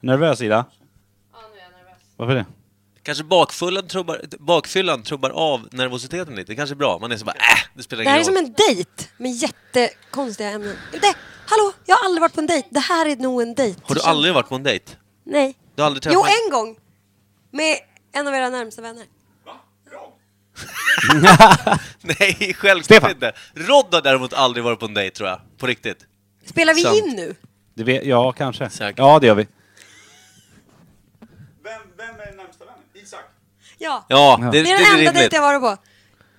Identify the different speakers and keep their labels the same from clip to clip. Speaker 1: Nervös Ida?
Speaker 2: Ja, nu är jag nervös.
Speaker 1: Varför det?
Speaker 3: Kanske bakfyllan trubbar, bakfyllan trubbar av nervositeten lite. Det kanske är bra. Man är så bara äh, det spelar
Speaker 2: Det
Speaker 3: ingen
Speaker 2: här
Speaker 3: roll.
Speaker 2: är som en dejt med jättekonstiga ämnen. Det, hallå, jag har aldrig varit på en dejt. Det här är nog en dejt.
Speaker 3: Har du aldrig varit på en dejt?
Speaker 2: Nej.
Speaker 3: Du har aldrig träffat
Speaker 2: Jo, en gång! Med en av era närmsta vänner.
Speaker 3: Nej, självklart
Speaker 1: Stefan.
Speaker 3: inte. Rod har däremot aldrig varit på en dejt tror jag. På riktigt.
Speaker 2: Spelar vi
Speaker 3: Sant.
Speaker 2: in nu?
Speaker 1: det vet, ja, kanske.
Speaker 3: Säkert.
Speaker 1: Ja, det gör vi.
Speaker 4: Vem, vem är närmsta vännen? Isak?
Speaker 2: Ja.
Speaker 3: Ja,
Speaker 1: Ja.
Speaker 3: det,
Speaker 2: Det
Speaker 3: det
Speaker 2: är den enda
Speaker 3: rimligt.
Speaker 2: dejt jag varit på.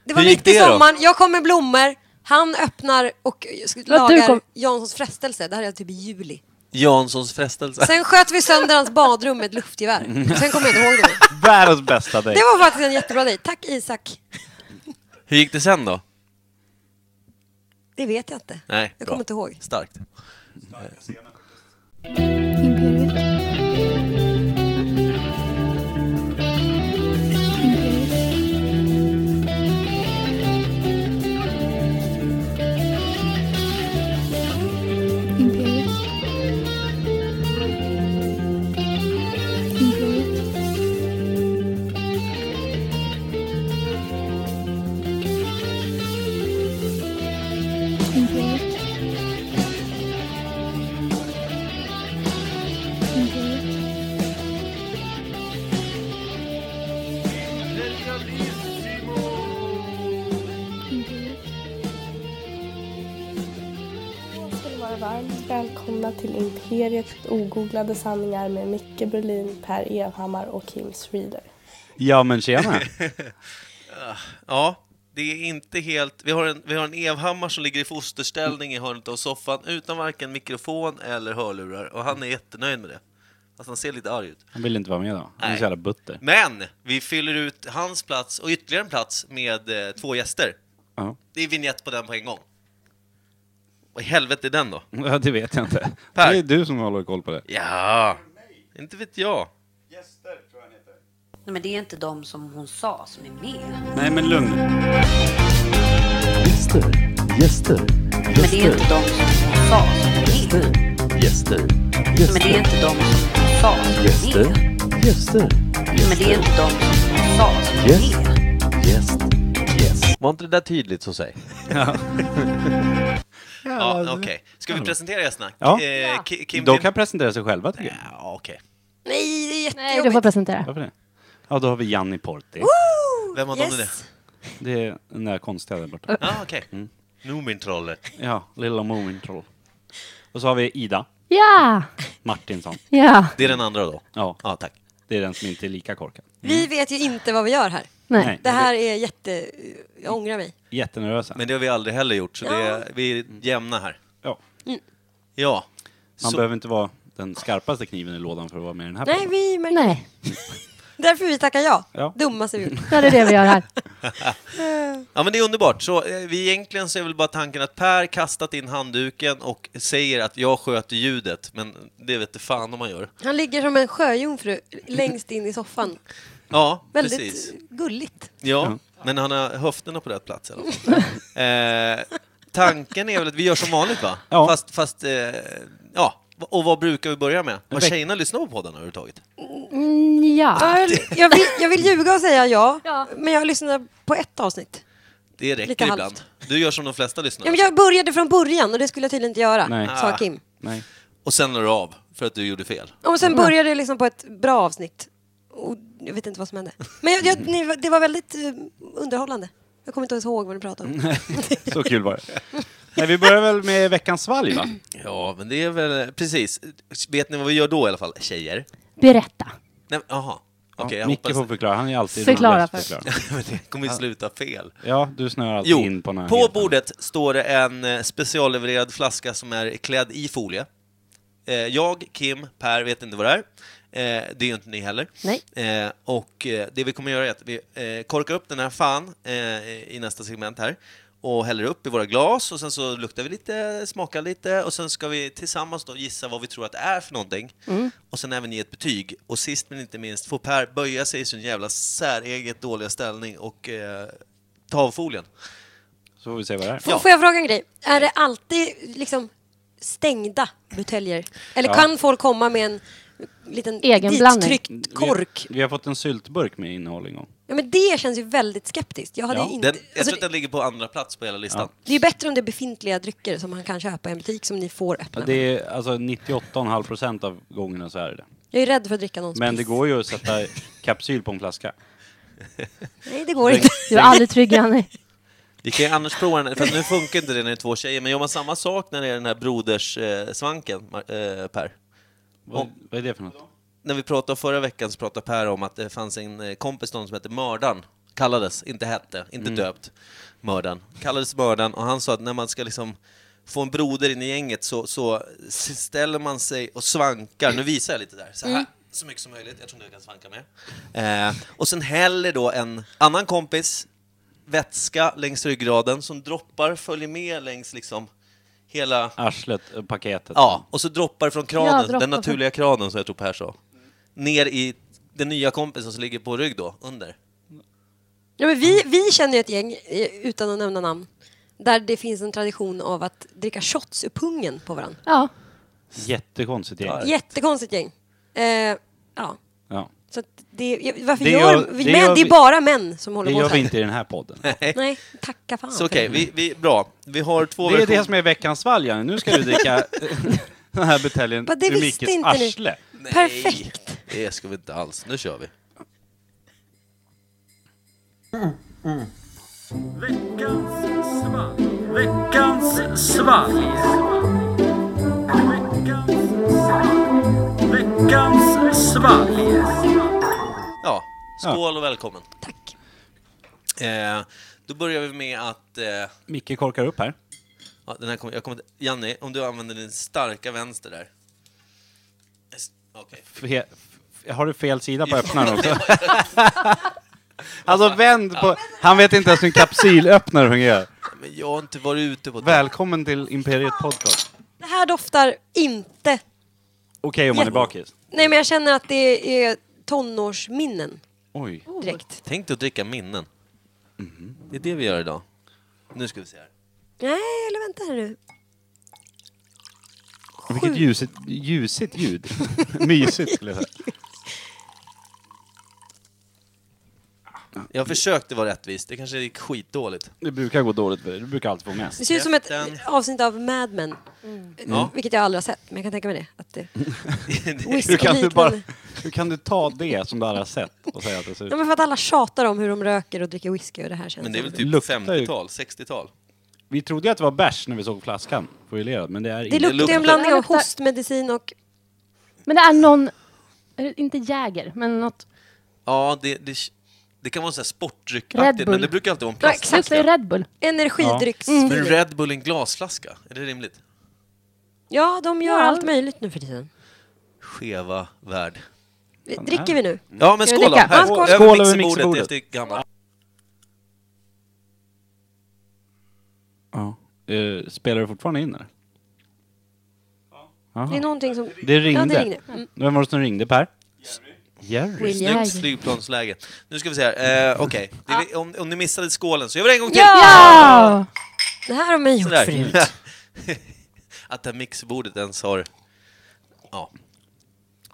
Speaker 2: Det var
Speaker 3: Hur gick
Speaker 2: mitt i
Speaker 3: det då?
Speaker 2: sommaren, jag kom med blommor, han öppnar och lagar
Speaker 5: kom-
Speaker 2: Janssons frestelse. Det här är typ i juli.
Speaker 3: Janssons frestelse.
Speaker 2: Sen sköt vi sönder hans badrum med ett luftgevär. Sen kommer jag inte ihåg det. mer.
Speaker 1: Världens bästa dejt.
Speaker 2: Det var faktiskt en jättebra dejt. Tack Isak.
Speaker 3: Hur gick det sen då?
Speaker 2: Det vet jag inte.
Speaker 3: Nej,
Speaker 2: jag
Speaker 3: bra.
Speaker 2: kommer inte ihåg.
Speaker 3: Starkt.
Speaker 5: Imperiet. Imperiet. Imperiet. Imperiet. Imperiet. Imperiet.
Speaker 6: Jag ska ni vara varmt välkomna till Imperiet ogooglade sanningar med Micke Berlin, Per Evhammar och Kim Reader.
Speaker 1: Ja, men tjena.
Speaker 3: Ja, det är inte helt... Vi har, en, vi har en Evhammar som ligger i fosterställning i hörnet av soffan utan varken mikrofon eller hörlurar och han är jättenöjd med det. Fast han ser lite arg ut.
Speaker 1: Han vill inte vara med då. Han är
Speaker 3: Nej.
Speaker 1: så jävla butter.
Speaker 3: Men vi fyller ut hans plats och ytterligare en plats med eh, två gäster.
Speaker 1: Ja.
Speaker 3: Det är vignett på den på en gång. Vad i helvete är den då?
Speaker 1: Ja, det vet jag inte.
Speaker 3: Per.
Speaker 1: Det är du som håller koll på det.
Speaker 3: Ja, inte vet jag.
Speaker 4: Gäster tror jag han heter.
Speaker 7: Nej, men det är inte de som hon sa som är med.
Speaker 1: Nej, men lugn.
Speaker 8: Gäster, gäster,
Speaker 7: Men det är
Speaker 8: gäster,
Speaker 7: inte de som hon sa som är med.
Speaker 8: gäster,
Speaker 7: Men det är
Speaker 8: gäster,
Speaker 7: inte de som hon sa som är
Speaker 8: gäster,
Speaker 7: med.
Speaker 8: gäster,
Speaker 7: Men det är inte de som hon sa som är
Speaker 8: Yes.
Speaker 7: med.
Speaker 8: gäst, gäst.
Speaker 3: Var inte det där tydligt så säg? Ja,
Speaker 1: det-
Speaker 3: okej. Ska vi presentera gästerna?
Speaker 1: Ja.
Speaker 3: Eh, Ki- Kim,
Speaker 1: De
Speaker 3: Kim-
Speaker 1: alltså. kan presentera sig själva, tycker jag.
Speaker 3: Ja, okej.
Speaker 2: Nej, det är
Speaker 5: Nej, du får
Speaker 2: jättejobbigt.
Speaker 5: presentera.
Speaker 1: Varför det? Ja, då har vi Janni Porti.
Speaker 3: Vem av dem är det?
Speaker 1: Det är den där konstiga där borta.
Speaker 3: Ja, okej. Noomintrollet.
Speaker 1: Ja, lilla Moomintroll. Och så har vi Ida
Speaker 5: Ja!
Speaker 1: Martinsson.
Speaker 5: Ja!
Speaker 3: Det är den andra då?
Speaker 1: Ja,
Speaker 3: Ja, tack.
Speaker 1: det är den som inte är lika korkad.
Speaker 2: Vi vet ju inte vad vi gör här.
Speaker 5: Nej.
Speaker 1: Nej.
Speaker 2: Det här är jätte... Jag ångrar mig.
Speaker 1: Jättenervösa.
Speaker 3: Men det har vi aldrig heller gjort, så det är, vi är jämna här.
Speaker 1: Ja.
Speaker 3: Ja.
Speaker 1: Man
Speaker 3: Så-
Speaker 1: behöver inte vara den skarpaste kniven i lådan för att vara med i den här
Speaker 2: Nej,
Speaker 1: podden.
Speaker 2: vi märker...
Speaker 5: Nej,
Speaker 2: Därför vi tackar ja.
Speaker 1: Ja.
Speaker 2: Dummaste vi gjort.
Speaker 5: Ja, det är det vi gör här.
Speaker 3: ja, men det är underbart. Så eh, vi egentligen så är väl bara tanken att Per kastat in handduken och säger att jag sköter ljudet, men det vet du fan om man gör.
Speaker 2: Han ligger som en sjöjungfru längst in i soffan.
Speaker 3: Ja,
Speaker 2: Väldigt
Speaker 3: precis.
Speaker 2: gulligt.
Speaker 3: Ja, men han har höfterna på rätt plats i alla fall. eh, Tanken är väl att vi gör som vanligt, va?
Speaker 1: Ja.
Speaker 3: Fast, fast eh, ja. Och vad brukar vi börja med? Har
Speaker 1: veck-
Speaker 3: tjejerna lyssnat på podden överhuvudtaget?
Speaker 5: Mm, ja.
Speaker 2: Jag vill, jag, vill, jag vill ljuga och säga ja,
Speaker 5: Ja.
Speaker 2: men jag lyssnade på ett avsnitt.
Speaker 3: Det räcker
Speaker 2: Lite
Speaker 3: ibland.
Speaker 2: halvt.
Speaker 3: Du gör som de flesta lyssnare.
Speaker 2: Ja, men jag började från början och det skulle jag tydligen inte göra,
Speaker 1: Nej. Ah.
Speaker 2: sa Kim.
Speaker 1: Nej.
Speaker 3: Och sen la du av, för att du gjorde fel.
Speaker 2: Och sen
Speaker 1: Mm.
Speaker 2: började jag liksom på ett bra avsnitt. Och jag vet inte vad som hände. Men jag, jag, ni, det var väldigt eh, underhållande. Jag kommer inte ens ihåg vad ni pratade om.
Speaker 1: Så kul var det. Nej, vi börjar väl med veckans svalg,
Speaker 3: Mm.
Speaker 1: va?
Speaker 3: Ja, men det är väl... Precis. Vet ni vad vi gör då i alla fall, tjejer?
Speaker 5: Berätta.
Speaker 3: Nej, men- jaha. Okej, jag
Speaker 1: Micke
Speaker 3: hoppas...
Speaker 1: får förklara, han är alltid
Speaker 5: Förklara
Speaker 1: den bästa
Speaker 5: först.
Speaker 1: förklararen.
Speaker 3: men det kommer ju sluta fel.
Speaker 1: Ja, du snör alltid
Speaker 3: Jo,
Speaker 1: in på några
Speaker 3: på
Speaker 1: helt andra.
Speaker 3: bordet står det en eh, speciallevererad flaska som är klädd i folie. Eh, Jag, Kim, Per vet inte vad det är. Eh, Det är ju inte ni heller.
Speaker 5: Nej.
Speaker 3: Eh, Och eh, det vi kommer göra är att vi eh, korkar upp den här fan eh, i nästa segment här och häller upp i våra glas och sen så luktar vi lite, smakar lite och sen ska vi tillsammans då gissa vad vi tror att det är för någonting och sen även ge ett betyg. Och sist men inte minst får Per böja sig i sin jävla säreget dåliga ställning och eh, ta av folien.
Speaker 1: Så får vi se vad det är.
Speaker 2: Får- Får jag fråga en grej? Är det alltid liksom stängda buteljer? Eller kan folk komma med en liten
Speaker 5: Egen
Speaker 2: dittryckt kork.
Speaker 1: Vi, vi har fått en syltburk med innehåll en gång.
Speaker 2: Ja, men det känns ju väldigt skeptiskt. Jag hade
Speaker 1: Ja.
Speaker 2: inte...
Speaker 3: Den, jag
Speaker 2: alltså,
Speaker 3: tror att den ligger på andra plats på hela listan.
Speaker 2: det är ju bättre om det är befintliga drycker som man kan köpa i en butik som ni får öppna.
Speaker 1: Det är alltså 98,5 procent av gångerna så är det det.
Speaker 2: Jag är rädd för att dricka någons
Speaker 1: Men det
Speaker 2: piss.
Speaker 1: går ju att sätta kapsyl på en flaska.
Speaker 2: Nej, det går inte.
Speaker 5: Du är aldrig trygg, Janne.
Speaker 3: Vi kan ju annars prova den, för att nu funkar inte det när det är två tjejer, men gör man samma sak när det är den här broderssvanken, eh, Per?
Speaker 1: Vad,
Speaker 3: Om-
Speaker 1: vad är det för något?
Speaker 3: när vi pratade förra veckan så pratade Per om att det fanns en eh, kompis till honom som hette Mördan. Kallades, inte hette, inte döpt. Mördan. Kallades Mördan och han sa att när man ska liksom få en broder in i gänget så, så s- ställer man sig och svankar, nu visar jag lite där, så här. Så mycket som möjligt, jag tror inte jag kan svanka mer. Eh, och sen häller då en annan kompis vätska längs ryggraden som droppar, följer med längs liksom hela...
Speaker 1: Arslet, eh, paketet.
Speaker 3: Ja, och så droppar från kranen,
Speaker 5: Ja, droppar
Speaker 3: den
Speaker 5: från-
Speaker 3: naturliga kranen som jag tror Per sa. Ner i den nya kompisen som ligger på rygg då, under.
Speaker 2: Ja, men vi, vi känner ju ett gäng, eh, utan att nämna namn, där det finns en tradition av att dricka shots ur pungen på varandra.
Speaker 5: Ja.
Speaker 1: Jättekonstigt gäng.
Speaker 3: Ja.
Speaker 2: Jättekonstigt gäng. Eh, ja.
Speaker 1: Ja.
Speaker 2: Så att det, jag- varför
Speaker 1: Det
Speaker 2: gör,
Speaker 1: gör-
Speaker 2: vi-
Speaker 1: det
Speaker 2: män,
Speaker 1: gör
Speaker 2: det är
Speaker 1: vi-
Speaker 2: bara män som håller
Speaker 1: Det
Speaker 2: på
Speaker 1: gör
Speaker 2: så här.
Speaker 1: vi inte i den här podden.
Speaker 2: Nej, tacka fan.
Speaker 3: Så okej, vi, vi, bra. Vi har två
Speaker 1: Det är
Speaker 3: versioner.
Speaker 1: det som är veckans svalg, Nu ska du dricka den här buteljen
Speaker 2: Vad, det
Speaker 1: ur
Speaker 2: visste
Speaker 1: Mickes
Speaker 2: inte ni.
Speaker 1: arsle.
Speaker 3: Nej,
Speaker 2: Perfekt.
Speaker 3: Det ska vi inte alls. Nu kör vi. Ja, skål och välkommen.
Speaker 2: Tack.
Speaker 3: Eh, då börjar vi med att... Eh,
Speaker 1: Micke korkar upp här.
Speaker 3: Ja, den här kommer, jag kommer inte, Janni, om du använder din starka vänster där. Es- Okej.
Speaker 1: Fe, f- har du fel sida på öppnaren också? alltså vänd på... Han vet inte ens hur en kapsylöppnare fungerar.
Speaker 3: Men jag har inte varit ute på...
Speaker 1: Välkommen till Imperiet Podcast.
Speaker 2: Det här doftar inte...
Speaker 1: Okej om man är
Speaker 2: Jätte-
Speaker 1: bakis.
Speaker 2: Nej, men jag känner att det är tonårsminnen
Speaker 1: Oj.
Speaker 2: direkt.
Speaker 3: Tänk dig att dricka minnen. Det är det vi gör idag. Nu ska vi se här.
Speaker 2: Nej, eller vänta här nu.
Speaker 1: Vilket ljusigt, ljusigt ljud. Mysigt skulle jag säga.
Speaker 3: Jag försökte vara rättvis, det kanske gick skitdåligt.
Speaker 1: Det brukar gå dåligt för dig. Du brukar alltid få mest.
Speaker 2: Det ser ut som ett
Speaker 3: Käften.
Speaker 2: avsnitt av Mad Men.
Speaker 3: Ja.
Speaker 2: Vilket jag aldrig har sett, men jag kan tänka mig det. Att det
Speaker 1: Hur kan, du
Speaker 2: whisky-liknande.
Speaker 1: bara, hur kan du ta det som du aldrig har sett och säga att det ser
Speaker 2: Ja,
Speaker 1: ut
Speaker 2: men för att alla tjatar om hur de röker och dricker whisky och det här känns
Speaker 3: Men det är väl
Speaker 2: som-
Speaker 3: typ
Speaker 1: Luktar ju-
Speaker 3: 50-tal, 60-tal?
Speaker 1: Vi trodde ju att det var bärs när vi såg flaskan foilerad, men det är
Speaker 2: Det
Speaker 1: inte.
Speaker 2: luktar ju en
Speaker 3: luktar-
Speaker 2: blandning
Speaker 5: Det
Speaker 2: av
Speaker 5: luktar-
Speaker 2: hostmedicin och...
Speaker 5: Men det är någon, är det inte Jäger, men något.
Speaker 3: Ja, det, det, det kan vara så här
Speaker 5: Red
Speaker 3: sportdryckaktigt,
Speaker 5: Bull.
Speaker 3: men det brukar alltid vara en
Speaker 2: Ja,
Speaker 5: Det luktar ju
Speaker 3: plastflaska.
Speaker 5: Red Bull.
Speaker 2: Energidrycks... Mm.
Speaker 3: Men Red Bull i en glasflaska, är det rimligt?
Speaker 2: Ja, de gör
Speaker 5: Ja.
Speaker 2: allt möjligt nu för tiden.
Speaker 3: Skeva värld.
Speaker 2: Vi- Dricker vi nu?
Speaker 3: Ja, men
Speaker 5: Ska vi
Speaker 3: skål då!
Speaker 5: dricka?
Speaker 3: Här,
Speaker 2: Ja, skål.
Speaker 1: Skål över
Speaker 3: över mixerbordet.
Speaker 1: mixerbordet.
Speaker 3: Efter gammalt.
Speaker 1: Ja. Eh, spelar du fortfarande in eller?
Speaker 2: Det är
Speaker 1: Jaha.
Speaker 2: någonting som...
Speaker 1: Det ringde.
Speaker 2: Ja, det ringde. Mm.
Speaker 1: Vem var det som ringde Per? Jerry.
Speaker 5: Will
Speaker 3: Snyggt
Speaker 5: Jäger.
Speaker 3: flygplansläge. Nu ska vi se här. Eh, Okej, Det är vi- om, om ni missade skålen så gör vi det en gång till!
Speaker 5: Ja!
Speaker 2: Det här har man gjort
Speaker 3: Sådär.
Speaker 2: förut.
Speaker 3: Att det här mixbordet ens har... Ja.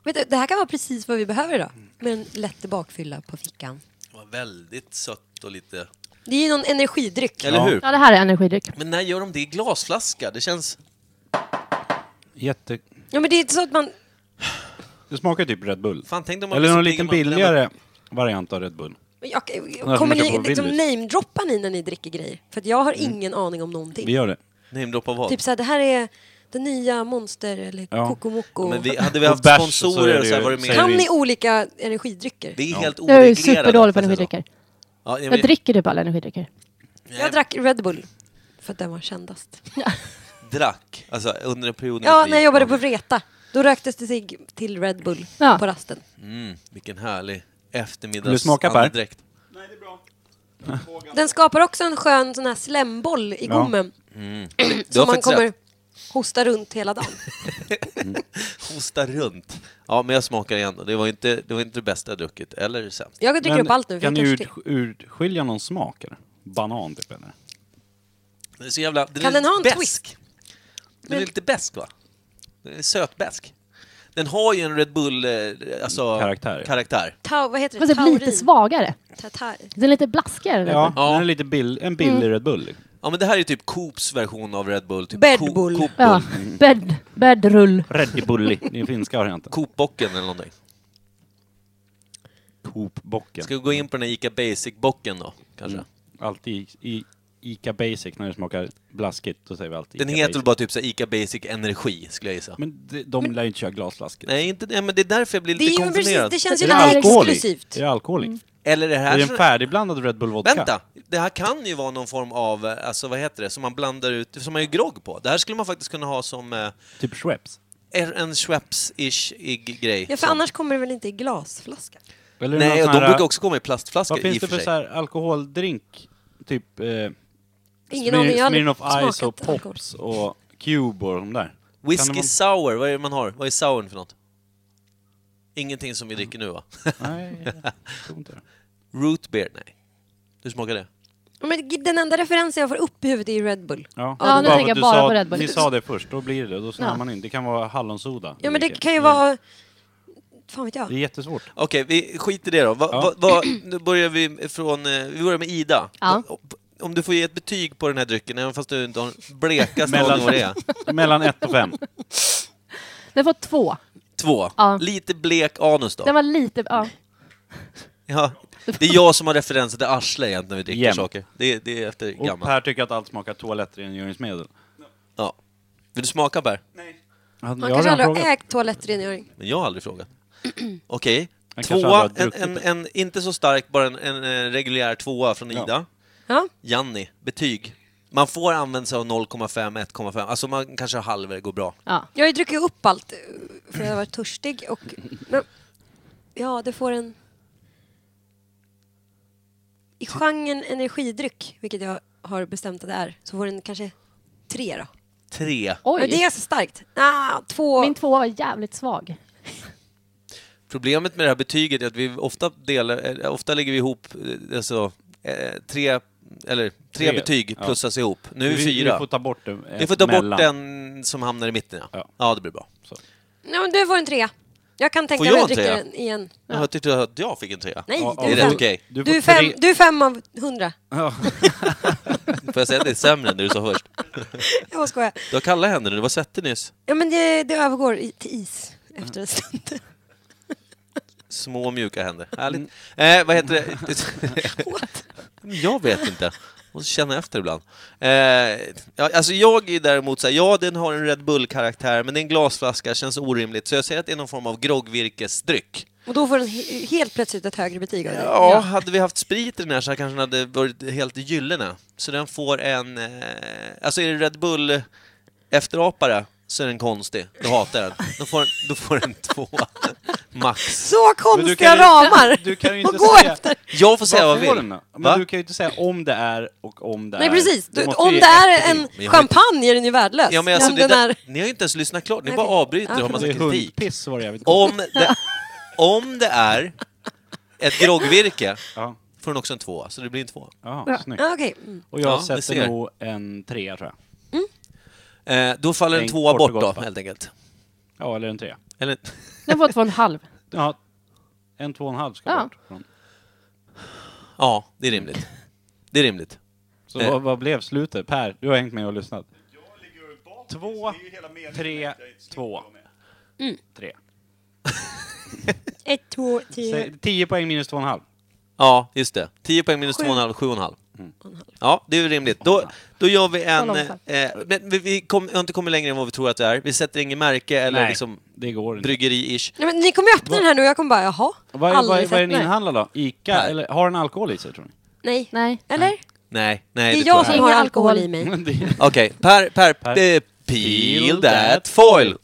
Speaker 2: Vet du, det här kan vara precis vad vi behöver idag. Med en lätt bakfylla på fickan.
Speaker 3: Det var väldigt sött och lite...
Speaker 2: Det är ju någon energidryck.
Speaker 3: Eller hur?
Speaker 5: Ja, det här är energidryck.
Speaker 3: Men när gör de det i glasflaska? Det känns...
Speaker 1: Jätte...
Speaker 2: Ja, men det är inte så att man...
Speaker 1: Det smakar typ Red Bull.
Speaker 3: Fan, liksom tänk om man
Speaker 1: Eller
Speaker 3: blir så
Speaker 1: någon
Speaker 3: pigg
Speaker 1: liten
Speaker 3: om man-
Speaker 1: billigare variant av Red Bull.
Speaker 2: Jag,
Speaker 1: man
Speaker 2: kommer
Speaker 1: kan
Speaker 2: ni
Speaker 1: få
Speaker 2: liksom
Speaker 1: Willys.
Speaker 2: namedroppa ni när ni dricker grejer? För att jag har ingen aning om någonting.
Speaker 1: Vi gör det.
Speaker 3: Namedropp av vad?
Speaker 2: Typ såhär, det här är den nya Monster eller
Speaker 1: Ja.
Speaker 2: Kokomoko.
Speaker 3: Men vi, hade vi
Speaker 1: Och
Speaker 3: haft
Speaker 1: bärs så är
Speaker 3: sponsorer
Speaker 1: det
Speaker 3: och så här
Speaker 1: ju-
Speaker 3: varit med...
Speaker 1: säger
Speaker 2: Kan
Speaker 1: vi-
Speaker 2: ni olika energidrycker?
Speaker 3: Det är helt
Speaker 5: Jag är ju
Speaker 3: oreglerat.
Speaker 5: superdålig på
Speaker 3: får jag säga så.
Speaker 5: energidrycker.
Speaker 3: Ja, nej, men-
Speaker 5: Jag dricker typ alla energidrycker.
Speaker 3: nej,
Speaker 2: Jag drack Red Bull. För att den var kändast.
Speaker 3: drack. Alltså, under en period...
Speaker 2: Ja,
Speaker 3: vi-
Speaker 2: när jag jobbade på Vreta. Då röktes det sig till Red Bull
Speaker 5: Ja.
Speaker 2: på rasten.
Speaker 3: Mm, vilken härlig eftermiddags...
Speaker 1: Vill du smaka, Per?
Speaker 3: andedräkt.
Speaker 2: Mm,
Speaker 4: Nej, det är bra.
Speaker 2: Den skapar också en skön sån här slemboll i
Speaker 1: Ja.
Speaker 2: gommen.
Speaker 3: Du har
Speaker 2: Som man
Speaker 3: faktiskt
Speaker 2: kommer
Speaker 3: rätt.
Speaker 2: hosta runt hela dagen.
Speaker 3: Hosta runt. Ja, men jag smakar igen. och Det var inte det, var inte det bästa jag druckit. Eller det sämsta.
Speaker 2: Jag dricker
Speaker 1: Men
Speaker 2: upp allt nu för
Speaker 1: Kan
Speaker 2: jag
Speaker 1: ni
Speaker 2: är
Speaker 1: ut,
Speaker 2: törstig.
Speaker 1: urskilja någon smak eller? Banan typ eller?
Speaker 3: Den är så jävla... Den
Speaker 2: Kan
Speaker 3: är
Speaker 2: den ha en
Speaker 3: besk.
Speaker 2: twist?
Speaker 3: Den är lite besk va? Den är sötbesk. Den har ju en Red Bull eh, alltså,
Speaker 1: Karaktär.
Speaker 3: karaktär.
Speaker 2: Tau, vad heter det?
Speaker 5: Fast typ lite svagare.
Speaker 2: Tatar.
Speaker 5: Den är lite blaskigare. den.
Speaker 1: Ja,
Speaker 3: Ja.
Speaker 1: Den är lite bill, en billig
Speaker 2: Mm.
Speaker 1: Red Bull. liksom.
Speaker 3: Ja, men det här är ju typ Coops version av Red Bull. Typ
Speaker 2: Bad
Speaker 3: Co-
Speaker 2: Bull.
Speaker 3: Coop-
Speaker 5: ja. Bed, bedrull.
Speaker 1: Red Bulli, den finska varianten.
Speaker 3: Coop-bocken eller någonting.
Speaker 1: Coop-bocken.
Speaker 3: Ska vi gå in på den här ICA Basic-bocken då, kanske?
Speaker 1: Mm. Alltid i, i Ica Basic, när det smakar blaskigt, då säger vi alltid
Speaker 3: Den
Speaker 1: Ica
Speaker 3: heter väl
Speaker 1: Basic.
Speaker 3: bara typ så här ICA Basic Energi, skulle jag gissa.
Speaker 1: Men de, de lär ju inte köra glasflaskor.
Speaker 3: Nej, inte, nej, men det är därför jag blir
Speaker 2: Det, är
Speaker 3: lite
Speaker 2: ju precis,
Speaker 3: konfunderad.
Speaker 2: det känns ju
Speaker 1: Är
Speaker 5: det
Speaker 2: lite
Speaker 1: alkohol i?
Speaker 2: exklusivt.
Speaker 1: Är det alkohol i?
Speaker 3: Eller det här...
Speaker 1: Är det
Speaker 3: som-
Speaker 1: en färdigblandad Red Bull Vodka?
Speaker 3: Vänta! Det här kan ju vara någon form av, eh, alltså vad heter det, som man blandar ut, som man gör grogg på. Det här skulle man faktiskt kunna ha som eh,
Speaker 1: Typ Schweppes?
Speaker 3: är en Schweppes-ish ig- grej.
Speaker 2: Ja, för annars kommer det väl inte i glasflaska?
Speaker 1: Eller någon
Speaker 3: Nej,
Speaker 1: sån
Speaker 3: och de
Speaker 1: här-
Speaker 3: brukar också komma i plastflaskor
Speaker 1: Vad
Speaker 3: i
Speaker 1: finns det
Speaker 3: och för
Speaker 1: för
Speaker 3: sig.
Speaker 1: så här alkoholdrink? Typ eh,
Speaker 2: Ingen
Speaker 1: Smir-
Speaker 2: aning, jag har aldrig
Speaker 1: Smirnoff Ice och
Speaker 2: smakat alkohol.
Speaker 1: Pops och Cube och de där.
Speaker 3: Whisky
Speaker 1: Kan man-
Speaker 3: sour, vad är det man har? Vad är sourn för något? Ingenting som vi dricker nu va?
Speaker 1: Nej, jag tror inte det.
Speaker 3: Root beer, nej. Du smakar det?
Speaker 2: Ja, Men den enda referensen jag får upp i huvudet är ju Red Bull.
Speaker 1: Ja,
Speaker 5: Ja, nu
Speaker 1: bara
Speaker 5: tänker jag
Speaker 1: du
Speaker 5: bara
Speaker 1: sa,
Speaker 5: på Red Bull.
Speaker 1: Ni sa det först, då blir det. Då snurrar
Speaker 5: Ja.
Speaker 1: man in. Det kan vara hallonsoda.
Speaker 2: Ja, men det
Speaker 1: vilket-
Speaker 2: kan ju vara... Fan vet
Speaker 1: Det är
Speaker 2: jag.
Speaker 1: jättesvårt.
Speaker 3: Okej, vi skiter i det då. Va,
Speaker 1: Ja.
Speaker 3: va, va, nu börjar vi från... eh, Vi börjar med Ida.
Speaker 5: Ja.
Speaker 3: O- Om du får ge ett betyg på den här drycken, även fast du inte har blekast aning
Speaker 1: Mellan-
Speaker 3: vad det är.
Speaker 1: Mellan ett och fem.
Speaker 5: Den får två.
Speaker 3: Två.
Speaker 5: Ja.
Speaker 3: Lite blek anus då.
Speaker 5: Den var lite... Ja.
Speaker 3: Ja. Det är jag som har referenser till arsle egentligen när vi dricker
Speaker 1: Jämt.
Speaker 3: saker. Det, är- det är efter
Speaker 1: Och
Speaker 3: gammalt.
Speaker 1: Per tycker att allt smakar toalettrengöringsmedel.
Speaker 3: Ja. Vill du smaka Per?
Speaker 4: Nej.
Speaker 1: Han
Speaker 2: Man kanske aldrig har ägt toalettrengöring.
Speaker 3: Men jag har aldrig frågat. Okej.
Speaker 1: Han kanske
Speaker 3: Tvåa,
Speaker 1: aldrig har
Speaker 3: en,
Speaker 1: druckit
Speaker 3: en, en, inte så stark, bara en, en, eh, reguljär tvåa från
Speaker 1: Ja.
Speaker 3: Ida.
Speaker 2: Ja.
Speaker 3: Janni, betyg. Man får använda sig av 0,5, 1,5. Alltså man kanske har halver, går bra.
Speaker 5: ja.
Speaker 2: Jag har ju druckit upp allt eh, för jag har varit törstig och... Men, ja, det får en... I genren energidryck, vilket jag har bestämt att det är, så får den kanske tre då.
Speaker 3: Tre.
Speaker 5: Oj.
Speaker 2: Men det är ganska starkt. Ah, två.
Speaker 5: Min tvåa var jävligt svag.
Speaker 3: Problemet med det här betyget är att vi ofta delar, eh, ofta lägger vi ihop eh, alltså, eh, tre, eller, tre,
Speaker 1: Tre,
Speaker 3: betyg
Speaker 1: ja.
Speaker 3: plussas ihop. Nu är vi,
Speaker 1: Vi
Speaker 3: fyra.
Speaker 1: får
Speaker 3: Vi
Speaker 1: ta bort en,
Speaker 3: får, ta bort den som hamnar i mitten, ja.
Speaker 1: Ja.
Speaker 3: Ja, det blir bra.
Speaker 2: Ja, men du får en trea. Jag kan tänka
Speaker 3: Får
Speaker 2: mig
Speaker 3: jag
Speaker 2: att
Speaker 3: en
Speaker 2: dricka
Speaker 3: trea?
Speaker 2: den igen.
Speaker 3: Jag tyckte att jag fick en trea.
Speaker 2: Nej,
Speaker 1: Ja,
Speaker 2: du,
Speaker 3: det
Speaker 2: är
Speaker 3: är rätt
Speaker 2: fem.
Speaker 3: okej.
Speaker 1: Du
Speaker 2: Du,
Speaker 1: får
Speaker 2: är fem,
Speaker 1: tre-
Speaker 2: du är fem av hundra.
Speaker 3: Får jag säga att det är sämre än det du sa först?
Speaker 2: Jag bara skojar.
Speaker 3: Du har kalla händer nu, du var svettig nyss.
Speaker 2: Ja, men det, det övergår i, till is efter en stund.
Speaker 3: Små mjuka händer. Härligt. Eh, vad heter det?
Speaker 2: What?
Speaker 3: jag vet inte. Måste känna efter ibland. Eh, ja, alltså jag är däremot så här, ja den har en Red Bull-karaktär, men det är en glasflaska, känns orimligt. Så jag säger att det är någon form av groggvirkesdryck.
Speaker 2: Och då får den he- helt plötsligt ett högre betyg av dig.
Speaker 3: Ja, hade vi haft sprit i den här så här kanske den hade varit helt gyllene. Så den får en... Eh, alltså är det Red Bull efterapare så är den konstig. Då hatar jag den. Då får den, då får den två max.
Speaker 2: Så
Speaker 1: Men du
Speaker 2: konstiga
Speaker 1: kan ju-
Speaker 2: ramar!
Speaker 1: Du kan ju
Speaker 2: Och
Speaker 1: inte
Speaker 2: gå
Speaker 1: säga-
Speaker 2: efter!
Speaker 3: Jag får säga vad
Speaker 1: Vad
Speaker 3: jag
Speaker 1: får den
Speaker 3: vill.
Speaker 1: då?
Speaker 3: Va?
Speaker 1: Men du kan ju inte säga om det är och om det är.
Speaker 2: Nej precis, du,
Speaker 1: måste
Speaker 2: om
Speaker 1: ju
Speaker 2: det är
Speaker 1: efter-
Speaker 3: Men
Speaker 2: en
Speaker 3: jag har inte-
Speaker 2: champagne är den ju värdelös.
Speaker 3: Ja, men alltså,
Speaker 2: om
Speaker 3: det
Speaker 2: den
Speaker 3: där,
Speaker 2: är...
Speaker 3: ni har ju inte ens lyssnat klart, ni
Speaker 2: Okej.
Speaker 3: bara avbryter och har
Speaker 2: Ja.
Speaker 3: massa
Speaker 1: Det är
Speaker 3: kritik.
Speaker 1: hundpiss var det jag vet inte.
Speaker 3: Om det, om det är ett groggvirke
Speaker 1: Ja,
Speaker 3: får den också en tvåa, så det blir en tvåa.
Speaker 1: ja, snyggt.
Speaker 2: Ja, okej. Mm.
Speaker 1: Och jag
Speaker 3: Ja, vi ser.
Speaker 1: sätter nog en trea tror jag.
Speaker 3: Eh, då faller en
Speaker 1: Nej,
Speaker 3: tvåa
Speaker 1: kort och
Speaker 3: bort
Speaker 1: gott, va?
Speaker 3: då, helt enkelt.
Speaker 1: Ja, eller en trea.
Speaker 3: Eller,
Speaker 5: Den får två och en halv.
Speaker 1: Ja, en två och en halv ska
Speaker 5: Ja.
Speaker 1: bort. från-
Speaker 3: ja, det är rimligt. Det är rimligt.
Speaker 1: Så
Speaker 3: Eh.
Speaker 1: vad, vad blev slutet? Per, du har hängt med och lyssnat.
Speaker 4: Jag ligger ju bakis.
Speaker 1: Två,
Speaker 4: Det är ju hela meningen
Speaker 1: tre,
Speaker 4: att jag inte ska
Speaker 1: två.
Speaker 4: vara med.
Speaker 2: Mm.
Speaker 1: Tre.
Speaker 2: Ett, två, tre...
Speaker 1: Säg, tio poäng minus två och en halv.
Speaker 3: Ja, just det. 10 poäng minus
Speaker 2: Sju.
Speaker 3: 2,5, 7,5.
Speaker 1: Mm.
Speaker 3: Ja, det är ju rimligt. Då, då gör vi en...
Speaker 5: Så långsamt.
Speaker 3: Eh, men vi, vi kom, har inte kommit längre än vad vi tror att det är. Vi sätter inget märke eller
Speaker 1: Nej,
Speaker 3: liksom
Speaker 1: det går inte.
Speaker 3: bryggeri-ish.
Speaker 2: Nej, men ni kommer ju öppna den här nu och jag kommer bara, jaha?
Speaker 1: Vad, är- vad, är-
Speaker 2: aldrig
Speaker 1: vad är
Speaker 2: sett
Speaker 1: den
Speaker 2: mig.
Speaker 1: inhandlad då? Ica?
Speaker 3: Per.
Speaker 1: Eller har den alkohol i sig tror ni?
Speaker 2: Nej.
Speaker 5: Nej.
Speaker 2: Eller?
Speaker 3: Nej, nej.
Speaker 2: Det är
Speaker 3: tror
Speaker 2: jag
Speaker 3: inte.
Speaker 2: som har
Speaker 5: Ingen
Speaker 2: alkohol i
Speaker 5: alkohol.
Speaker 2: mig.
Speaker 3: Mm.
Speaker 1: Det-
Speaker 3: Okej, Per, per,
Speaker 1: Per.
Speaker 3: eh, peel that foil.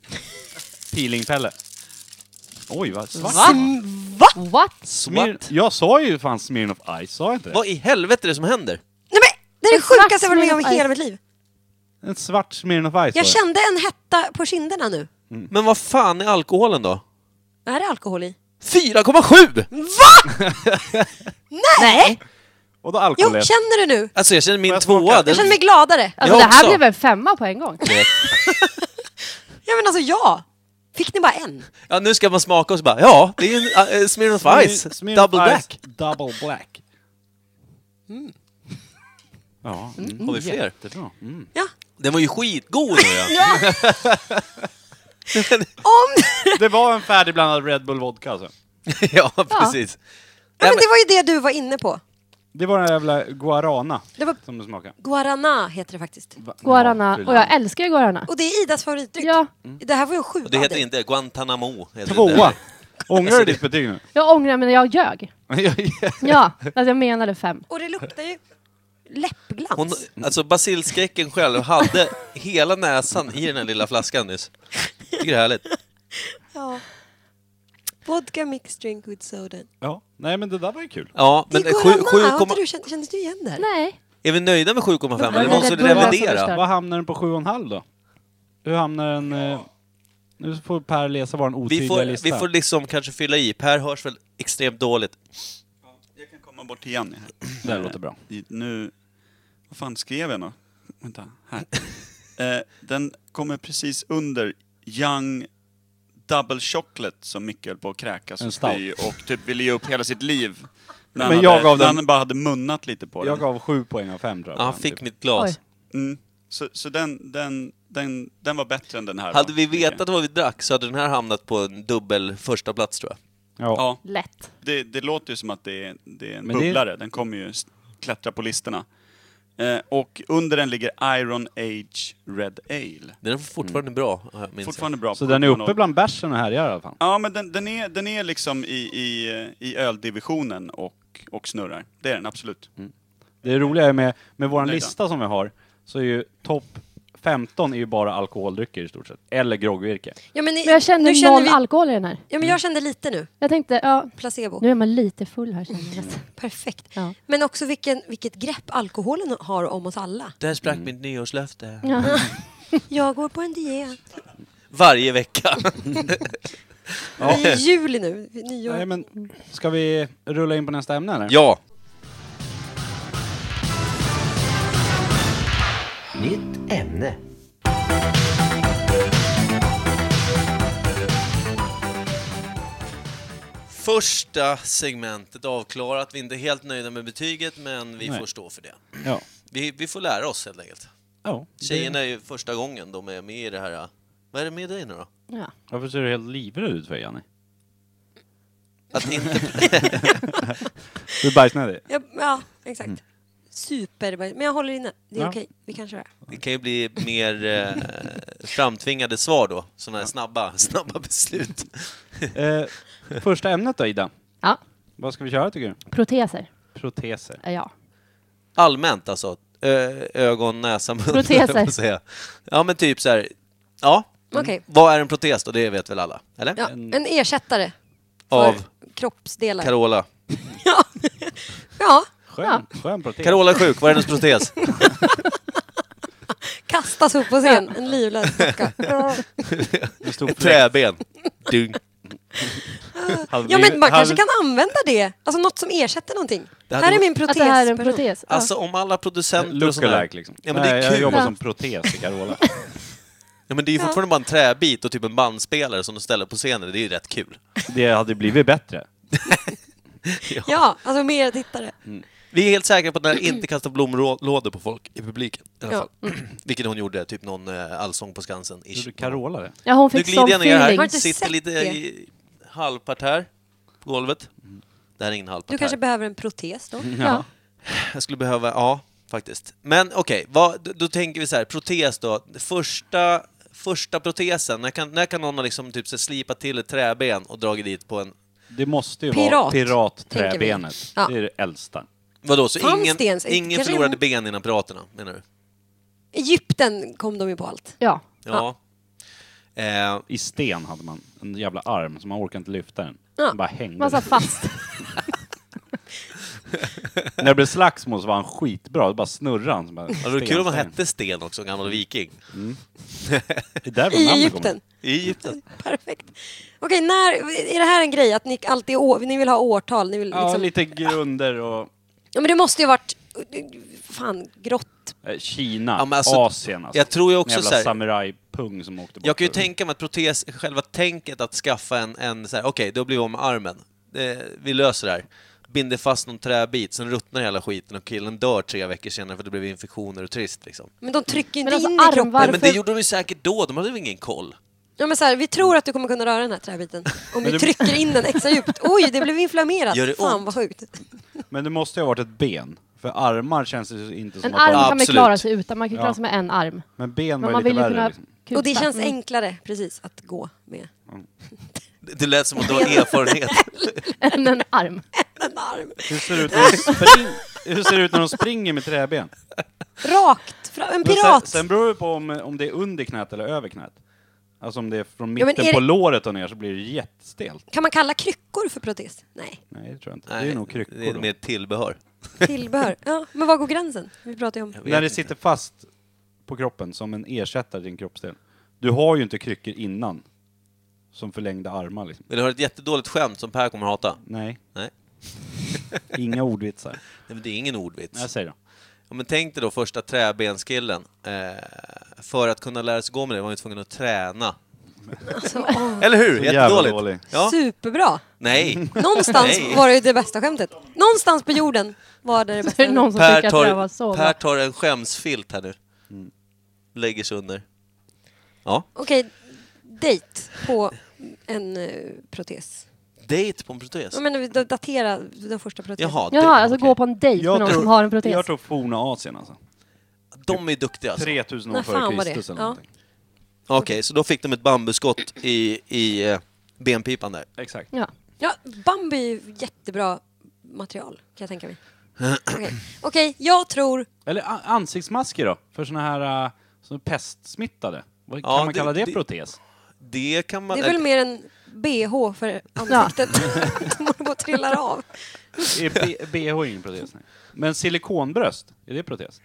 Speaker 1: Peelingpelle. Oj, vad svart.
Speaker 5: What?
Speaker 1: Smir-
Speaker 3: What?
Speaker 1: jag sa ju fan Smirnoff Ice, sa jag inte det?
Speaker 3: Vad i helvete är det som händer?
Speaker 2: Nej men! Det är det
Speaker 5: En svart
Speaker 2: sjukaste jag varit med om i
Speaker 5: Smirnoff
Speaker 2: hela
Speaker 5: Ice.
Speaker 2: mitt liv.
Speaker 1: En svart Smirnoff Ice var
Speaker 2: Jag
Speaker 1: det.
Speaker 2: kände en hetta på kinderna nu.
Speaker 1: Mm.
Speaker 3: Men vad fan är alkoholen då?
Speaker 2: Det här är alkohol i.
Speaker 3: 4,7!
Speaker 5: Nej!
Speaker 1: Och då
Speaker 2: Jo,
Speaker 1: alkohol i.
Speaker 2: känner du nu?
Speaker 3: Alltså jag känner min
Speaker 1: jag smaka?
Speaker 3: tvåa, den...
Speaker 2: Jag känner mig gladare.
Speaker 5: Alltså,
Speaker 3: Jag
Speaker 5: det här
Speaker 3: också.
Speaker 5: blev en femma på en gång.
Speaker 2: Ja men alltså ja! Fick ni bara en?
Speaker 3: Ja, nu ska man smaka och så bara, ja, det är ju en uh, Smirnoff Ice,
Speaker 1: Smirnoff
Speaker 3: double
Speaker 1: Ice,
Speaker 3: black.
Speaker 1: Double black.
Speaker 2: Mm.
Speaker 1: Ja, mm,
Speaker 3: Har vi fler?
Speaker 1: jättebra. Mm.
Speaker 2: Ja.
Speaker 3: Den var ju skitgod nu ja.
Speaker 2: Om...
Speaker 1: Det var en färdigblandad Red Bull vodka alltså.
Speaker 3: ja, precis.
Speaker 2: Ja, men det var ju det du var inne på.
Speaker 1: Det var den jävla guarana
Speaker 2: Det var
Speaker 1: som du smakade.
Speaker 2: guarana heter det faktiskt.
Speaker 1: Va-
Speaker 5: Guarana.
Speaker 1: Ja,
Speaker 5: Och jag älskar guarana.
Speaker 2: Och det är Idas favoritdryck. Mm.
Speaker 5: Ja,
Speaker 2: Det här var ju en sjua.
Speaker 3: Och det heter inte Guantanamo. heter det
Speaker 1: Tvåa!
Speaker 3: där.
Speaker 1: Ångrar
Speaker 3: Alltså,
Speaker 1: du ditt betyg nu?
Speaker 5: jag ångrar mig när jag ljög. Ja, alltså jag menade fem.
Speaker 2: Och det luktar ju läppglans.
Speaker 3: Hon, alltså basilskräcken själv hade hela näsan i den här lilla flaskan nyss. Tycker det är härligt.
Speaker 2: Ja. Vodka mixed drink with soda.
Speaker 1: Ja. Nej men det där var ju kul.
Speaker 3: Ja,
Speaker 2: Men
Speaker 3: men eh,
Speaker 2: det
Speaker 3: sju,
Speaker 2: är guarana. Har
Speaker 3: sju,
Speaker 2: inte du känt, kändes du igen det här?
Speaker 5: Nej.
Speaker 3: är vi nöjda med 7,5
Speaker 5: Nej,
Speaker 3: eller
Speaker 5: det
Speaker 3: måste vi
Speaker 5: är Bubblan som
Speaker 3: revidera?
Speaker 5: förstör.
Speaker 1: Vad hamnar den på 7,5 då? Hur hamnar den... Eh, nu får Per läsa vår
Speaker 3: Vi
Speaker 1: otydliga
Speaker 3: får,
Speaker 1: lista.
Speaker 3: vi får liksom kanske fylla i. Per hörs väl extremt dåligt.
Speaker 4: Jag kan komma bort till Jenny här.
Speaker 1: Det här låter bra.
Speaker 4: I- Nu... Vad fan skrev jag nu? Vänta, här. eh, den kommer precis under Young Double Chocolate som Micke höll på att kräkas
Speaker 1: En
Speaker 4: och
Speaker 1: stout.
Speaker 4: spy och typ ville ge upp hela sitt liv. När
Speaker 1: Men
Speaker 4: han
Speaker 1: jag
Speaker 4: hade,
Speaker 1: gav
Speaker 4: när
Speaker 1: den-
Speaker 4: han bara hade munnat lite på
Speaker 1: Jag
Speaker 4: den.
Speaker 1: gav 7 poäng av 5 tror jag. typ.
Speaker 3: Ja, han fick mitt glas.
Speaker 5: Oj.
Speaker 4: Mm. Så, så den, den, den, den var bättre än den här.
Speaker 3: Hade
Speaker 4: va?
Speaker 3: vi
Speaker 4: Micke?
Speaker 3: vetat vad vi drack så hade den här hamnat på en dubbel första plats tror jag.
Speaker 1: Ja.
Speaker 4: Ja,
Speaker 5: Lätt.
Speaker 4: det, det låter ju som att det är, det är en
Speaker 1: Men det-
Speaker 4: bubblare. Den kommer ju s- klättra på listorna. Eh, och under den ligger Iron Age Red Ale.
Speaker 3: Den är fortfarande bra, minns jag.
Speaker 4: Fortfarande bra.
Speaker 1: Så
Speaker 4: på
Speaker 1: den är
Speaker 4: 7,0.
Speaker 1: uppe bland bärsen och härjar i alla fall.
Speaker 4: Ja, men den, den, är, den är liksom i, i, i öldivisionen och, och snurrar. Det är den absolut.
Speaker 1: Mm. Det roliga är med, med vår
Speaker 4: Nöjda.
Speaker 1: lista som vi har, så är ju topp 15 är ju bara alkoholdrycker i stort sett. Eller groggvirke.
Speaker 2: Ja, men, i-
Speaker 5: Men jag kände
Speaker 2: nu känner
Speaker 5: noll
Speaker 2: vi-
Speaker 5: alkohol i den här.
Speaker 2: Ja, men jag kände lite nu.
Speaker 5: Jag tänkte, ja,
Speaker 2: Placebo.
Speaker 5: nu är man lite full här känner jag nästan.
Speaker 2: Perfekt.
Speaker 5: Ja.
Speaker 2: Men också vilken, vilcket grepp alkoholen har om oss alla.
Speaker 3: Där sprack mitt nyårslöfte.
Speaker 5: Ja.
Speaker 2: Jag går på en diet.
Speaker 3: Varje vecka.
Speaker 2: Det är juli nu, nyår.
Speaker 1: Nej, men ska vi rulla in på nästa ämne eller?
Speaker 3: ja.
Speaker 8: Nytt ämne.
Speaker 3: Första segmentet avklarat. Vi är inte helt nöjda med betyget, men vi
Speaker 1: Nej.
Speaker 3: får stå för det.
Speaker 1: Ja.
Speaker 3: Vi, vi får lära oss helt enkelt.
Speaker 1: ja.
Speaker 3: Tjejerna är ju första gången de är med i det här. äh, Vad är det med dig nu då?
Speaker 5: Ja.
Speaker 1: Varför ser du helt livrädd ut för Janne?
Speaker 3: Att inte...
Speaker 1: Du är bajsnödig?
Speaker 2: Ja, ja exakt.
Speaker 3: Mm.
Speaker 2: Super. Men jag håller inne. Det är
Speaker 1: Ja.
Speaker 2: okej. Vi kan köra.
Speaker 3: Det kan ju bli mer eh, framtvingade svar då. Sådana här snabba, snabba beslut.
Speaker 1: Eh, första ämnet då Ida?
Speaker 5: ja.
Speaker 1: Vad ska vi köra tycker du?
Speaker 5: Proteser.
Speaker 1: Proteser.
Speaker 5: Ja.
Speaker 3: Allmänt alltså. Ö- ögon, näsa, mun.
Speaker 5: Proteser.
Speaker 3: höll jag på att säga. Ja, men typ så här. Ja.
Speaker 2: Okej.
Speaker 3: Vad är en protes då? Det vet väl alla? Eller?
Speaker 2: Ja, en ersättare för
Speaker 3: Av
Speaker 2: kroppsdelar.
Speaker 3: Carola.
Speaker 2: ja. ja,
Speaker 1: Skön, skön protes.
Speaker 3: Carola är sjuk, vad är hennes protes?
Speaker 2: kastas upp på scen. En livlös docka.
Speaker 1: Det stod
Speaker 3: Ett
Speaker 1: fläck.
Speaker 3: träben. Dung.
Speaker 1: Hade
Speaker 2: Ja, men
Speaker 1: blivit-
Speaker 2: man
Speaker 1: hade-
Speaker 2: kanske kan använda det. Alltså något som ersätter någonting.
Speaker 3: Det
Speaker 2: Här
Speaker 3: hade
Speaker 2: är
Speaker 3: varit-
Speaker 2: min protes.
Speaker 5: Att Alltså, det här är en
Speaker 2: person.
Speaker 5: protes. Ja.
Speaker 3: Alltså om alla producenter och sådär.
Speaker 1: Lookalike liksom.
Speaker 3: Ja, men det är
Speaker 1: Nej,
Speaker 3: kul.
Speaker 1: jag jobbar
Speaker 5: Ja.
Speaker 1: som protes i Carola.
Speaker 3: Ja, men det är ju fortfarande bara en träbit och typ en bandspelare som de ställer på scenen. Det är ju rätt kul.
Speaker 1: Det hade blivit bättre.
Speaker 2: Ja, alltså mer tittare.
Speaker 3: Mm, Vi är helt säkra på att den här inte kastar blomlådor på folk i publiken. I alla
Speaker 2: Mm. Ja.
Speaker 3: fall. Vilket hon gjorde, typ någon eh, Allsång på Skansen-ish.
Speaker 1: Gjorde Carola det?
Speaker 5: Ja, hon
Speaker 3: Nu
Speaker 5: fick sån
Speaker 3: glider jag ner
Speaker 5: feeling.
Speaker 3: här,
Speaker 2: Har inte
Speaker 3: sitter
Speaker 2: sett
Speaker 3: lite
Speaker 2: det.
Speaker 3: i halvparterre på golvet. Det här är ingen halvparterre.
Speaker 2: Du kanske behöver en protes då?
Speaker 5: Ja.
Speaker 3: Jag skulle behöva, ja, faktiskt. Men okej, vad- då, då tänker vi så här, protes då. Första, första protesen, när kan, när kan någon ha liksom typ så här slipat till ett träben och dragit dit på en...
Speaker 1: Det måste ju vara
Speaker 2: Pirat,
Speaker 1: piratträbenet.
Speaker 2: tänker vi. Ja.
Speaker 1: Det är det äldsta.
Speaker 3: Vadå, så
Speaker 2: Fanns
Speaker 3: ingen,
Speaker 2: det ens?
Speaker 3: ingen
Speaker 2: Kanske-
Speaker 3: förlorade ben innan piraterna, menar du?
Speaker 2: Egypten kom de ju på allt.
Speaker 5: ja.
Speaker 3: Ja. Eh,
Speaker 1: I sten hade man en jävla arm så man orkade inte lyfta den.
Speaker 2: Ja.
Speaker 1: Den bara hängde.
Speaker 5: Man satt fast.
Speaker 1: När det blev slagsmål så var han skitbra. Det bara snurrade han. som bara
Speaker 3: ja, det vore kul om han
Speaker 1: sten.
Speaker 3: hette Sten också, en gammal viking.
Speaker 1: Det är därifrån
Speaker 2: I
Speaker 1: namnet
Speaker 2: Egypten.
Speaker 3: I
Speaker 1: Alltså,
Speaker 3: Egypten.
Speaker 2: Perfekt. Okej, när, är det här en grej att ni alltid å, ni vill ha årtal? Ni vill
Speaker 1: kommer. Ja,
Speaker 2: liksom,
Speaker 1: lite grunder och...
Speaker 2: ja, men det måste ju varit fan grått.
Speaker 1: eh, Kina,
Speaker 3: Ja, men alltså,
Speaker 1: Asien alltså.
Speaker 3: jag tror ju
Speaker 1: En
Speaker 3: också
Speaker 1: jävla
Speaker 3: så här-
Speaker 1: pung som åkte bort.
Speaker 3: Jag kan ju
Speaker 1: ur-
Speaker 3: tänka mig att protes, själva tänket att skaffa en, en så här, okej, då blir vi av med armen. Eh, vi löser det här. Binder fast någon träbit, sen ruttnar hela skiten och killen dör tre veckor senare för det blev infektioner och trist liksom.
Speaker 2: Men de trycker inte
Speaker 5: Men alltså,
Speaker 2: in i
Speaker 5: armvar-
Speaker 2: kroppen.
Speaker 3: Nej, men det
Speaker 5: Varför-
Speaker 3: gjorde de ju säkert då, de hade väl ingen koll.
Speaker 2: Ja, men så här, vi tror att du kommer kunna röra den här träbiten om vi trycker in den extra djupt. Oj, det blev inflammerat.
Speaker 3: Gör det
Speaker 2: Fan
Speaker 3: ont?
Speaker 2: vad sjukt.
Speaker 1: Men det måste ju ha varit ett ben. För armar känns det ju inte som
Speaker 5: En
Speaker 1: att...
Speaker 5: arm
Speaker 1: de-
Speaker 5: kan man ju
Speaker 3: Absolut.
Speaker 5: klara sig utan, man kan
Speaker 1: Ja.
Speaker 5: klara sig med en arm.
Speaker 1: Men ben var
Speaker 5: Men
Speaker 1: ju lite
Speaker 5: man vill ju
Speaker 1: värre.
Speaker 5: kunna
Speaker 1: Liksom.
Speaker 5: kuta.
Speaker 2: Och det känns
Speaker 5: Mm.
Speaker 2: enklare precis att gå med
Speaker 3: Det det lät som att du har erfarenhet.
Speaker 5: än en arm.
Speaker 2: en arm.
Speaker 1: Hur ser det ut när de, spring... Hur ser det ut när de springer med träben?
Speaker 2: Rakt fram. En
Speaker 1: Men
Speaker 2: pirat.
Speaker 1: Sen, sen beror det på om, om det är under knät eller över knät. Alltså om det är från
Speaker 2: Ja, men
Speaker 1: mitten
Speaker 2: är
Speaker 1: på
Speaker 2: det-
Speaker 1: låret och ner så blir det jättestelt.
Speaker 2: Kan man kalla kryckor för protes? Nej,
Speaker 1: Nej, det tror jag inte. det
Speaker 3: Nej,
Speaker 1: är nog kryckor
Speaker 3: Det är
Speaker 1: då.
Speaker 3: mer tillbehör.
Speaker 2: tillbehör. Ja, men var går gränsen? Vi pratar ju om.
Speaker 3: Jag vet
Speaker 1: När det
Speaker 3: inte.
Speaker 1: sitter fast på kroppen som en ersättare till din kroppsdel. Du har ju inte kryckor innan. Som förlängda armar liksom.
Speaker 3: Vill du höra ett jättedåligt skämt som Per kommer hata?
Speaker 1: Nej,
Speaker 3: Nej.
Speaker 1: inga ordvitsar.
Speaker 3: Nej, men det är ingen ordvits.
Speaker 1: Jag säger då.
Speaker 3: Ja, men tänk dig då första träbenskillen. Eh, för att kunna lära sig gå med det var man ju tvungen att träna.
Speaker 2: Alltså, åh,
Speaker 3: Eller hur?
Speaker 1: Så jävla
Speaker 3: Jättedåligt.
Speaker 1: dålig.
Speaker 3: Ja.
Speaker 2: Superbra.
Speaker 3: Nej.
Speaker 2: Någonstans
Speaker 3: Nej.
Speaker 2: var det ju det bästa skämtet. Någonstans på jorden var det det
Speaker 5: Det
Speaker 2: bästa.
Speaker 5: är någon som
Speaker 3: Per
Speaker 5: tycker att det var så.
Speaker 3: tar,
Speaker 5: bra.
Speaker 3: per tar en skämsfilt här nu.
Speaker 1: Mm.
Speaker 3: Lägger sig under. Ja.
Speaker 2: Okej, dejt på en eh, protes.
Speaker 3: Dejt på en protes.
Speaker 2: Jag menar, vi datera den första protesen.
Speaker 3: Jaha, det,
Speaker 5: Jaha, alltså
Speaker 3: okej.
Speaker 5: gå på en dejt med någon som har en
Speaker 1: jag
Speaker 5: protes.
Speaker 1: tror forna Asien alltså.
Speaker 3: De är duktiga alltså.
Speaker 1: 3000 år
Speaker 2: När
Speaker 1: före
Speaker 2: fan var det?
Speaker 1: Kristus eller
Speaker 2: Ja.
Speaker 1: någonting.
Speaker 3: Okej, så då fick de ett bambuskott i, i eh, benpipan där.
Speaker 1: Exakt.
Speaker 5: Ja.
Speaker 2: Ja, Bambi är ju jättebra material, kan jag tänka mig. Okej, Okej, jag tror...
Speaker 1: Eller a- ansiktsmasker då? För såna här uh, som är pestsmittade. Vad
Speaker 3: Ja,
Speaker 1: kan man
Speaker 3: det-
Speaker 1: kalla det,
Speaker 3: det-
Speaker 1: protes?
Speaker 3: Det kan man...
Speaker 2: Det är väl mer en bh för ansiktet. Som håller på att trillar av.
Speaker 1: Är B- BH är ingen protes? Nej. Men silikonbröst, är det protes?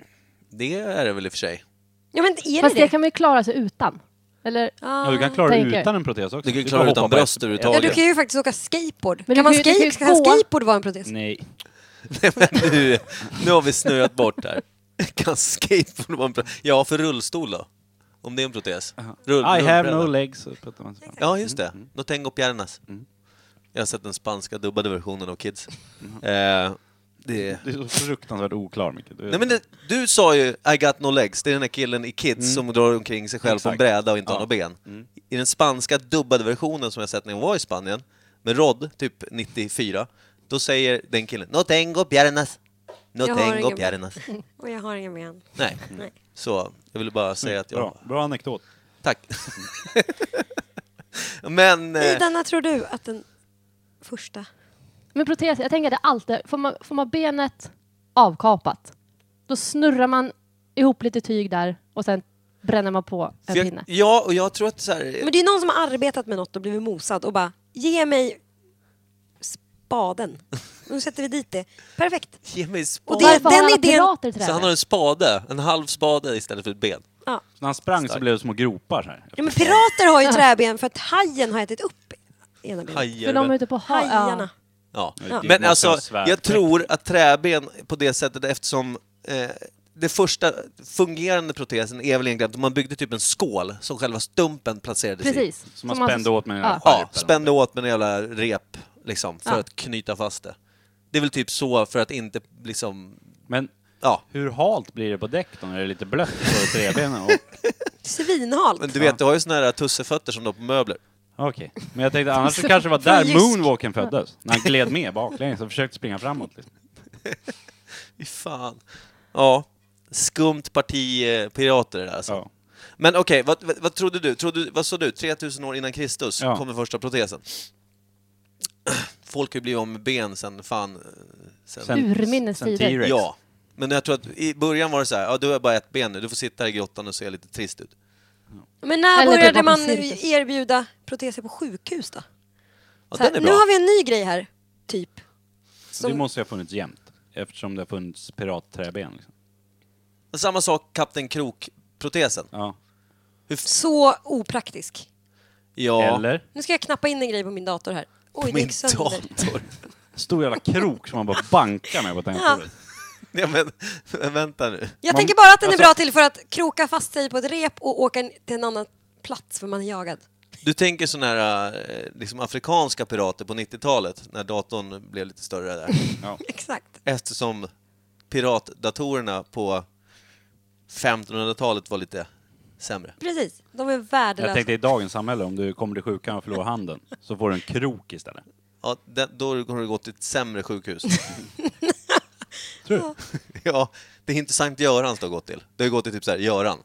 Speaker 3: det är det väl i och för sig.
Speaker 2: Ja, men är det
Speaker 5: Fast
Speaker 2: det?
Speaker 5: det kan man ju klara sig utan. Eller?
Speaker 1: Ja, du kan klara
Speaker 5: tänker.
Speaker 1: det utan en protes också.
Speaker 3: Du kan ju
Speaker 1: får
Speaker 3: klara
Speaker 1: hoppa
Speaker 3: utan
Speaker 1: på
Speaker 3: bröst
Speaker 1: ett-
Speaker 3: överhuvudtaget.
Speaker 2: Ja, du kan ju faktiskt åka skateboard. kan
Speaker 5: Men du
Speaker 2: man
Speaker 5: kan ju- du kan ju
Speaker 2: skate, kan
Speaker 5: gå.
Speaker 2: skateboard vara en protes?
Speaker 1: Nej.
Speaker 3: nu, nu har vi snöat bort där. Kan skateboard vara en protes? Ja, för rullstol då? Om det är en protes? Rull,
Speaker 1: I have no
Speaker 3: rullbräda.
Speaker 1: legs. så pratar man så.
Speaker 3: Ja, just
Speaker 1: Mm,
Speaker 3: det. No tengo piernas. Jag har sett den spanska dubbade versionen av Kids.
Speaker 1: Mm.
Speaker 3: Eh, det...
Speaker 1: Du är så fruktansvärt oklar, Micke. Du,
Speaker 3: Nej, men det, du sa ju I got no legs, det är den där killen i Kids som drar omkring sig själv på en
Speaker 1: Mm. Exakt.
Speaker 3: bräda och inte har
Speaker 1: Ja. Mm.
Speaker 3: några ben. I den spanska dubbade versionen som jag sett när jag var i Spanien, med Rod, typ 94, då säger den killen No tengo piernas, no
Speaker 2: Jag har
Speaker 3: tengo
Speaker 2: inga ben.
Speaker 3: piernas.
Speaker 2: Och jag har inga ben.
Speaker 3: Nej.
Speaker 2: Nej.
Speaker 3: Så, jag ville bara säga att jag...
Speaker 1: Bra, bra anekdot.
Speaker 3: Tack.
Speaker 1: Mm.
Speaker 3: men... eh,
Speaker 2: I denna tror du att den första...
Speaker 5: Men protes, jag tänker att det alltid, får man, får man benet avkapat, då snurrar man ihop lite tyg där och sen bränner man på en
Speaker 3: för jag,
Speaker 5: pinne.
Speaker 3: ja, och jag tror att så här,
Speaker 2: Men det är någon som har arbetat med något och blivit mosad och bara ge mig spaden. Nu sätter vi dit det. Perfekt.
Speaker 3: Ge mig
Speaker 2: Och
Speaker 3: spade.
Speaker 2: det,
Speaker 5: Varför har
Speaker 2: den
Speaker 5: alla
Speaker 2: idén...
Speaker 5: pirater
Speaker 3: Så han har
Speaker 5: träden?
Speaker 3: en spade, en halv spade istället för ett ben.
Speaker 2: Ja.
Speaker 1: Så när han sprang så blev det små gropar så här.
Speaker 2: Ja, men pirater har ju träben för att hajen har ätit upp ena benet.
Speaker 5: För de är
Speaker 3: Hajar.
Speaker 5: ute på ha- ja.
Speaker 2: Hajarna.
Speaker 3: Ja.
Speaker 1: Ja, det
Speaker 3: Men
Speaker 1: måste
Speaker 3: alltså,
Speaker 1: vara svärd.
Speaker 3: jag tror att träben på det sättet eftersom eh, det första fungerande protesen är väl egentligen att man byggde typ en skål som själva stumpen placerades i.
Speaker 5: Precis.
Speaker 1: Som man spände åt med en
Speaker 5: ja.
Speaker 1: skärp eller
Speaker 3: Ja,
Speaker 1: något.
Speaker 3: spände åt med en jävla rep liksom, för
Speaker 5: Ja.
Speaker 3: att knyta fast det. Det är väl typ så för att inte liksom,
Speaker 1: Men
Speaker 3: ja.
Speaker 1: hur halt blir det på däck då när det är lite blött på trebenen? Och-
Speaker 2: Svinhalt.
Speaker 3: Men du vet, du har ju såna här tussefötter som du har på möbler.
Speaker 1: Okej, men jag tänkte annars så kanske det var
Speaker 5: Från
Speaker 1: där
Speaker 5: Jysk.
Speaker 1: moonwalken föddes. När han gled med baklänges och försökte springa framåt. Liksom.
Speaker 3: Fy fan. Ja, skumt parti eh, pirater det där alltså.
Speaker 1: Ja.
Speaker 3: Men okej, vad, vad, vad trodde du? Trodde, vad sa du? 3000 år innan Kristus
Speaker 1: Ja.
Speaker 3: kom den första protesen. Folk har ju blivit av med ben sen fan... eh, Sen.
Speaker 1: Sen-
Speaker 5: Urminnes
Speaker 1: sen
Speaker 5: tider.
Speaker 1: T-Rex.
Speaker 3: ja. Men jag tror att i början var det så här, ja du har bara ett ben nu, du får sitta här i grottan och se lite trist ut.
Speaker 2: Men när
Speaker 5: Eller typ
Speaker 2: började
Speaker 5: vara på
Speaker 2: man
Speaker 5: cirkus.
Speaker 2: erbjuda proteser på sjukhus då?
Speaker 3: Ja,
Speaker 2: Så här,
Speaker 3: den är
Speaker 2: nu
Speaker 3: bra.
Speaker 2: har vi en ny grej här, typ.
Speaker 1: Det
Speaker 2: Som,
Speaker 1: måste ju ha funnits jämt. Eftersom det har funnits piratträben. Liksom.
Speaker 3: Samma sak, Kapten Krok-protesen.
Speaker 1: Ja.
Speaker 2: Så opraktisk.
Speaker 3: Ja,
Speaker 1: Eller,
Speaker 2: Nu ska jag knappa in en grej på min dator här. Oj, det
Speaker 3: min
Speaker 2: gick sönder.
Speaker 3: dator.
Speaker 1: stor jävla krok som man bara bankar med på tangentbordet.
Speaker 3: Ja, men, men vänta nu.
Speaker 2: Jag
Speaker 1: Man-
Speaker 2: tänker bara att den är
Speaker 1: alltså-
Speaker 2: bra till för att kroka fast sig på ett rep och åka n- till en annan plats för man är jagad.
Speaker 3: Du tänker sådana här eh, liksom afrikanska pirater på 90-talet, när datorn blev lite större där.
Speaker 2: Exakt.
Speaker 3: Eftersom piratdatorerna på 1500-talet var lite sämre.
Speaker 2: Precis. De är
Speaker 1: Jag
Speaker 2: värdelösa.
Speaker 1: tänkte i dagens samhälle, om du kommer till sjukan och förlorar handen, så får du en krok istället.
Speaker 3: Ja, det, då har du gått till ett sämre sjukhus.
Speaker 1: Tror du?
Speaker 3: ja, det är inte Sankt Görans du har gått till. Du har ju gått till typ så här, Göran.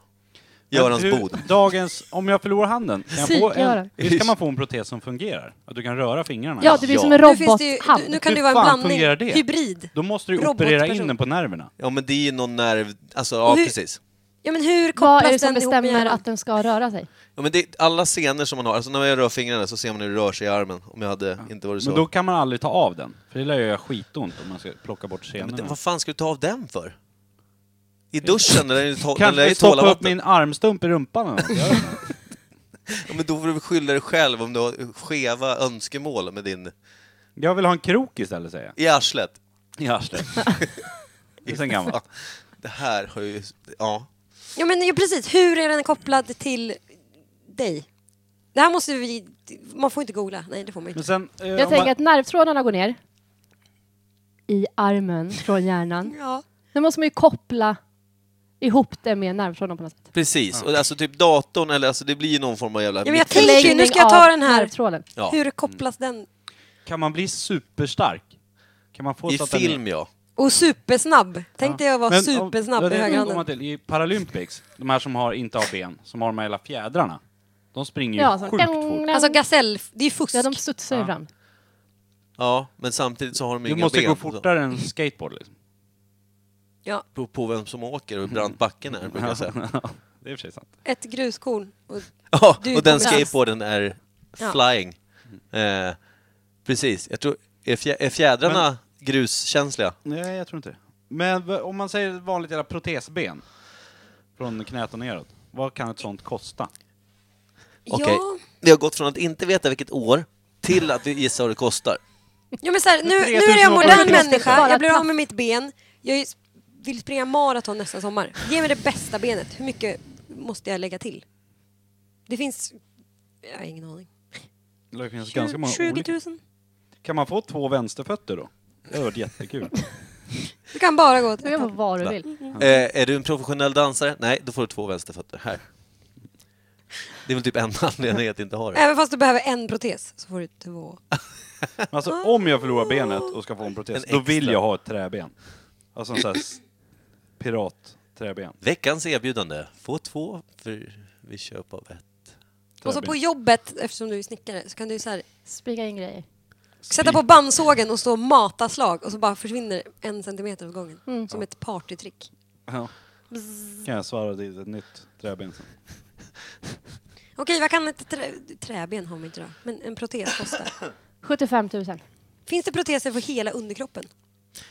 Speaker 1: Men
Speaker 3: Görans
Speaker 1: hur-
Speaker 3: bod.
Speaker 1: Dagens, om jag förlorar handen, kan jag få en,
Speaker 5: Psyk-Göran.
Speaker 1: visst kan man få en protes som fungerar? Att du kan röra fingrarna?
Speaker 5: Ja, det blir
Speaker 3: Ja.
Speaker 5: som en
Speaker 2: Nu, finns det ju,
Speaker 5: robothand.
Speaker 2: nu- nu kan
Speaker 1: Hur
Speaker 2: det ju vara en
Speaker 1: fan
Speaker 2: blandning.
Speaker 1: fungerar det?
Speaker 2: Hybrid.
Speaker 1: Då måste du ju
Speaker 2: Robotperson.
Speaker 1: operera in den på nerverna.
Speaker 3: Ja, men det är ju någon nerv... Alltså, ja,
Speaker 2: Och hur-
Speaker 3: precis.
Speaker 2: Ja, men hur kopplas
Speaker 5: Vad är det som
Speaker 2: den ihop med
Speaker 5: bestämmer
Speaker 2: hjärnan?
Speaker 5: att den ska röra sig?
Speaker 3: Ja, men det är alla scener som man har, alltså när jag rör fingrarna så ser man hur det rör sig i armen. Om jag hade inte varit så.
Speaker 1: Men då kan man aldrig ta av den, för det lär ju göra skitont om man ska plocka bort
Speaker 3: Ja, men
Speaker 1: senorna.
Speaker 3: det, vad fan ska du ta av den för? I duschen? Eller i to-
Speaker 1: Eh, Kanske
Speaker 3: eller i
Speaker 1: jag stoppa upp
Speaker 3: toalavatten?
Speaker 1: min armstump i rumpan eller något. Jag vet inte.
Speaker 3: Ja, men då får du väl skylla dig själv om du har skeva önskemål med din...
Speaker 1: Jag vill ha en krok istället säger
Speaker 3: I arslet.
Speaker 1: jag. I arslet. Det är sen
Speaker 3: Ja,
Speaker 1: gammalt.
Speaker 3: det här har ju... Ja.
Speaker 2: Ja, men ja, precis. Hur är den kopplad till dig? Det här måste vi... Man får inte googla. Nej, det får man inte.
Speaker 1: Men sen, eh,
Speaker 5: Jag
Speaker 1: om
Speaker 5: tänker
Speaker 1: man,
Speaker 5: att nervtrådarna går ner i armen från hjärnan.
Speaker 2: Ja.
Speaker 5: Då måste man ju koppla ihop det med nervtrådarna på något sätt.
Speaker 3: Precis. Och alltså typ datorn, eller alltså det blir ju någon form av jävla...
Speaker 2: Ja, men jag
Speaker 3: mitt-
Speaker 2: tänker ju, nu ska jag ta
Speaker 5: av
Speaker 2: den här.
Speaker 5: Nervtråden.
Speaker 3: Ja.
Speaker 2: Hur kopplas den?
Speaker 1: kan man bli superstark? Kan man få
Speaker 3: I
Speaker 1: så att den-
Speaker 3: film, ja.
Speaker 2: Och supersnabb. Tänk dig att vara
Speaker 1: Men om-
Speaker 2: supersnabb
Speaker 1: ja,
Speaker 2: i
Speaker 1: det kommer man
Speaker 2: högerhanden.
Speaker 1: till. I Paralympics, de här som har inte har ben, som har de här hela fjädrarna. De springer ju
Speaker 5: Ja, så-
Speaker 1: sjukt fort.
Speaker 2: Alltså gasell, det är fusk.
Speaker 5: Ja, de studsar ju fram.
Speaker 3: Ja, men samtidigt så har de
Speaker 1: Du
Speaker 3: inga
Speaker 1: måste
Speaker 3: ben.
Speaker 1: gå fortare än skateboard liksom.
Speaker 2: Ja,
Speaker 3: På, på vem som åker och hur brant backen är, brukar jag säga.
Speaker 1: Det är i och för sig sant.
Speaker 2: ett gruskorn. Och
Speaker 3: Ja,
Speaker 2: Du
Speaker 3: och den
Speaker 2: kommer-
Speaker 3: skateboarden är
Speaker 2: Ja.
Speaker 3: flying. Eh, precis. Jag tror... Är, fjä, är fjädrarna gruskänsliga?
Speaker 1: Nej, jag tror inte det. Men v- om man säger ett vanligt jävla protesben, från knät och neråt, vad kan ett sånt kosta?
Speaker 3: Okej.
Speaker 2: ja.
Speaker 3: Vi har gått från att inte veta vilket år till att vi gissar vad det kostar.
Speaker 2: ja, men så här, nu, nu
Speaker 1: 3 000
Speaker 2: är jag en modern
Speaker 1: åker.
Speaker 2: människa.
Speaker 5: Bara
Speaker 2: Jag blir av
Speaker 5: plats.
Speaker 2: med mitt ben. Jag är- vill springa maraton nästa sommar. Ge mig det bästa benet. Hur mycket måste jag lägga till? Det finns... Jag har ingen aning.
Speaker 1: Det finns Alltså, ganska många
Speaker 2: 20
Speaker 1: olika.
Speaker 2: 000?
Speaker 1: Kan man få två vänsterfötter då? Det hade varit jättekul.
Speaker 2: Du kan bara gå åt
Speaker 5: Du kan vara vad du vill.
Speaker 3: Eh, är du en professionell dansare? Nej, då får du två vänsterfötter. Här. Det är väl typ en anledning att inte ha det.
Speaker 2: Även fast du behöver en protes så får du två.
Speaker 1: Alltså om jag förlorar benet och ska få en protes,
Speaker 3: En
Speaker 1: då vill
Speaker 3: extra.
Speaker 1: jag ha ett träben. Alltså en sån här s- pirat-träben.
Speaker 3: Veckans erbjudande. Få två för vi köp av ett.
Speaker 2: Och så på jobbet, eftersom du är snickare, så kan du så här,
Speaker 5: Spika in grejer.
Speaker 2: sätta på bandsågen och stå och mata slag och så bara försvinner en centimeter åt gången. Som ett partytrick.
Speaker 1: Ja. Kan jag svara till ett nytt träben sen.
Speaker 2: Okej, vad kan ett trä, träben har man inte då? Men en protes kostar.
Speaker 5: 75 000.
Speaker 2: Finns det proteser för hela underkroppen?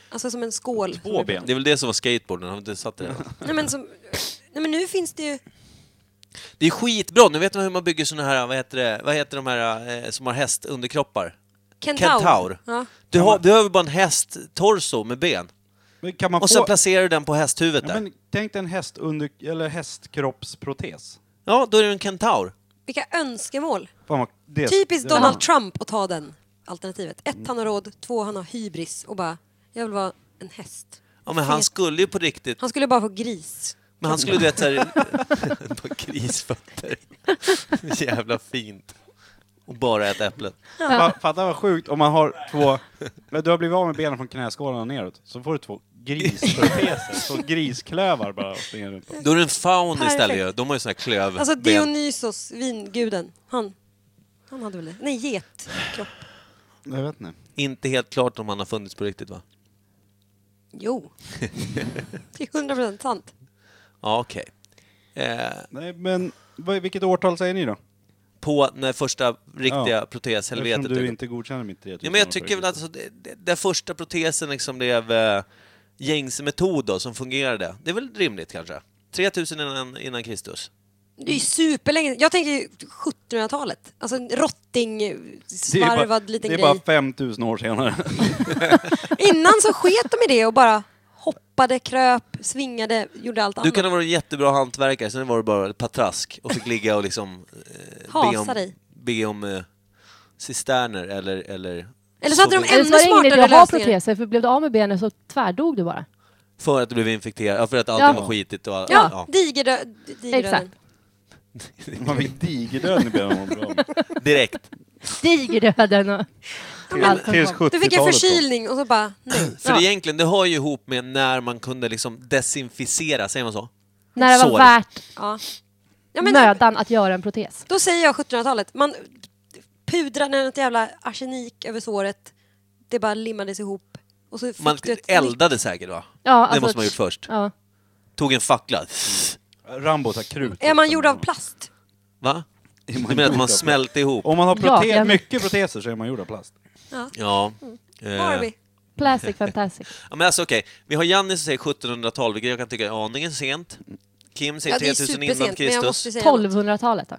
Speaker 2: Alltså som en skål.
Speaker 1: Två ben.
Speaker 3: Det är väl det som var skateboarden, har vi inte satt det redan?
Speaker 2: Nej men, som, nej men nu finns det ju...
Speaker 3: Det är skitbra, nu vet man hur man bygger såna här, vad heter det, vad heter de här eh, som har hästunderkroppar?
Speaker 2: Kentaur.
Speaker 3: Kentaur.
Speaker 2: Ja.
Speaker 3: Du har, behöver bara en hästtorso med ben.
Speaker 1: Men kan man
Speaker 3: Och
Speaker 1: få...
Speaker 3: sen placerar du den på hästhuvudet
Speaker 1: ja,
Speaker 3: där.
Speaker 1: men tänk dig en häst under, eller hästkroppsprotes.
Speaker 3: Ja, då är du en kentaur.
Speaker 2: Vilka önskemål.
Speaker 1: Fan vad, det,
Speaker 2: Typiskt
Speaker 1: det-
Speaker 2: Donald Trump att ta den alternativet. Ett, han har råd. Två, han har hybris och bara, jag vill vara en häst.
Speaker 3: Ja, men han skulle ju på riktigt
Speaker 2: Han skulle bara få gris.
Speaker 3: Men han skulle du vet såhär... på grisfötter. Jävla fint. Och bara äta äpplen.
Speaker 1: Fa- Fatta vad sjukt om man har två... Men du har blivit av med benen från knäskålarna och neråt, så får du två grisproteser. Så grisklövar bara och springer runt. på.
Speaker 3: Då är det en faun
Speaker 2: Perfekt.
Speaker 3: istället ju. De har ju såna här klöv...
Speaker 2: Alltså
Speaker 3: ben.
Speaker 2: Dionysos, vinguden. Han, han hade väl det? Nej, getkropp.
Speaker 1: Jag vet inte.
Speaker 3: Inte helt klart om han har funnits på riktigt va?
Speaker 2: Jo. Det är hundra procent sant.
Speaker 3: Ja, okej. Eh,
Speaker 1: Nej, men vad, vilket årtal säger ni då?
Speaker 3: på när första riktiga
Speaker 1: Ja.
Speaker 3: proteshelvetet...
Speaker 1: Eftersom du
Speaker 3: dök upp.
Speaker 1: inte godkänner mitt 3000
Speaker 3: Ja, men jag tycker väl att alltså, det, det, den första protesen liksom blev eh, gängse metod då, som fungerade. Det är väl rimligt kanske? 3000 innan, innan Kristus.
Speaker 2: Det är ju superlänge. Jag tänker ju 1700-talet. Alltså en rotting, svarvad liten
Speaker 1: Det är
Speaker 2: grej.
Speaker 1: bara 5000 år senare.
Speaker 2: Innan så sket de i det och bara hoppade, kröp, svingade, gjorde allt
Speaker 3: Du
Speaker 2: annat.
Speaker 3: kan ha varit en jättebra hantverkare, sen var du bara ett patrask och fick ligga och liksom eh, be
Speaker 2: Hasa
Speaker 3: om,
Speaker 2: dig.
Speaker 3: be om eh, cisterner eller... Eller,
Speaker 2: Eller så hade de
Speaker 3: sovjet-
Speaker 5: Eller så var det ingen
Speaker 2: smartare
Speaker 5: idé att ha
Speaker 2: lösningar.
Speaker 5: proteser, för blev du av med benen så tvärdog du bara.
Speaker 3: För att du blev infekterad, ja, för att allt
Speaker 5: Ja.
Speaker 3: var skitigt och all,
Speaker 2: Ja,
Speaker 3: ja.
Speaker 2: digerdö- digerdöden.
Speaker 5: Exakt.
Speaker 1: Man fick digerdöden i benen.
Speaker 3: direkt.
Speaker 5: Digerdöden och...
Speaker 1: Tills, tills 70-talet.
Speaker 2: Du fick en
Speaker 1: då.
Speaker 2: förkylning och så bara nej.
Speaker 3: För
Speaker 5: Ja.
Speaker 3: egentligen, det hör ju ihop med när man kunde liksom desinficera, säger man så?
Speaker 5: När det var
Speaker 3: Sår.
Speaker 5: värt
Speaker 2: Ja. Ja, men
Speaker 5: mödan att göra en protes.
Speaker 2: Då säger jag 1700-talet. Man pudrade något jävla arsenik över såret. Det bara limmades ihop. Och så fick
Speaker 3: Man
Speaker 2: du ett
Speaker 3: eldade säkert va?
Speaker 5: Ja,
Speaker 3: det
Speaker 5: alltså-
Speaker 3: måste man ha gjort först.
Speaker 5: Ja. Mm.
Speaker 3: Tog en fackla.
Speaker 1: Rambo tar krut.
Speaker 2: Nytt. Är man gjord av plast?
Speaker 3: Va?
Speaker 1: Är
Speaker 3: Du menar att
Speaker 1: gjord av
Speaker 3: man
Speaker 1: plast?
Speaker 3: smälte ihop?
Speaker 1: Om man har prote-
Speaker 5: Ja, jag-
Speaker 1: mycket proteser så är man gjord av plast.
Speaker 3: Ja. Eh,
Speaker 2: Barbie?
Speaker 5: Plastic fantastic.
Speaker 3: Ja, men alltså okej, vi har Janne som säger 1700-tal, vilket jag kan tycka är aningen sent. Kim säger
Speaker 2: Ja, det är
Speaker 3: 3000 innan
Speaker 2: supersent. Men jag
Speaker 3: Kristus.
Speaker 2: måste säga något.
Speaker 5: 1200-talet då.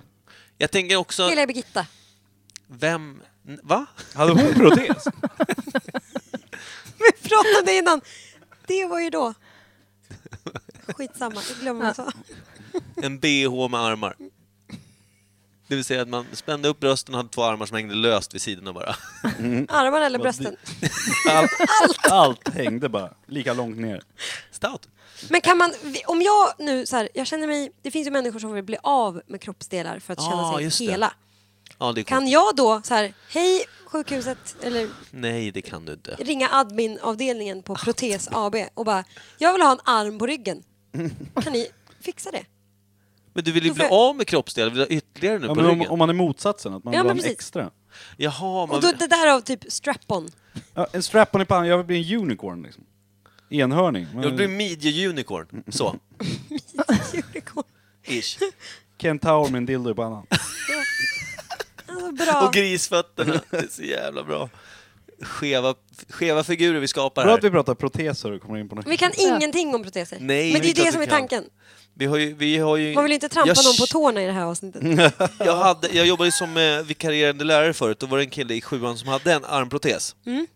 Speaker 3: Jag tänker också,
Speaker 2: Heliga Birgitta.
Speaker 3: vem... n- Va?
Speaker 1: Hade hon protes?
Speaker 2: Vi pratade om det innan. Det var ju då. Skitsamma, det glömmer man så.
Speaker 3: En bh med armar. Det vill säga att man spände upp brösten och hade två armar som hängde löst vid sidorna bara.
Speaker 2: Armarna eller brösten.
Speaker 1: Allt, allt hängde bara lika långt ner.
Speaker 3: Stout.
Speaker 2: Men kan man, om jag nu så här, jag känner mig, det finns ju människor som vill bli av med kroppsdelar för att
Speaker 3: Ah,
Speaker 2: känna
Speaker 3: just det.
Speaker 2: sig hela.
Speaker 3: Ja, det är
Speaker 2: Kan
Speaker 3: kan...
Speaker 2: jag då så här, hej sjukhuset, eller
Speaker 3: Nej, det kan du inte.
Speaker 2: ringa adminavdelningen på Protes AB och bara, jag vill ha en arm på ryggen. Kan ni fixa det?
Speaker 3: Men du vill ju
Speaker 2: Då
Speaker 3: bli
Speaker 2: får jag-
Speaker 3: av med kroppsdelar, vill du ha ytterligare nu
Speaker 1: Ja,
Speaker 3: på
Speaker 1: men
Speaker 3: ryggen?
Speaker 1: om, om man är motsatsen, att man
Speaker 2: Ja,
Speaker 1: vill
Speaker 2: men
Speaker 1: ha en
Speaker 2: precis.
Speaker 1: extra.
Speaker 3: Jaha, man...
Speaker 2: Och då, det där av typ strap-on.
Speaker 1: Ja, en strap-on i pannan, jag vill bli en unicorn liksom. Enhörning.
Speaker 3: Jag vill bli midje-unicorn. Så.
Speaker 2: Unicorn.
Speaker 3: Ish.
Speaker 1: Kentaur med en dildo i pannan.
Speaker 2: Alltså, bra.
Speaker 3: Och grisfötterna. Det är så jävla bra. Skeva, skeva figurer vi skapar
Speaker 1: Bra
Speaker 3: här.
Speaker 1: att vi pratar proteser och kommer in på något.
Speaker 2: Vi kan ingenting om proteser.
Speaker 3: Nej,
Speaker 2: Men det är
Speaker 3: klart
Speaker 2: ju det som
Speaker 3: vi
Speaker 2: är
Speaker 3: kan.
Speaker 2: tanken.
Speaker 3: Vi har ju, vi har ju,
Speaker 2: Man vill ju inte trampa
Speaker 3: jag, Mm.
Speaker 2: någon på tårna i det här avsnittet.
Speaker 3: Jag, hade, jag jobbade ju som eh, vikarierande lärare förut, då var det en kille i sjuan som hade en armprotes.
Speaker 2: Mm.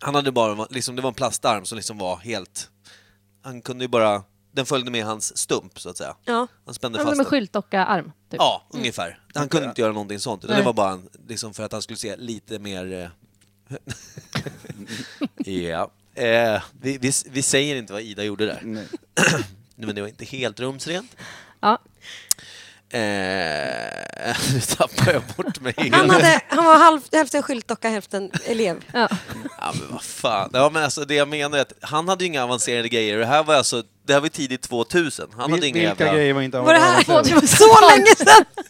Speaker 3: Han hade bara, liksom, det var en plastarm som liksom var helt... Han kunde ju bara... Den följde med hans stump, så att säga.
Speaker 2: Ja.
Speaker 3: Han spände
Speaker 5: Ja,
Speaker 3: fast
Speaker 5: Som en
Speaker 3: den.
Speaker 5: skyltdocka-arm. Typ.
Speaker 3: Ja, ungefär. Han kunde inte göra någonting sånt, utan
Speaker 5: Nej.
Speaker 3: det var bara en, liksom, för att han skulle se lite mer... eh, Ja. Eh, vi, vi, vi säger inte vad Ida gjorde där. Nej. Men det var inte helt rumsrent.
Speaker 5: Ja.
Speaker 3: Eh, nu tappar jag bort mig helt.
Speaker 2: Han, hade, han var halv, hälften skyltdocka, hälften elev.
Speaker 5: Ja.
Speaker 3: Ja, men vad fan. Ja, men alltså, det jag menar är att han hade ju inga avancerade grejer. Det här var, alltså, det här var tidigt 2000. Han hade
Speaker 1: Vil-
Speaker 3: inga
Speaker 1: Vilka
Speaker 3: jävla...
Speaker 1: grejer var inte
Speaker 2: Var det här?
Speaker 1: avancerade?
Speaker 2: Det var så länge sedan!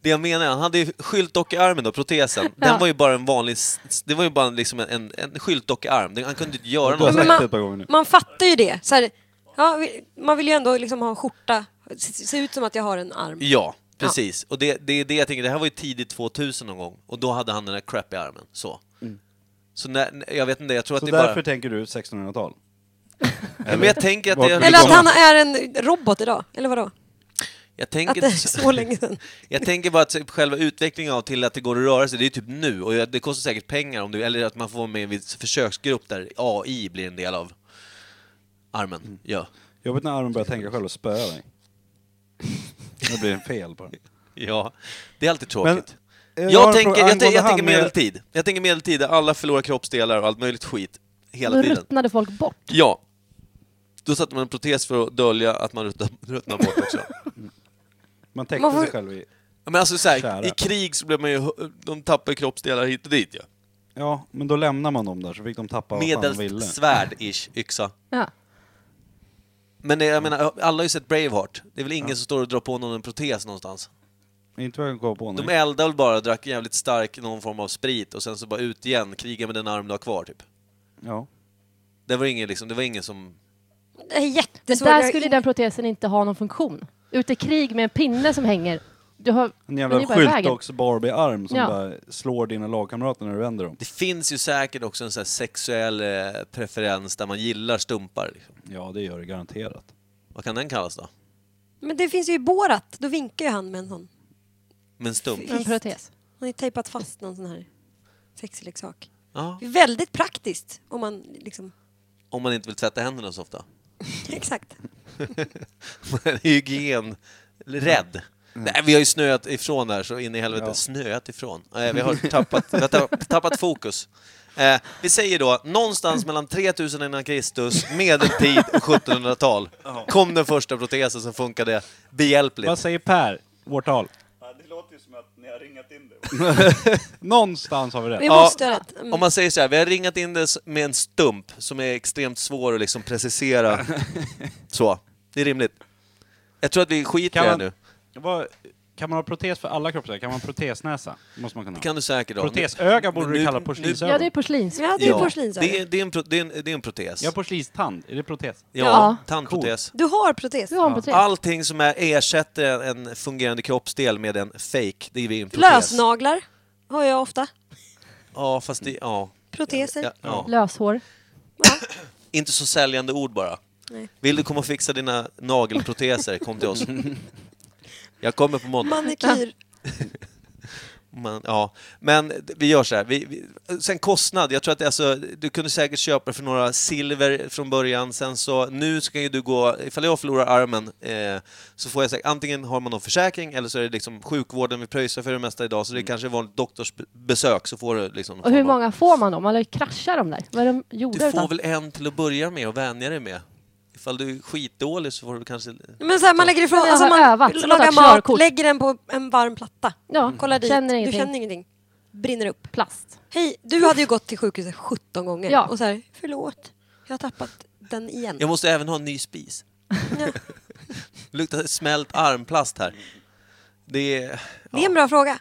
Speaker 3: Det jag menar är han hade ju skyltdockearmen då, protesen. Den
Speaker 5: Ja.
Speaker 3: var ju bara en vanlig... s- Det var ju bara liksom en, en, en skyltdockearm. Det- Han kunde inte göra
Speaker 1: Du har
Speaker 3: något.
Speaker 1: sagt
Speaker 2: man-
Speaker 1: det ett par gånger nu.
Speaker 2: Man fattar ju det. Så här, ja, vi- man vill ju ändå liksom ha en skjorta. Se, se ut som att jag har en arm.
Speaker 3: Ja, precis. Och det, det är det jag tänker, det här var ju tidigt 2000 någon gång. Och då hade han den där crappy armen. Så. Så när, jag vet inte, jag tror
Speaker 1: Mm. Så
Speaker 3: att det är
Speaker 1: därför
Speaker 3: typ bara...
Speaker 1: tänker du 1600-tal?
Speaker 3: Men jag tänker att
Speaker 1: Vart
Speaker 3: det...
Speaker 1: vill du
Speaker 2: Eller att
Speaker 3: Liksom-
Speaker 2: han är en robot idag. Eller vadå?
Speaker 3: Jag
Speaker 2: Att
Speaker 3: tänker
Speaker 2: det är så länge sedan.
Speaker 3: Jag tänker bara att typ själva utvecklingen av till att det går att röra sig, det är typ nu och jag- det kostar säkert pengar om du, eller att man får vara med i en viss försöksgrupp där AI blir en del av
Speaker 1: Mm.
Speaker 3: armen. Ja.
Speaker 1: Jobbigt när armen börjar tänka själv och spöa dig. Det blir en fel på den.
Speaker 3: ja. Det är alltid
Speaker 1: Men,
Speaker 3: tråkigt.
Speaker 1: eh,
Speaker 3: jag,
Speaker 1: har en
Speaker 3: tänker,
Speaker 1: fråga
Speaker 3: jag,
Speaker 1: angående
Speaker 3: tänker- jag
Speaker 1: han
Speaker 3: tänker
Speaker 1: med-
Speaker 3: medeltid. Jag tänker medeltid där alla förlorar kroppsdelar och allt möjligt skit hela
Speaker 5: Då
Speaker 3: tiden.
Speaker 5: ruttnade folk bort.
Speaker 3: Ja. Då satte man en protes för att dölja att man ruttnar- ruttnar bort också.
Speaker 1: Man täckte
Speaker 2: Man får-
Speaker 1: sig själv i...
Speaker 3: Ja, Men alltså så
Speaker 1: Kära.
Speaker 3: här, i krig så blir man ju, de tappar kroppsdelar hit och dit ja.
Speaker 1: Ja, men då lämnar man dem där så fick de tappa vad fan de ville.
Speaker 3: Medelst svärd-ish yxa.
Speaker 5: Ja.
Speaker 3: Men det, jag menar, alla har ju sett Braveheart. Det är väl ingen som står och drar på någon en protes någonstans?
Speaker 1: Inte vad jag kan komma på
Speaker 3: De
Speaker 1: nu.
Speaker 3: eldar väl bara, drack jävligt stark någon form av sprit och sen så bara ut igen, kriga med den arm du har kvar typ.
Speaker 1: Ja.
Speaker 3: Det var ingen liksom, det var ingen som...
Speaker 2: Det är
Speaker 5: Men
Speaker 2: jättesvårt.
Speaker 5: där
Speaker 2: Jag-
Speaker 5: skulle den protesen inte ha någon funktion. Ute i krig med en pinne som hänger. Du har...
Speaker 1: En
Speaker 5: den
Speaker 1: jävla
Speaker 5: är bara i vägen.
Speaker 1: skyltdogs-Barbie-arm som
Speaker 5: Ja.
Speaker 1: bara slår dina lagkamrater när du vänder dem.
Speaker 3: Det finns ju säkert också en sån här sexuell eh, preferens där man gillar stumpar. Liksom.
Speaker 1: Ja, det gör det garanterat.
Speaker 3: Vad kan den kallas då?
Speaker 2: Men det finns ju i Borat. Då vinkar ju han med en sån.
Speaker 3: Men stump?
Speaker 5: En protes.
Speaker 2: Han har ju tejpat fast någon sån här sexleksak.
Speaker 3: Ja.
Speaker 2: Väldigt praktiskt om man liksom
Speaker 3: Om man inte vill tvätta händerna så ofta.
Speaker 2: Exakt.
Speaker 3: Man är hygienrädd. Nej, vi har ju snöat ifrån där så in i helvete.
Speaker 1: Mm. Ja.
Speaker 3: Snöat ifrån. Nej, vi har tappat, vi har tapp- tappat fokus. Eh, vi säger då någonstans mellan 3000 innan Kristus, medeltid och 1700-tal kom den första protesen som funkade
Speaker 1: Vad
Speaker 3: behjälpligt.
Speaker 1: säger Per? Årtal?
Speaker 4: Det låter ju som att ni har ringat in det.
Speaker 1: Någonstans har vi
Speaker 2: Vi
Speaker 1: rätt.
Speaker 3: Ja,
Speaker 2: måste ha rätt. Mm.
Speaker 3: Om man säger så här, vi har ringat in det s- med en stump som är extremt svår att liksom precisera. Så, det är rimligt. Jag tror att vi skiter i
Speaker 1: Kan
Speaker 3: det här
Speaker 1: man-
Speaker 3: nu.
Speaker 1: Vad, kan man ha protes för alla kroppsdelar? Kan man ha protesnäsa? måste man kunna
Speaker 3: Det
Speaker 1: ha.
Speaker 3: kan du säkert ha. Men-
Speaker 1: Protesöga borde
Speaker 3: men
Speaker 1: du
Speaker 3: nu-
Speaker 1: kalla
Speaker 3: nu-
Speaker 1: porslinsögon.
Speaker 5: Ja, det är porslins.
Speaker 2: Ja, det är
Speaker 3: Ja,
Speaker 2: porslinsöga.
Speaker 3: det är, det är, en, pro, det är, en, det är en protes.
Speaker 1: Jag har
Speaker 3: Ja,
Speaker 1: porslinstand. Är det protes?
Speaker 5: Ja.
Speaker 3: tandprotes.
Speaker 2: Du har protes.
Speaker 5: Du har en porslins.
Speaker 3: Allting som är, ersätter en fungerande kroppsdel med en fake, det är en protes.
Speaker 2: Lösnaglar har jag ofta.
Speaker 3: Ja, fast det, ja.
Speaker 2: Proteser.
Speaker 3: Ja, ja.
Speaker 5: Löshår.
Speaker 3: Inte så säljande ord bara.
Speaker 2: Nej.
Speaker 3: Vill du komma och fixa dina nagelproteser, kom till oss. Jag kommer på måndag.
Speaker 2: Manikyr.
Speaker 3: Man, ja. Men d- vi gör så här. Vi, vi, sen kostnad. Jag tror att det, alltså, du kunde säkert köpa för några silver från början. Sen så, nu ska ju du gå... Ifall jag förlorar armen eh, så får jag säkert... Antingen har man någon försäkring eller så är det liksom sjukvården vi pröjsar för det mesta idag. Så det är kanske är vanligt doktorsbesök så får du liksom... någon
Speaker 5: Mm.
Speaker 3: form av-
Speaker 5: Och hur många får man då? Man lär ju krascha dem där. Vad är de gjorda
Speaker 3: Du får
Speaker 5: utav?
Speaker 3: väl en till att börja med och vänja dig med. Ifall du är skitdålig så får du kanske...
Speaker 2: Men så här, man lägger ifrån
Speaker 5: Typ. Jag
Speaker 2: alltså
Speaker 5: har
Speaker 2: man
Speaker 5: övat. Som att ha
Speaker 2: lagar
Speaker 5: ett
Speaker 2: mat,
Speaker 5: körkort.
Speaker 2: lägger den på en varm platta.
Speaker 5: Ja,
Speaker 2: Kollar Mm. dit.
Speaker 5: känner
Speaker 2: du
Speaker 5: ingenting.
Speaker 2: känner ingenting. Brinner upp.
Speaker 5: Plast.
Speaker 2: Hej, du hade ju gått till sjukhuset 17 gånger.
Speaker 5: Ja.
Speaker 2: Och så här, förlåt. Jag har tappat den igen.
Speaker 3: Jag måste även ha en ny spis.
Speaker 2: Ja.
Speaker 3: Det luktar smält armplast här. Det är...
Speaker 2: Det är en bra fråga.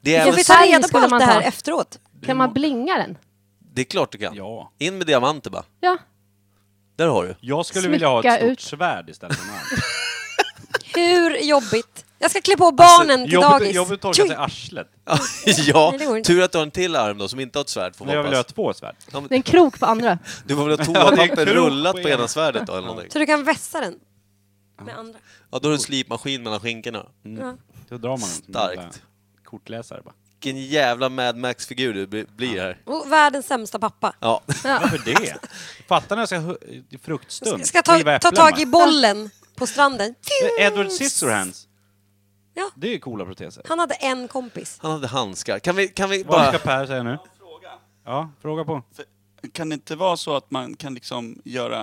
Speaker 3: Det är,
Speaker 2: Kan
Speaker 3: även,
Speaker 2: vi ta
Speaker 5: färg
Speaker 2: reda på
Speaker 5: skulle
Speaker 2: allt
Speaker 5: man
Speaker 2: det här
Speaker 5: ta.
Speaker 2: efteråt?
Speaker 5: Kan man blinga den?
Speaker 3: det är klart du kan.
Speaker 1: Ja.
Speaker 3: In med diamanter bara.
Speaker 5: Ja.
Speaker 3: Där har du.
Speaker 1: Jag skulle vilja ha ett
Speaker 5: Smycka
Speaker 1: stort
Speaker 5: ut.
Speaker 1: svärd istället för en arm.
Speaker 2: Hur jobbigt? Jag ska klä på barnen till
Speaker 1: Alltså, Jobbigt
Speaker 2: dagis.
Speaker 1: jobbigt att torka
Speaker 2: Tjui!
Speaker 1: sig i arslet.
Speaker 3: ja,
Speaker 2: Nej, det går inte.
Speaker 3: tur att du har en till arm då som inte har ett svärd. Får
Speaker 1: Men jag
Speaker 3: man
Speaker 1: vill ha
Speaker 3: hoppas.
Speaker 1: två svärd.
Speaker 3: Ja, men
Speaker 5: Det är en krok på andra.
Speaker 3: Du får väl ha
Speaker 1: Ja, det är
Speaker 3: toapapper
Speaker 1: krok
Speaker 3: rullat
Speaker 1: på
Speaker 3: på ena
Speaker 1: ena.
Speaker 3: svärdet då eller någonting.
Speaker 2: Så du kan vässa den med andra.
Speaker 3: Ja, då har du en slipmaskin mellan skinkorna.
Speaker 1: Mm.
Speaker 2: Ja.
Speaker 1: Då drar man den som en
Speaker 3: Starkt.
Speaker 1: jävla kortläsare bara.
Speaker 3: Vilken jävla Mad Max-figur du bli- blir här.
Speaker 2: Och världens sämsta pappa.
Speaker 3: Ja.
Speaker 1: Varför det? Fattar ni att jag ska hu- fruktstund?
Speaker 2: Jag ska ta,
Speaker 1: riva
Speaker 2: ta
Speaker 1: äpplen
Speaker 2: tag
Speaker 1: bara?
Speaker 2: i bollen på stranden.
Speaker 1: Edward Scissorhands.
Speaker 2: Ja.
Speaker 1: Det är ju coola proteser.
Speaker 2: Han hade en kompis.
Speaker 3: Han hade handskar. Kan vi, kan vi
Speaker 1: Vad ska
Speaker 3: bara...
Speaker 1: Per säga nu? Ja, fråga på.
Speaker 4: Kan det inte vara så att man kan liksom göra,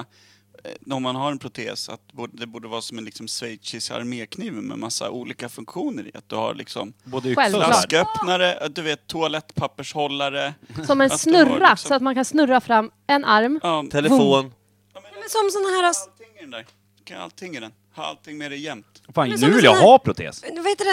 Speaker 4: eh, om man har en protes, att borde- det borde vara som en liksom schweizisk armékniv med massa olika funktioner i? Att du har liksom
Speaker 1: Både yxa och
Speaker 5: Självklart.
Speaker 1: svärd.
Speaker 4: flasköppnare, att du vet toalettpappershållare.
Speaker 5: Som en
Speaker 4: Att du har
Speaker 5: snurra,
Speaker 4: liksom-
Speaker 5: så att man kan snurra fram en arm.
Speaker 4: Ja,
Speaker 3: Telefon.
Speaker 2: Ja, men som såna här...
Speaker 4: allting i den där. Du kan ha allting i den. Ha allting med dig jämt.
Speaker 1: Fan,
Speaker 2: Men som
Speaker 1: nu
Speaker 2: en
Speaker 1: vill
Speaker 2: sån
Speaker 1: jag
Speaker 2: här-
Speaker 1: ha protes.
Speaker 2: Vad heter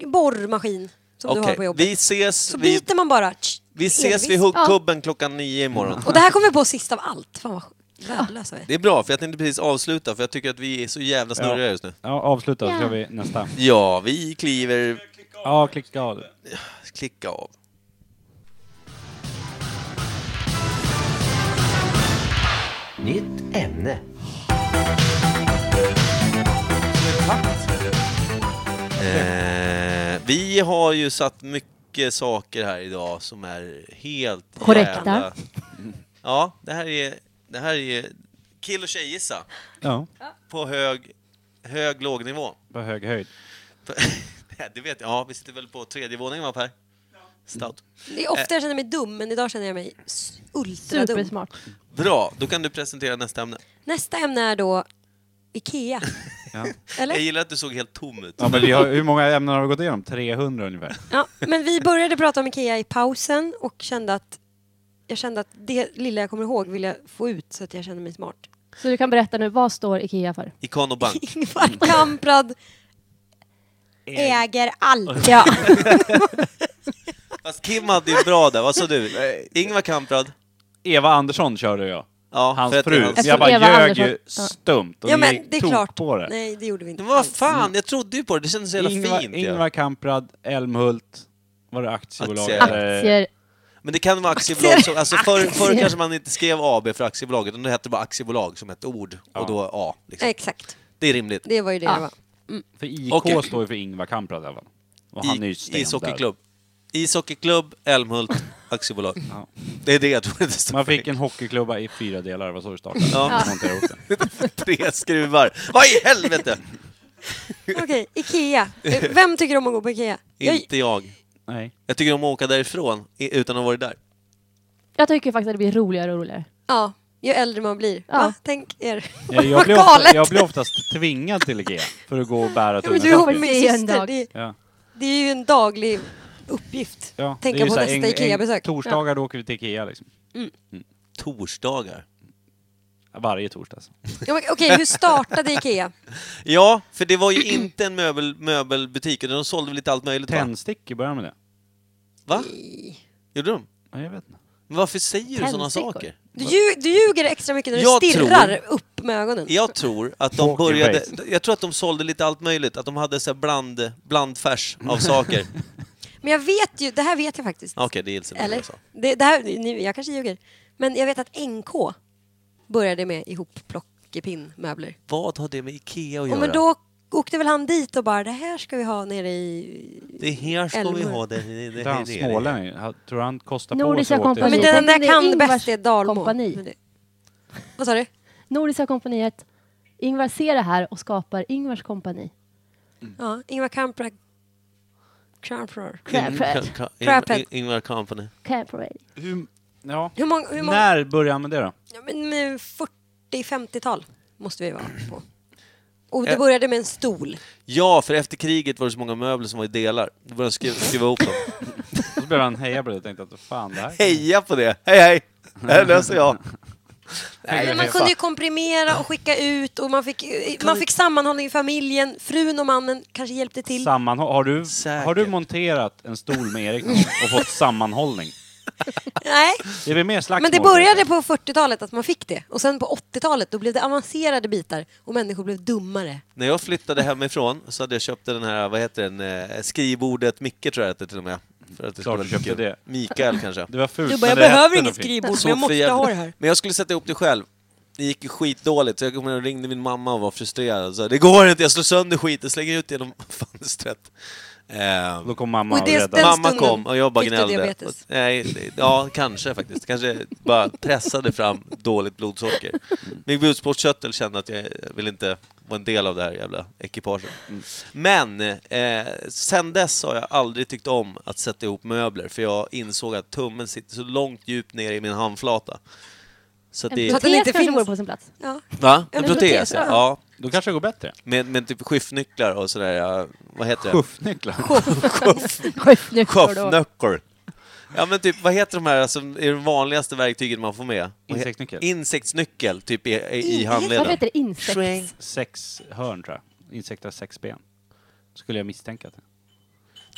Speaker 2: den? Borrmaskin som du har
Speaker 3: Okej,
Speaker 2: på jobbet.
Speaker 3: vi ses,
Speaker 2: Så
Speaker 3: vi,
Speaker 2: byter man bara. Tsch,
Speaker 3: vi ses
Speaker 2: elvis.
Speaker 3: vid
Speaker 5: Ja.
Speaker 3: huggkubben klockan nio imorgon.
Speaker 2: Och det här kommer vi på sist av allt. Fan vad värdelösa vi är.
Speaker 3: Det är bra, för jag tänkte precis avsluta, för jag tycker att vi är så jävla snurriga just nu.
Speaker 1: Ja, avsluta så
Speaker 5: Ja.
Speaker 1: kör vi nästa.
Speaker 3: Ja, vi kliver...
Speaker 1: Ja, klicka av.
Speaker 3: Klicka av.
Speaker 8: Nytt ämne.
Speaker 3: Eh, vi har ju satt mycket saker här idag som är helt
Speaker 5: Korrekta.
Speaker 3: jävla- Ja, det här är, det här är kill och tjejgissa
Speaker 1: Ja,
Speaker 3: på hög, hög låg nivå.
Speaker 1: på hög höjd.
Speaker 3: Nej, det vet jag. Ja, vi sitter väl på tredje våningen va Per? Stout.
Speaker 2: Det är ofta jag känner mig dum, men idag känner jag mig s- ultradum.
Speaker 5: Supersmart.
Speaker 3: Bra, då kan du presentera nästa ämne.
Speaker 2: Nästa ämne är då Ikea.
Speaker 1: Ja.
Speaker 3: Jag
Speaker 2: Eller?
Speaker 3: gillar att du såg helt tom ut.
Speaker 1: Ja, men vi har, hur många ämnen har vi gått igenom? 300 ungefär.
Speaker 2: Ja, men vi började prata om Ikea i pausen och kände att jag kände att det lilla jag kommer ihåg vill jag få ut så att jag känner mig smart.
Speaker 5: Så du kan berätta nu, vad står IKEA för?
Speaker 3: Eh. Ikanobank.
Speaker 2: Ingvar Kamprad äger allt.
Speaker 5: Ja.
Speaker 3: Fast Kim hade ju bra där, vad sa du? Ingvar Kamprad.
Speaker 1: Eva Andersson körde jag.
Speaker 3: Ja, för
Speaker 1: Hans
Speaker 3: att det är
Speaker 1: fru.
Speaker 3: hans-
Speaker 5: Efter
Speaker 1: Jag bara
Speaker 5: Eva
Speaker 1: ljög
Speaker 5: Andersson.
Speaker 1: ju
Speaker 5: Ja.
Speaker 1: stumt. Och
Speaker 2: Ja
Speaker 1: ni
Speaker 2: men det är
Speaker 1: tog
Speaker 2: klart.
Speaker 1: på det.
Speaker 2: Nej, det gjorde vi inte.
Speaker 3: Men vad
Speaker 2: alls.
Speaker 3: fan, jag trodde ju på det. Det kändes så jävla
Speaker 1: Ingvar,
Speaker 3: fint. ja.
Speaker 1: Ingvar Kamprad, Elmhult. Var det aktiebolag? Eh,
Speaker 3: Aktier.
Speaker 1: eller-
Speaker 5: Aktier.
Speaker 3: Men det kan vara aktiebolag. Som, alltså förr, förr kanske man inte skrev AB för aktiebolaget, utan det hette bara aktiebolag som ett ord. Och då A. Liksom.
Speaker 2: Exakt.
Speaker 3: Det är rimligt.
Speaker 2: Det var ju det
Speaker 5: Ja.
Speaker 2: det var.
Speaker 1: För IK
Speaker 3: Okej.
Speaker 1: står ju för Ingvar Kamprad i alla fall. Och han är ju
Speaker 3: I,
Speaker 1: stendöd.
Speaker 3: ishockeyklubb. Ishockeyklubb, Älmhult, aktiebolag.
Speaker 1: Ja.
Speaker 3: Det är det jag tror det står.
Speaker 1: Man fick en hockeyklubba i fyra delar, vad så det startade.
Speaker 3: Ja.
Speaker 1: Så monterade jag ihop den.
Speaker 3: Tre skruvar. Vad i helvete!
Speaker 2: Okej, Ikea. Eh, Vem tycker om att gå på Ikea? Jag,
Speaker 3: Inte jag.
Speaker 1: Nej.
Speaker 3: Jag tycker om att åka därifrån i- utan att ha varit där.
Speaker 5: Jag tycker faktiskt att det blir roligare och roligare.
Speaker 2: ja, ju äldre man blir.
Speaker 5: Ja.
Speaker 2: Va? Tänk er.
Speaker 1: Jag, jag,
Speaker 2: Vad
Speaker 1: blir ofta,
Speaker 2: galet.
Speaker 1: jag blir oftast tvingad till Ikea för att gå och bära
Speaker 2: Ja, men
Speaker 1: tunga
Speaker 2: du är ihop
Speaker 1: saker.
Speaker 2: med
Speaker 5: Ikea en
Speaker 2: syster.
Speaker 5: dag.
Speaker 2: Det, är-
Speaker 1: Ja.
Speaker 2: det är ju en daglig uppgift.
Speaker 1: Ja. det är
Speaker 2: Tänka
Speaker 1: ju
Speaker 2: på
Speaker 1: så här,
Speaker 2: nästa
Speaker 1: en- en
Speaker 2: Ikea-besök.
Speaker 1: Torsdagar då åker vi till Ikea liksom.
Speaker 3: Torsdagar.
Speaker 1: Varje torsdag. Alltså.
Speaker 2: Ja, men Okej, hur startade Ikea?
Speaker 3: Ja, för det var ju inte en möbel, möbelbutik. utan De sålde väl lite allt möjligt. Va?
Speaker 1: Tändstickor börjar med det.
Speaker 3: va? Gjorde de?
Speaker 1: Ja, jag vet inte.
Speaker 3: Men Varför säger du sådana
Speaker 5: Tändstickor.
Speaker 3: saker?
Speaker 2: Du, ljug, du ljuger extra mycket när du
Speaker 3: Jag
Speaker 2: stirrar upp med ögonen.
Speaker 3: Jag tror att de
Speaker 1: Walk your
Speaker 3: började...
Speaker 1: ways.
Speaker 3: Jag tror att de sålde lite allt möjligt. Att de hade så här bland, blandfärs av saker.
Speaker 2: Men jag vet ju, det här vet jag faktiskt.
Speaker 3: Okej, det gills inte.
Speaker 2: Eller?
Speaker 3: Eller?
Speaker 2: Det, det här, nu, jag kanske ljuger. Men jag vet att NK började med ihopplockepinn-möbler.
Speaker 3: Vad har det med IKEA att
Speaker 2: Och
Speaker 3: göra?
Speaker 2: men då åkte väl han dit och bara, det här ska vi ha nere i...
Speaker 3: Det här ska vi
Speaker 2: Älmhult.
Speaker 3: ha det. det, det,
Speaker 1: Inte han
Speaker 3: det,
Speaker 1: smålänning. Han- Tror han kostar på sig
Speaker 5: Nordiska
Speaker 1: och åkte-
Speaker 2: Ja, men
Speaker 5: kompaniet.
Speaker 2: den där
Speaker 5: Det är
Speaker 2: kan
Speaker 5: Ingvars
Speaker 2: bäst, det är Dalmo.
Speaker 5: kompani.
Speaker 2: Men det- Vad sa du?
Speaker 5: Nordiska kompaniet. Ingvar ser det här och skapar Ingvars kompani.
Speaker 2: Ja, Ingvar Kamprad. Kamprad.
Speaker 3: Mm.
Speaker 5: Craphead.
Speaker 3: Craphead.
Speaker 2: Craphead.
Speaker 3: Ingvar Company.
Speaker 5: Craphead.
Speaker 1: Hur, ja.
Speaker 2: Hur många... Hur många
Speaker 1: När började han med det då?
Speaker 2: ja, men, eh, 40-50-tal måste vi vara på. Och det
Speaker 3: Ja.
Speaker 2: började med en stol.
Speaker 3: Ja, för efter kriget var det så många möbler som var i delar. Då började de skriva, skriva ihop dem.
Speaker 1: Och så började han heja på det och tänkte att fan det här
Speaker 3: Heja på det! Hej, hej! Det här löser jag.
Speaker 2: Nej, men man kunde ju komprimera och skicka ut och man fick, man fick sammanhållning i familjen. Frun och mannen kanske hjälpte till.
Speaker 1: Sammanhåll... Har du,
Speaker 3: Säkert.
Speaker 1: har du monterat en stol med Erik någon gång och fått sammanhållning?
Speaker 2: Nej,
Speaker 1: Det är väl mer slagsmål?
Speaker 2: men det började på 40-talet att man fick det. Och sen på 80-talet då blev det avancerade bitar och människor blev dummare.
Speaker 3: När jag flyttade hemifrån så hade jag köpt den här, vad heter den, eh, skrivbordet Micke tror jag att det till och med. För att det
Speaker 1: Klart
Speaker 3: skulle
Speaker 1: du
Speaker 3: vara
Speaker 1: köpte
Speaker 3: Micke.
Speaker 1: det.
Speaker 3: Mikael kanske.
Speaker 1: Det var fult.
Speaker 2: Du bara, jag
Speaker 1: men det
Speaker 2: behöver
Speaker 1: hette
Speaker 2: inget
Speaker 1: något fint.
Speaker 2: skrivbord
Speaker 3: Så
Speaker 2: men jag måste
Speaker 3: förjävligt.
Speaker 2: ha det här.
Speaker 3: Men jag skulle sätta ihop det själv. Det gick ju skitdåligt, så jag kommer ihåg, ringde min mamma och var frustrerad. Så, det går inte, jag slår sönder skiten, slänger ut det genom fönstret. Eh,
Speaker 1: Då kom mamma
Speaker 2: Och
Speaker 1: och
Speaker 2: det
Speaker 1: räddade.
Speaker 2: Den
Speaker 1: oss.
Speaker 3: Mamma
Speaker 2: stunden
Speaker 3: kom och jag bara
Speaker 2: fick du
Speaker 3: gnällde.
Speaker 2: diabetes.
Speaker 3: Och- Nej, det- ja, kanske faktiskt. Kanske bara pressade fram dåligt blodsocker.
Speaker 2: Mm.
Speaker 3: Min blodsportkörtel kände att jag vill inte vara en del av det här jävla ekipaget.
Speaker 2: Mm.
Speaker 3: Men eh, sen dess har jag aldrig tyckt om att sätta ihop möbler för jag insåg att tummen sitter så långt djupt ner i min handflata. Så att
Speaker 5: En
Speaker 3: det...
Speaker 2: att den
Speaker 5: protes
Speaker 2: inte
Speaker 5: kanske
Speaker 2: finns.
Speaker 5: vore på sin plats.
Speaker 2: Ja.
Speaker 3: Va?
Speaker 2: en
Speaker 3: En protes,
Speaker 2: protes,
Speaker 3: ja.
Speaker 2: ja.
Speaker 3: ja.
Speaker 1: Då kanske det går bättre.
Speaker 3: Med, med typ skiftnycklar och sådär. Ja. Vad heter det?
Speaker 1: Puffnycklar.
Speaker 5: Sköfnöckor då.
Speaker 3: Sköfnöckor. Ja men typ, vad heter de här som är de vanligaste verktygen man får med? Vad he-
Speaker 1: Insektsnyckel.
Speaker 3: Insektsnyckel, typ i, i, i
Speaker 2: In-
Speaker 5: Varför
Speaker 3: handleden.
Speaker 5: heter det insekt?
Speaker 1: Sex hörn tror jag. Insekter har sex ben. Skulle jag misstänka. Att. det-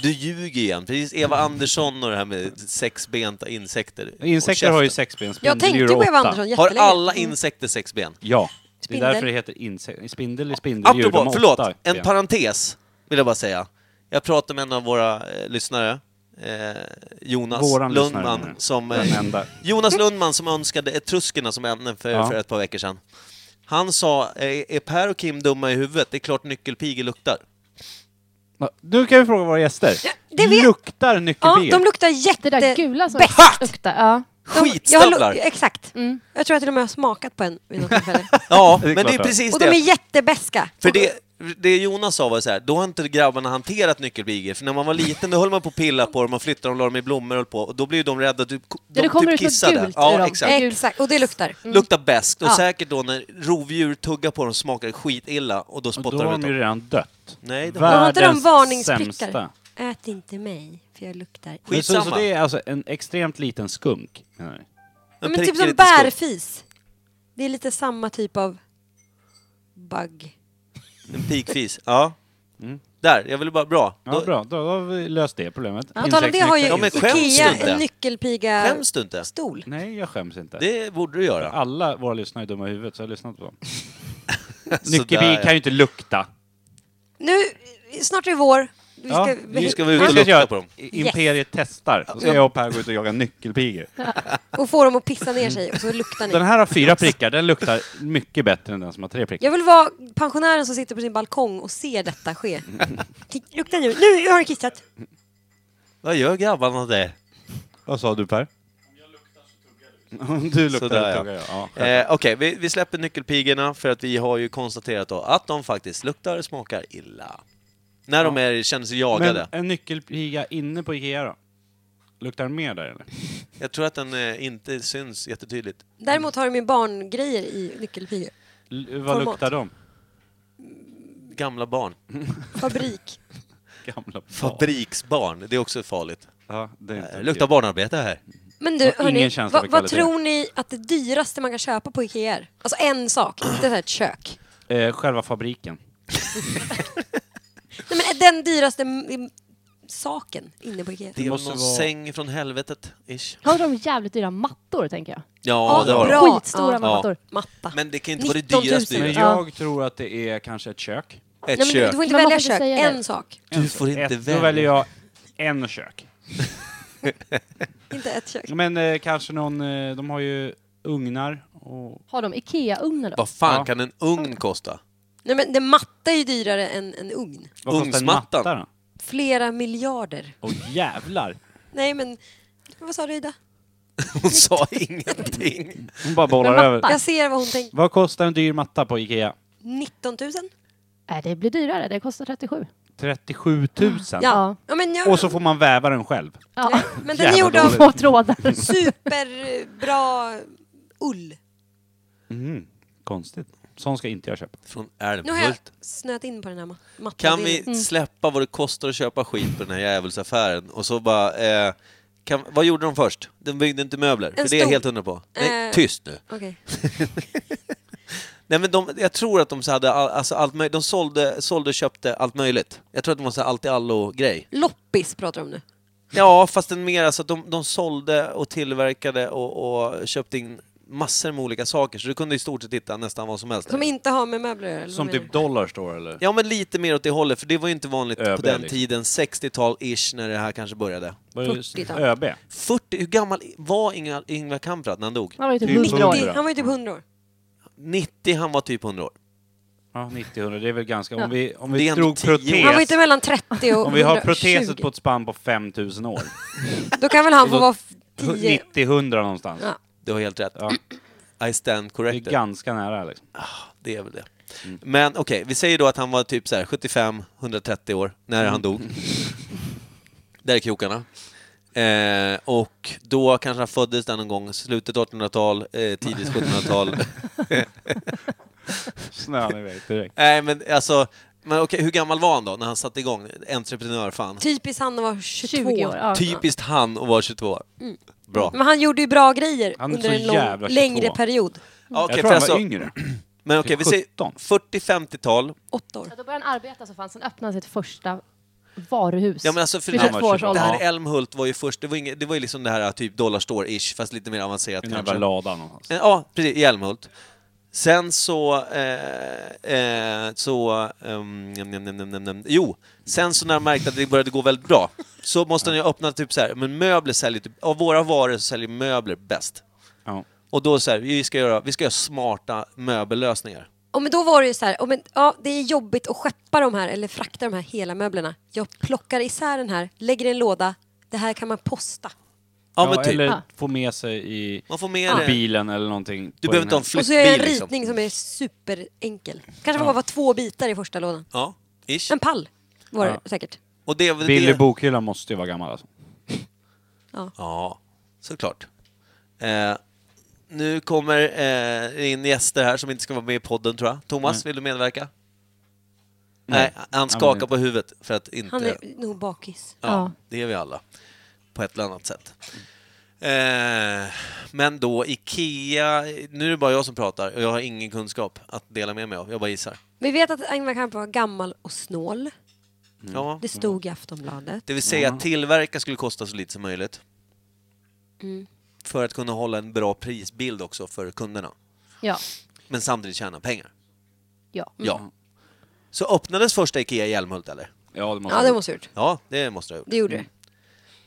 Speaker 3: Du ljuger igen, precis Eva Andersson och det här med sexbenta insekter. och
Speaker 1: Insekter har ju
Speaker 3: käften.
Speaker 1: sex ben.
Speaker 2: Jag tänkte
Speaker 1: spindeldjur
Speaker 2: ju
Speaker 1: har
Speaker 2: på Eva
Speaker 1: åtta.
Speaker 2: Andersson
Speaker 3: Har
Speaker 2: jättelänge.
Speaker 3: alla insekter sex ben?
Speaker 1: Ja. Det
Speaker 2: Spindel.
Speaker 1: är därför det heter insekt. Spindel är spindeldjur. de
Speaker 3: Apropå,
Speaker 1: har
Speaker 3: förlåt,
Speaker 1: åtta
Speaker 3: en
Speaker 1: ben.
Speaker 3: parentes vill jag bara säga. Jag pratade med en av våra eh, lyssnare, eh, Jonas
Speaker 1: Våran lyssnare,
Speaker 3: Lundman,
Speaker 1: menar du?
Speaker 3: som...
Speaker 1: Den
Speaker 3: Eh,
Speaker 1: enda.
Speaker 3: Jonas Lundman som önskade etruskerna som ämne för,
Speaker 1: Ja.
Speaker 3: för ett par veckor sedan. Han sa, "Eh, är Per och Kim dumma i huvudet? Det är klart nyckelpigor luktar.
Speaker 1: Ja, Nu kan vi fråga våra gäster.
Speaker 2: det vet-
Speaker 1: Luktar
Speaker 2: Ja,
Speaker 1: nyckelpigor?
Speaker 2: de luktar
Speaker 5: Det
Speaker 2: jätte...
Speaker 5: där gula som
Speaker 2: bäst.
Speaker 5: luktar. Ja.
Speaker 2: De- jag har lu-
Speaker 3: Skitstövlar!
Speaker 2: Exakt.
Speaker 5: Mm.
Speaker 2: Jag tror att till och med jag har smakat på en vid något tillfälle.
Speaker 3: Ja,
Speaker 1: Det är
Speaker 3: men det är
Speaker 1: klart det.
Speaker 3: precis
Speaker 2: Och de är
Speaker 3: det.
Speaker 2: jättebäska.
Speaker 3: För det, det Jonas sa var så här, då har inte grabbarna hanterat nyckelpigor. För när man var liten då höll man på att pilla på dem, man flyttade dem, la dem i blommor och höll på. Och då blir ju de rädda, de, de
Speaker 5: det kommer
Speaker 3: typ
Speaker 5: ut något
Speaker 3: kissade.
Speaker 5: gult ur
Speaker 3: ja,
Speaker 5: dem.
Speaker 3: exakt. Mm.
Speaker 2: Exakt, och det luktar.
Speaker 5: Mm.
Speaker 3: Luktar bäst och
Speaker 2: Ja.
Speaker 3: säkert då när rovdjur tuggar på dem smakar det skitilla och då
Speaker 1: Och
Speaker 3: spottar
Speaker 1: då har
Speaker 3: de ut
Speaker 1: de ju
Speaker 3: dem.
Speaker 1: redan dött.
Speaker 3: Nej, det
Speaker 1: Va?
Speaker 3: var...
Speaker 2: Och har inte de
Speaker 1: Världens
Speaker 2: varningsprickar?
Speaker 1: sämsta.
Speaker 2: Ät inte mig, för jag luktar.
Speaker 1: Men Så, så
Speaker 3: Skitsamma.
Speaker 1: det är alltså en extremt liten skunk? menar ni?
Speaker 2: Ja,
Speaker 3: De
Speaker 2: men
Speaker 3: prickar
Speaker 2: typ som
Speaker 3: lite skumt.
Speaker 2: bärfis. Det är lite samma typ av bugg.
Speaker 3: En pikfis, ja. Mm. Där, jag ville bara... Bra.
Speaker 1: Ja,
Speaker 3: Då-
Speaker 1: bra. Då, då har vi löst det problemet.
Speaker 2: På tal om det har ju
Speaker 1: Insektsnyckel-
Speaker 3: Ja, men skäms du
Speaker 2: Ikea
Speaker 3: inte?
Speaker 2: en nyckelpiga
Speaker 3: Skäms du inte?
Speaker 2: stol.
Speaker 1: Nej, jag skäms inte.
Speaker 3: Det borde du göra.
Speaker 1: Alla våra lyssnare är dumma i huvudet, så jag har lyssnat på dem.
Speaker 3: Sådär,
Speaker 1: Nyckelpigor
Speaker 3: ja.
Speaker 1: kan ju inte lukta.
Speaker 2: Nu, snart är det vår. Vi
Speaker 1: Ja,
Speaker 2: ska,
Speaker 3: Nu
Speaker 2: vi
Speaker 3: ska vi ut
Speaker 1: Vi
Speaker 3: och
Speaker 1: ska
Speaker 3: lukta
Speaker 1: göra
Speaker 3: på dem.
Speaker 1: I- Imperiet testar. Så ska jag och Per gå ut och jaga nyckelpigor.
Speaker 2: och få dem att pissa ner sig och så luktar
Speaker 1: Den
Speaker 2: ni.
Speaker 1: här har fyra prickar. Den luktar mycket bättre än den som har tre prickar.
Speaker 2: Jag vill vara pensionären som sitter på sin balkong och ser detta ske. Lukta nu. Nu har du kissat.
Speaker 3: Vad gör grabbarna där?
Speaker 1: Vad sa du Per? Om du luktar
Speaker 3: Sådär,
Speaker 1: så
Speaker 3: ja.
Speaker 1: tuggar jag. liksom. Ja.
Speaker 3: Eh, Okej, vi, vi släpper nyckelpigorna för att vi har ju konstaterat då att de faktiskt luktar och smakar illa. När de är, känner sig jagade.
Speaker 1: Men en nyckelpiga inne på Ikea då? Luktar den mer där eller?
Speaker 3: Jag tror att den eh, inte syns jättetydligt.
Speaker 2: Däremot har de ju barngrejer i nyckelpigor.
Speaker 1: L- vad
Speaker 2: Format.
Speaker 1: luktar de?
Speaker 3: Gamla barn.
Speaker 2: Fabrik.
Speaker 1: Gamla barn.
Speaker 3: Fabriksbarn, det är också farligt.
Speaker 1: Ja, det är inte
Speaker 3: Det luktar barnarbete här.
Speaker 2: Men du,
Speaker 1: Jag har ingen
Speaker 2: hörni,
Speaker 1: känsla
Speaker 2: vad,
Speaker 1: för
Speaker 2: vad
Speaker 1: kvalitet.
Speaker 2: tror ni att det dyraste man kan köpa på Ikea är? Alltså en sak, inte så här ett kök.
Speaker 1: okej. eh, Själva fabriken.
Speaker 2: Nej men den dyraste mm, saken inne på Ikea.
Speaker 3: Det är väl någon
Speaker 1: måste vara-
Speaker 3: säng från helvetet, ish.
Speaker 5: Har de jävligt dyra mattor, tänker jag?
Speaker 3: Ja, det har de.
Speaker 2: bra.
Speaker 5: Skitstora
Speaker 2: Ja.
Speaker 5: mattor.
Speaker 2: Matta.
Speaker 3: Men det kan ju inte vara det
Speaker 2: 19 000.
Speaker 3: dyraste
Speaker 1: Men
Speaker 3: dyraste.
Speaker 5: Ja.
Speaker 1: jag tror att det är kanske ett kök.
Speaker 3: Ett
Speaker 2: Nej, men du,
Speaker 3: kök.
Speaker 2: du får inte
Speaker 5: Men man
Speaker 2: välja
Speaker 5: får inte
Speaker 2: kök,
Speaker 5: säga det.
Speaker 2: en sak.
Speaker 3: Du får inte
Speaker 1: ett,
Speaker 3: välja.
Speaker 1: Då väljer jag en kök.
Speaker 2: Inte ett kök.
Speaker 1: Men eh, kanske någon, eh, de har ju ugnar och...
Speaker 5: Har de Ikea-ugnar då?
Speaker 3: Vad fan
Speaker 1: Ja.
Speaker 3: kan en ugn kosta?
Speaker 2: Nej men det matta är ju dyrare än en ugn.
Speaker 1: Vad kostar en
Speaker 3: Ugnsmattan.
Speaker 1: matta då?
Speaker 2: Flera miljarder.
Speaker 1: Åh jävlar!
Speaker 2: Nej men, vad sa du Ida?
Speaker 3: Hon sa ingenting.
Speaker 1: Hon bara bollar
Speaker 5: Men
Speaker 1: över.
Speaker 5: matta?
Speaker 2: Jag ser vad hon tänker.
Speaker 1: Vad kostar en dyr matta på Ikea?
Speaker 2: 19 000?
Speaker 5: Nej, det blir dyrare. Det kostar 37.
Speaker 1: 37 000.
Speaker 5: Ja.
Speaker 2: Ja. ja men jag,
Speaker 1: Och så får man väva den själv.
Speaker 5: Ja.
Speaker 2: men den är
Speaker 1: Jävla
Speaker 2: gjord av
Speaker 1: dåligt.
Speaker 5: Två trådar.
Speaker 2: superbra ull.
Speaker 1: Mm. Konstigt. Sån ska inte jag köpa.
Speaker 3: Från
Speaker 2: Nu har jag
Speaker 3: Älmhult.
Speaker 2: snöat in på den här ma- mattan.
Speaker 3: Kan
Speaker 2: Det-
Speaker 3: vi släppa vad det kostar att köpa skit på den här djävulsaffären och så bara... Eh, kan, vad gjorde de först? De byggde inte möbler, för det är jag
Speaker 2: stor-
Speaker 3: helt hundra på. Nej,
Speaker 2: Eh.
Speaker 3: tyst nu.
Speaker 2: Okej.
Speaker 3: Nej men de, jag tror att de så hade all, alltså allt möjligt. De sålde, sålde och köpte allt möjligt. Jag tror att de var så här allt i allo-grej.
Speaker 2: Loppis pratar de om nu.
Speaker 3: Ja, fast en mer alltså att de, de sålde och tillverkade och, och köpte in massor med olika saker. Så du kunde i stort sett hitta nästan vad som helst.
Speaker 2: Som inte har med möbler att göra, eller
Speaker 1: Som
Speaker 2: vad menar
Speaker 1: typ Dollarstore eller?
Speaker 3: Ja, men lite mer åt det hållet, för det var ju inte vanligt
Speaker 1: ÖB,
Speaker 3: på den
Speaker 1: liksom.
Speaker 3: tiden. 60-tal-ish när det här kanske började.
Speaker 1: Vad är det?
Speaker 2: 40-tal.
Speaker 1: ÖB?
Speaker 3: 40, hur gammal var Inga, Ingvar Kamprad när han dog?
Speaker 5: Han var ju typ
Speaker 1: Typ
Speaker 5: 100 år.
Speaker 2: du? Det- Han var ju typ 100 år.
Speaker 3: 90, han var typ 100 år.
Speaker 1: Ja, 90-100. Det är väl ganska...
Speaker 5: Ja.
Speaker 1: Om vi, om
Speaker 3: Det
Speaker 1: vi
Speaker 3: är ändå
Speaker 1: drog
Speaker 3: tio år.
Speaker 1: protes...
Speaker 2: Han var ju inte mellan 30 och
Speaker 1: Om vi har
Speaker 2: 120.
Speaker 1: proteset på ett spann på 5000 år.
Speaker 2: Då kan väl han få
Speaker 1: Och
Speaker 2: vara f- 10.
Speaker 1: 90-100 någonstans.
Speaker 2: Ja.
Speaker 3: Du har helt rätt.
Speaker 1: Ja.
Speaker 3: I stand
Speaker 1: Det är
Speaker 3: corrected.
Speaker 1: ganska nära liksom.
Speaker 3: Det är väl det.
Speaker 1: Mm.
Speaker 3: Men okej, vi säger då att han var typ så här 75, 130 år när han dog. Där är krokarna. Eh, och då kanske han föddes där någon gång, slutet 1800-tal, eh, tidigt 1700-tal.
Speaker 1: Snön iväg direkt.
Speaker 3: Nej men alltså, men okej, hur gammal var han då när han satte igång? Entreprenör fan.
Speaker 2: Typiskt han att vara 22.
Speaker 5: 20 år. Ja.
Speaker 3: Typiskt han att vara 22. Bra.
Speaker 2: Men han gjorde ju bra grejer
Speaker 1: Han är
Speaker 2: under
Speaker 1: så
Speaker 2: en lång,
Speaker 1: jävla 22.
Speaker 2: längre period.
Speaker 3: Ja,
Speaker 1: jag
Speaker 3: okej, för
Speaker 1: tror han
Speaker 3: alltså-
Speaker 1: var yngre.
Speaker 3: Men okej, vi säger
Speaker 1: 17.
Speaker 3: 40-50-tal.
Speaker 2: Åtta år.
Speaker 5: Ja, Då började han arbeta så fanns han öppnade sitt första varuhus.
Speaker 3: Ja, men alltså för
Speaker 5: Vid
Speaker 1: han var
Speaker 5: 22 års
Speaker 1: 22.
Speaker 3: Det
Speaker 5: ålder.
Speaker 3: här
Speaker 1: Ja.
Speaker 3: Älmhult var ju först, det var, inget, det var ju liksom det här typ dollarstore-ish, fast lite mer avancerat
Speaker 1: I den
Speaker 3: kanske.
Speaker 1: jävla ladan någonstans.
Speaker 3: Eh, Ja, precis, i Älmhult. Sen så... Eh, eh, så ehm, nem, nem, nem, nem, nem, nem. Jo, sen så när de märkte att det började gå väldigt bra så måste de ju öppna typ så här, men möbler säljer typ, av våra varor så säljer möbler bäst.
Speaker 1: Ja.
Speaker 3: Och då så här, vi ska göra, vi ska göra smarta möbellösningar.
Speaker 2: Och men då var det ju så här, och men, ja, det är jobbigt att skeppa de här eller frakta de här hela möblerna. Jag plockar isär den här, lägger i en låda. Det här kan man posta.
Speaker 3: Ja, men typ.
Speaker 1: Eller
Speaker 5: Ja.
Speaker 1: få med sig i
Speaker 3: Man får med det.
Speaker 1: bilen eller någonting.
Speaker 3: Du
Speaker 1: på
Speaker 3: behöver
Speaker 1: den
Speaker 3: inte ha en
Speaker 1: här-
Speaker 2: Och så gör jag en
Speaker 3: flyttbil
Speaker 2: ritning
Speaker 3: liksom.
Speaker 2: som är superenkel. Kanske bara var två bitar i första lådan.
Speaker 3: Ja, ish.
Speaker 2: En pall var det
Speaker 1: Ja.
Speaker 2: säkert.
Speaker 3: Och det, är väl
Speaker 1: Billy
Speaker 3: det,
Speaker 1: Bokhyllan måste ju vara gammal alltså.
Speaker 3: Ja, såklart. Eh, nu kommer eh, in gäster här som inte ska vara med i podden, tror jag. Thomas, vill du medverka? Nej, han
Speaker 1: Han
Speaker 3: skakar
Speaker 1: vill
Speaker 3: på huvudet för att inte...
Speaker 2: Han är nog bakis.
Speaker 3: Ja,
Speaker 5: Ja.
Speaker 3: det är vi alla. På ett eller annat sätt. Eh, men då, IKEA... Nu är det bara jag som pratar och jag har ingen kunskap att dela med mig av. Jag bara gissar.
Speaker 2: Vi vet att Ingvar Kamprad var gammal och snål.
Speaker 3: Ja.
Speaker 2: Det stod i Aftonbladet.
Speaker 3: Det vill säga att tillverka skulle kosta så lite som möjligt.
Speaker 2: Mm.
Speaker 3: För att kunna hålla en bra prisbild också för kunderna.
Speaker 5: Ja.
Speaker 3: Men samtidigt tjäna pengar.
Speaker 5: ja.
Speaker 3: Ja. Så öppnades första IKEA i Älmhult eller?
Speaker 1: Ja, det måste
Speaker 2: Ja, det måste ha gjort.
Speaker 3: Ja, det måste det ha gjort.
Speaker 2: Det gjorde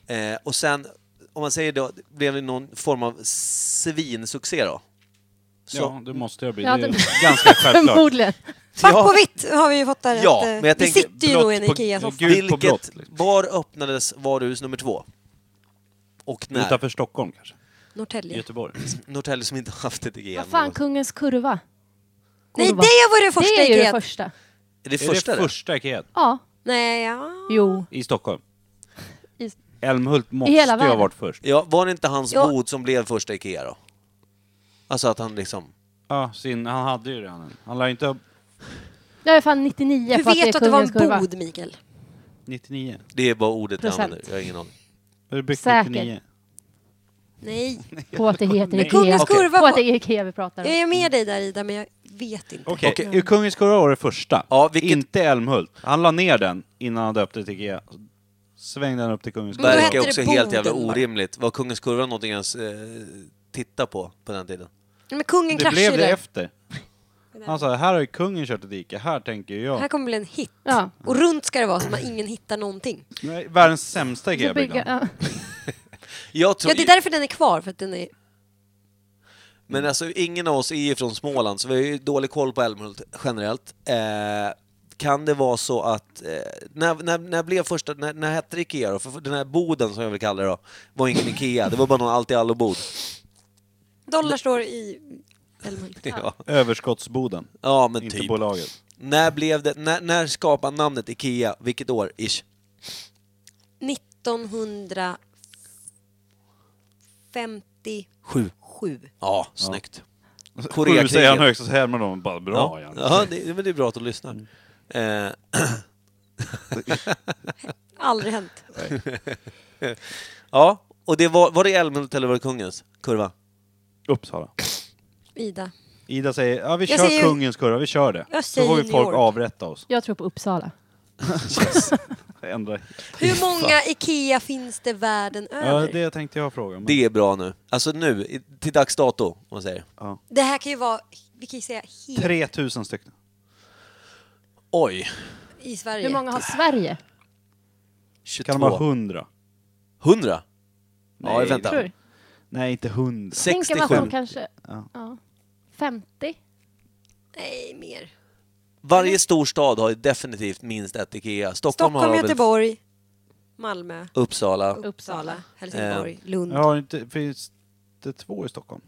Speaker 2: det.
Speaker 3: Eh, och sen, om man säger då, blev det någon form av svinsuccé då?
Speaker 1: Ja,
Speaker 3: Så,
Speaker 1: det måste jag bli.
Speaker 5: Ja,
Speaker 1: det
Speaker 5: det-
Speaker 1: är ganska självklart.
Speaker 5: Förmodligen.
Speaker 2: Svart på vitt har vi ju fått där.
Speaker 3: Ja,
Speaker 2: att, eh,
Speaker 3: men jag
Speaker 2: det
Speaker 3: tänker
Speaker 2: sitter ju nog i en
Speaker 1: blått på-
Speaker 2: Ikea-soffa.
Speaker 1: gult på
Speaker 3: vilket,
Speaker 1: blått, liksom.
Speaker 3: var öppnades varuhus nummer två? Och när?
Speaker 1: Utanför Stockholm kanske?
Speaker 2: Norrtälje.
Speaker 1: Göteborg?
Speaker 3: Norrtälje som inte har haft ett IGN.
Speaker 5: Vad fan, Kungens kurva?
Speaker 2: Nej, det
Speaker 5: Kurva.
Speaker 2: var det första
Speaker 5: Det är ju det
Speaker 2: Ikea.
Speaker 5: första.
Speaker 3: Är det
Speaker 1: Är
Speaker 3: första
Speaker 1: det
Speaker 3: det?
Speaker 1: första Ikea
Speaker 5: Ja,
Speaker 2: Nej, ja.
Speaker 5: jo.
Speaker 1: i Stockholm?
Speaker 5: I-
Speaker 1: Älmhult måste ju
Speaker 5: hela
Speaker 1: ha
Speaker 5: världen.
Speaker 1: varit först.
Speaker 3: Ja, var det inte hans
Speaker 2: Ja.
Speaker 3: bod som blev första IKEA då? Alltså att han liksom...
Speaker 1: Ja, sin, han hade ju redan en. Han lär ju inte ha
Speaker 5: Jag är fan 99
Speaker 2: Hur
Speaker 5: på att det
Speaker 2: vet
Speaker 5: är
Speaker 2: du att det var
Speaker 5: Kungens kurva.
Speaker 2: en bod, Mikael?
Speaker 1: 99.
Speaker 3: Det är bara ordet jag
Speaker 5: Procent.
Speaker 3: använder, jag har ingen aning.
Speaker 1: Är det byggt
Speaker 5: Säkert.
Speaker 1: 99?
Speaker 2: Nej.
Speaker 5: På att det heter Ikea.
Speaker 2: Kungens
Speaker 3: Okej.
Speaker 2: kurva
Speaker 5: På att
Speaker 2: var...
Speaker 5: det är Ikea vi pratar
Speaker 2: Jag
Speaker 5: om.
Speaker 2: är med dig där Ida, men jag vet inte.
Speaker 1: Okej,
Speaker 3: Okej.
Speaker 1: ur Kungens Kurva var det första.
Speaker 3: Ja, vilket-
Speaker 1: Inte Älmhult. Han la ner den innan han döpte till Ikea. Svängde den upp till Kungens
Speaker 2: Men då
Speaker 1: Kurva.
Speaker 3: Verkar
Speaker 2: hette det
Speaker 3: också helt jävla
Speaker 2: boden bara.
Speaker 3: orimligt. Var Kungens Kurva någonting ens eh, titta på, på den tiden?
Speaker 2: Men kungen
Speaker 1: Det blev
Speaker 2: kraschade.
Speaker 1: det efter. Han sa, här har ju kungen kört ett dike, här tänker ju
Speaker 2: Här
Speaker 1: jag.
Speaker 2: kommer bli en hit.
Speaker 5: Ja.
Speaker 2: Och runt ska det vara så man ingen hittar någonting.
Speaker 1: Nej, Världens sämsta
Speaker 5: Så bygga,
Speaker 1: Ikea-byggnad.
Speaker 5: ja.
Speaker 3: Jag tror,
Speaker 2: Ja, det är därför den är kvar, för att den är...
Speaker 3: Men alltså, ingen av oss är ju från Småland, så vi har ju dålig koll på Älmhult generellt. Eh, kan det vara så att... Eh, när, när, när blev första... När, när hette det Ikea då? För den här boden, som jag vill kalla det då, var ingen Ikea. Det var bara någon allt-i-allo-bod.
Speaker 2: Dollar står i... Älmhult.
Speaker 3: Ja.
Speaker 1: Överskottsboden,
Speaker 3: ja, men
Speaker 1: inte
Speaker 3: typ.
Speaker 1: bolaget.
Speaker 3: När blev det... När, när skapade namnet Ikea? Vilket år? Ish.
Speaker 2: 1957.
Speaker 3: Sju. Ja, snyggt.
Speaker 1: Sju säger han
Speaker 3: Koreakriget.
Speaker 1: högst och så härmar de bara, bra Mm.
Speaker 3: Ja,
Speaker 1: Jan.
Speaker 3: ja det, men det är bra att du lyssnar. Eh,
Speaker 2: Aldrig hänt.
Speaker 3: ja, och det var, var det Älmhult eller var det Kungens kurva?
Speaker 1: Uppsala.
Speaker 2: Ida.
Speaker 1: Ida säger, ja vi
Speaker 2: Jag
Speaker 1: kör
Speaker 2: säger-
Speaker 1: Kungens Kurva, vi kör det.
Speaker 2: Jag
Speaker 1: Så
Speaker 2: säger
Speaker 1: får vi
Speaker 2: New
Speaker 1: folk
Speaker 2: York.
Speaker 1: avrätta oss.
Speaker 5: Jag tror på Uppsala.
Speaker 1: Ändra.
Speaker 2: Hur många IKEA finns det världen
Speaker 1: Ja,
Speaker 2: över? det...
Speaker 1: det tänkte jag fråga. Men...
Speaker 3: Det är bra nu. Alltså nu, i- till dags dato, om man säger.
Speaker 2: här kan ju vara... Vi kan ju säga helt
Speaker 1: 3000 stycken.
Speaker 3: Oj,
Speaker 2: i Sverige.
Speaker 5: Hur många har Sverige?
Speaker 3: 22.
Speaker 1: Kan de ha 100?
Speaker 3: 100? ja,
Speaker 1: Nej,
Speaker 3: vänta.
Speaker 5: Tror du?
Speaker 1: Nej, inte 100.
Speaker 5: Tänker man att de
Speaker 3: 67.
Speaker 5: kanske...
Speaker 1: Ja.
Speaker 5: Ja. 50?
Speaker 2: Nej, mer.
Speaker 3: Varje stor stad har ju definitivt minst ett IKEA. Stockholm, har
Speaker 2: Stockholm,
Speaker 3: väl
Speaker 2: Göteborg, Malmö,
Speaker 3: Uppsala.
Speaker 2: Uppsala, Eh. Helsingborg, Lund.
Speaker 1: Ja, inte, finns det två i Stockholm?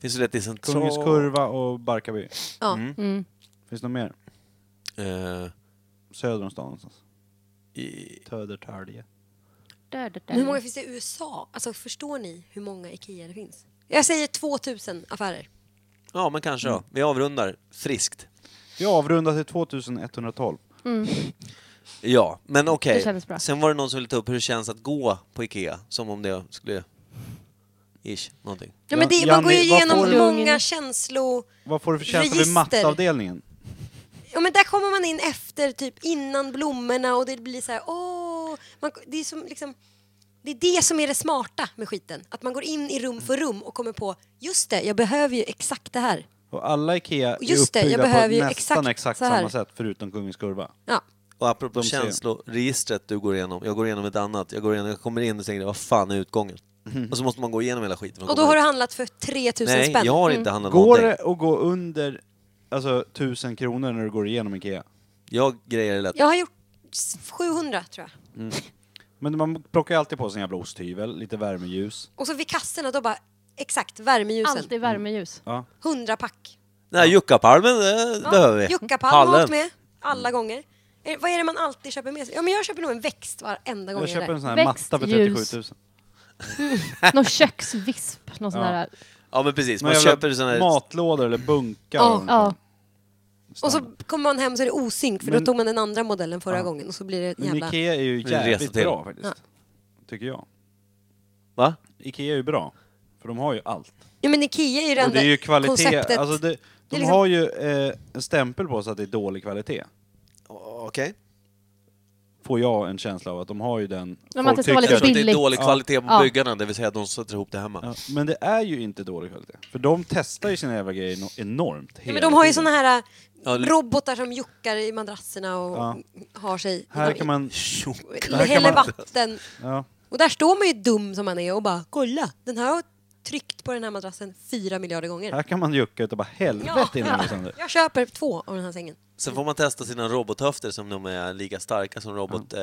Speaker 3: Finns det ett i central...
Speaker 1: Kungens Kurva och Barkarby.
Speaker 2: Ja.
Speaker 5: Mm.
Speaker 1: Finns det något mer?
Speaker 3: Eh,
Speaker 1: Söder om stan någonstans.
Speaker 3: i...
Speaker 1: Södertälje.
Speaker 5: Där, där, där.
Speaker 2: Hur många finns det i USA? Alltså, förstår ni hur många IKEA det finns? Jag säger 2000 affärer.
Speaker 3: Ja, men kanske
Speaker 1: Mm.
Speaker 3: då. Vi avrundar friskt.
Speaker 1: Vi avrundar till 2112.
Speaker 3: Ja, men okej.
Speaker 5: Det kändes bra.
Speaker 3: Sen var det någon som ville ta upp hur det känns att gå på IKEA, som om det skulle... Ish, någonting.
Speaker 2: Ja, men det, man
Speaker 1: Janni,
Speaker 2: går ju
Speaker 1: vad
Speaker 2: igenom
Speaker 1: får
Speaker 5: du-
Speaker 2: många känslor.
Speaker 1: Vad får du för känsla vid
Speaker 2: Register.
Speaker 1: mattavdelningen?
Speaker 2: Ja, men där kommer man in efter, typ innan blommorna och det blir så här, åh. Man, det, är som, liksom, det är det som är det smarta med skiten. Att man går in i rum för rum och kommer på, just det, jag behöver ju exakt det här.
Speaker 1: Och alla IKEA är
Speaker 2: Just det, jag
Speaker 1: uppbyggda
Speaker 2: behöver ju
Speaker 1: på nästan
Speaker 2: exakt
Speaker 1: exakt
Speaker 2: så här.
Speaker 1: samma sätt förutom Kungens Kurva.
Speaker 2: Ja.
Speaker 3: Och apropå
Speaker 1: De ser.
Speaker 3: känsloregistret du går igenom, jag går igenom ett annat, jag, går igenom, jag kommer in och tänker vad fan är utgången?
Speaker 1: Mhm.
Speaker 3: Och så måste man gå igenom hela skiten. för att
Speaker 2: Och då
Speaker 3: komma
Speaker 2: har du
Speaker 3: ut.
Speaker 2: handlat för 3000
Speaker 3: Nej,
Speaker 2: spänn. Mm.
Speaker 3: jag har inte handlat
Speaker 1: Går
Speaker 3: någonting.
Speaker 1: det att gå under alltså, 1000 kronor när du går igenom IKEA?
Speaker 3: Jag grejer det lätt.
Speaker 2: Jag har gjort s- 700 tror jag.
Speaker 1: Men man plockar ju alltid på sig en jävla osthyvel, lite värmeljus.
Speaker 2: Och så vid kassorna då bara, exakt, värmeljusen.
Speaker 5: Alltid värmeljus.
Speaker 1: Ja.
Speaker 2: 100 pack.
Speaker 3: Den här juckapalmen, det eh, behöver vi.
Speaker 2: Juckapalm har
Speaker 3: Pallen.
Speaker 2: åkt med, alla gånger. Är, vad är det man alltid köper med sig? Ja men jag köper nog en växt varenda gång
Speaker 1: Jag
Speaker 2: jag är
Speaker 1: köper en
Speaker 2: där.
Speaker 1: sån här
Speaker 5: Växt,
Speaker 1: matta för
Speaker 5: ljus.
Speaker 1: 37 000.
Speaker 5: Någon köksvisp. Någon sån
Speaker 1: Ja.
Speaker 5: där.
Speaker 3: Ja men precis, man
Speaker 1: Några jävla
Speaker 3: köper sådana här...
Speaker 1: Matlådor eller bunkar.
Speaker 2: Ja.
Speaker 1: och-
Speaker 5: Ja.
Speaker 2: Och så kommer man hem så är det osynk för
Speaker 1: Men-
Speaker 2: då tog man den andra modellen förra
Speaker 1: Ja.
Speaker 2: gången och så blir det en
Speaker 1: Men
Speaker 2: jävla...
Speaker 1: IKEA är ju
Speaker 3: Det är en
Speaker 1: jävligt
Speaker 3: resa till.
Speaker 1: bra faktiskt. Tycker jag.
Speaker 3: Va?
Speaker 1: IKEA är ju bra. För de har ju allt.
Speaker 2: Ja men Ikea är ju det
Speaker 1: Och
Speaker 2: enda
Speaker 1: det är ju kvalitet.
Speaker 2: konceptet.
Speaker 1: Alltså det, de
Speaker 2: är liksom-
Speaker 1: har ju eh, en stämpel på sig att det är dålig kvalitet.
Speaker 3: Okej. Okay.
Speaker 1: Får jag en känsla av att de har ju den...
Speaker 5: men
Speaker 1: folk
Speaker 5: att det ska vara
Speaker 1: tycker
Speaker 5: lite
Speaker 1: att-
Speaker 3: Det är
Speaker 5: Billigt.
Speaker 3: dålig
Speaker 1: Ja.
Speaker 3: kvalitet på
Speaker 5: Ja.
Speaker 3: byggarna, det vill säga att de sätter ihop det hemma.
Speaker 1: Ja, men det är ju inte dålig kvalitet. För de testar ju sina jävla grejer no- enormt.
Speaker 2: ja,
Speaker 1: hela
Speaker 2: men de har ju
Speaker 1: tiden.
Speaker 2: såna här äh,
Speaker 3: Ja, li-
Speaker 2: robotar som juckar i madrasserna och
Speaker 1: Ja.
Speaker 2: har sig...
Speaker 1: Här kan man...
Speaker 3: Tjo.
Speaker 1: här kan
Speaker 2: Häller
Speaker 1: man-
Speaker 2: vatten.
Speaker 1: Ja,
Speaker 2: Och där står man ju dum som man är och bara kolla, den här har tryckt på den här madrassen fyra miljarder gånger.
Speaker 1: här kan man jucka utav bara helvete
Speaker 2: Ja.
Speaker 1: innan det går sönder.
Speaker 2: Jag köper två av den här sängen.
Speaker 3: Sen får man testa sina robothöfter som de är lika starka som robot... Eh,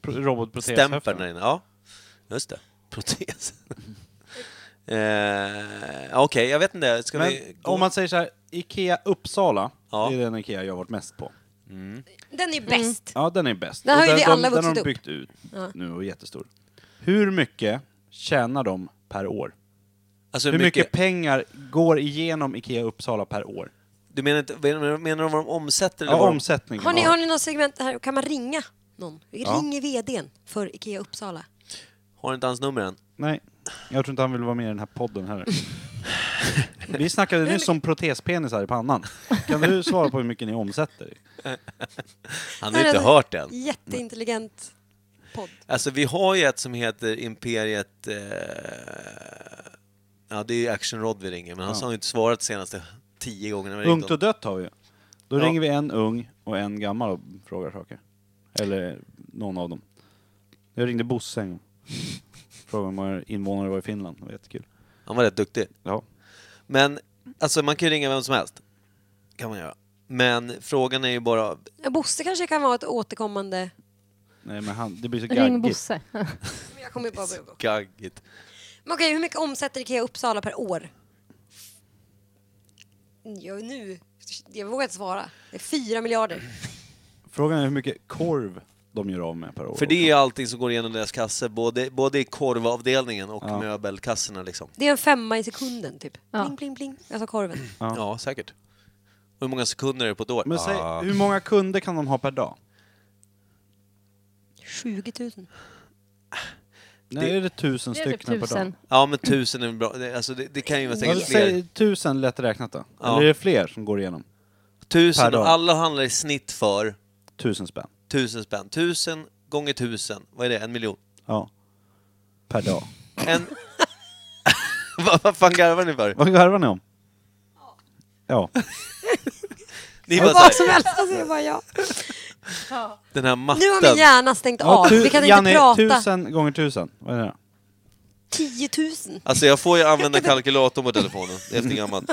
Speaker 1: Pro- Robotproteshöften.
Speaker 3: stämpeln där inne. Ja, just det. protesen. eh, Okej, jag vet inte. Ska
Speaker 1: Men
Speaker 3: vi gå?
Speaker 1: om man säger så här, Ikea Uppsala,
Speaker 3: Ja.
Speaker 1: det är den Ikea jag har varit mest på.
Speaker 2: Den är ju bäst.
Speaker 1: Ja, den är bäst.
Speaker 2: Där har
Speaker 1: Och
Speaker 2: ju vi
Speaker 1: den,
Speaker 2: alla
Speaker 1: den, den har
Speaker 2: vuxit
Speaker 1: de
Speaker 2: upp.
Speaker 1: byggt ut
Speaker 2: Ja.
Speaker 1: nu och är jättestor. Hur mycket tjänar de per år?
Speaker 3: Alltså,
Speaker 1: Hur mycket pengar går igenom Ikea Uppsala per år?
Speaker 3: Du menar, inte, menar menar du vad de omsätter? eller
Speaker 1: Ja,
Speaker 3: vad de-
Speaker 1: omsättningen.
Speaker 2: Har ni,
Speaker 1: Ja.
Speaker 2: har ni något segment här? Kan man ringa någon? Ring vdn för Ikea Uppsala.
Speaker 3: Har inte hans nummer än?
Speaker 1: Nej, jag tror inte han vill vara med i den här podden heller. Vi snackade nyss om protespenisar i pannan. Kan du svara på hur mycket ni omsätter?
Speaker 3: Han
Speaker 2: Det här
Speaker 3: har inte
Speaker 2: en
Speaker 3: hört den.
Speaker 2: Jätteintelligent podd.
Speaker 3: Alltså vi har ju ett som heter Imperiet... Eh... Ja, det är ju Action Rod vi ringer, men han har ju inte svarat de senaste tio gångerna vi ringt
Speaker 1: Ungt och
Speaker 3: honom.
Speaker 1: dött har vi ju. Då
Speaker 3: Ja.
Speaker 1: ringer vi en ung och en gammal och frågar saker. Eller någon av dem. Jag ringde Bosse en gång. Frågade hur många invånare det var i Finland. Det var jättekul.
Speaker 3: Han var rätt duktig.
Speaker 1: Ja.
Speaker 3: Men alltså man kan ju ringa vem som helst. Kan man göra. Men frågan är ju bara...
Speaker 2: Ja, Bosse kanske kan vara ett återkommande...
Speaker 1: Nej men han, det blir så
Speaker 5: Ring
Speaker 1: gaggigt.
Speaker 5: Bosse.
Speaker 2: Men Jag kommer bara... Men
Speaker 3: Gaggigt.
Speaker 2: okej, hur mycket omsätter Ikea Uppsala per år? Ja, nu... Jag vågar inte svara. Det är fyra miljarder.
Speaker 1: Frågan är hur mycket korv de gör av med per år.
Speaker 3: För det är ju allting som går igenom deras kassor, både, både i korvavdelningen och möbelkassorna liksom.
Speaker 2: Det är en femma i sekunden, typ.
Speaker 5: Ja.
Speaker 2: Pling, pling, pling. Alltså korven.
Speaker 3: Ja, säkert. Och hur många sekunder är det på ett år?
Speaker 1: Men säg,
Speaker 3: Ah.
Speaker 1: hur många kunder kan de ha per dag?
Speaker 2: 20 000.
Speaker 1: Nej, det är det tusen
Speaker 5: Det är typ
Speaker 1: stycken per dag.
Speaker 5: tusen.
Speaker 3: Ja, men tusen är bra. Det- Alltså, det, det kan ju vara
Speaker 1: Ja,
Speaker 3: säkert fler.
Speaker 1: Säg tusen lätt räknat då.
Speaker 3: Ja.
Speaker 1: Eller är det fler som går igenom? per
Speaker 3: Tusen,
Speaker 1: dag.
Speaker 3: och alla handlar i snitt för
Speaker 1: Tusen spänn.
Speaker 3: tusen spänn. Tusen gånger tusen, vad är det? En miljon?
Speaker 1: Ja. Per dag.
Speaker 3: En... vad, vad fan garvar ni för?
Speaker 1: Vad garvar ni om? Ja.
Speaker 3: Ni bara
Speaker 2: Vad
Speaker 3: såhär,
Speaker 2: som helst. Alltså, det var jag.
Speaker 3: den här
Speaker 2: Nu har min
Speaker 3: matten.
Speaker 2: hjärna stängt av.
Speaker 1: tu-
Speaker 2: Vi kan inte
Speaker 1: Janne,
Speaker 2: prata.
Speaker 1: tusen gånger tusen. Vad är det?
Speaker 2: 10 000.
Speaker 3: Alltså jag får ju använda kalkylator på telefonen, det är efter gammalt.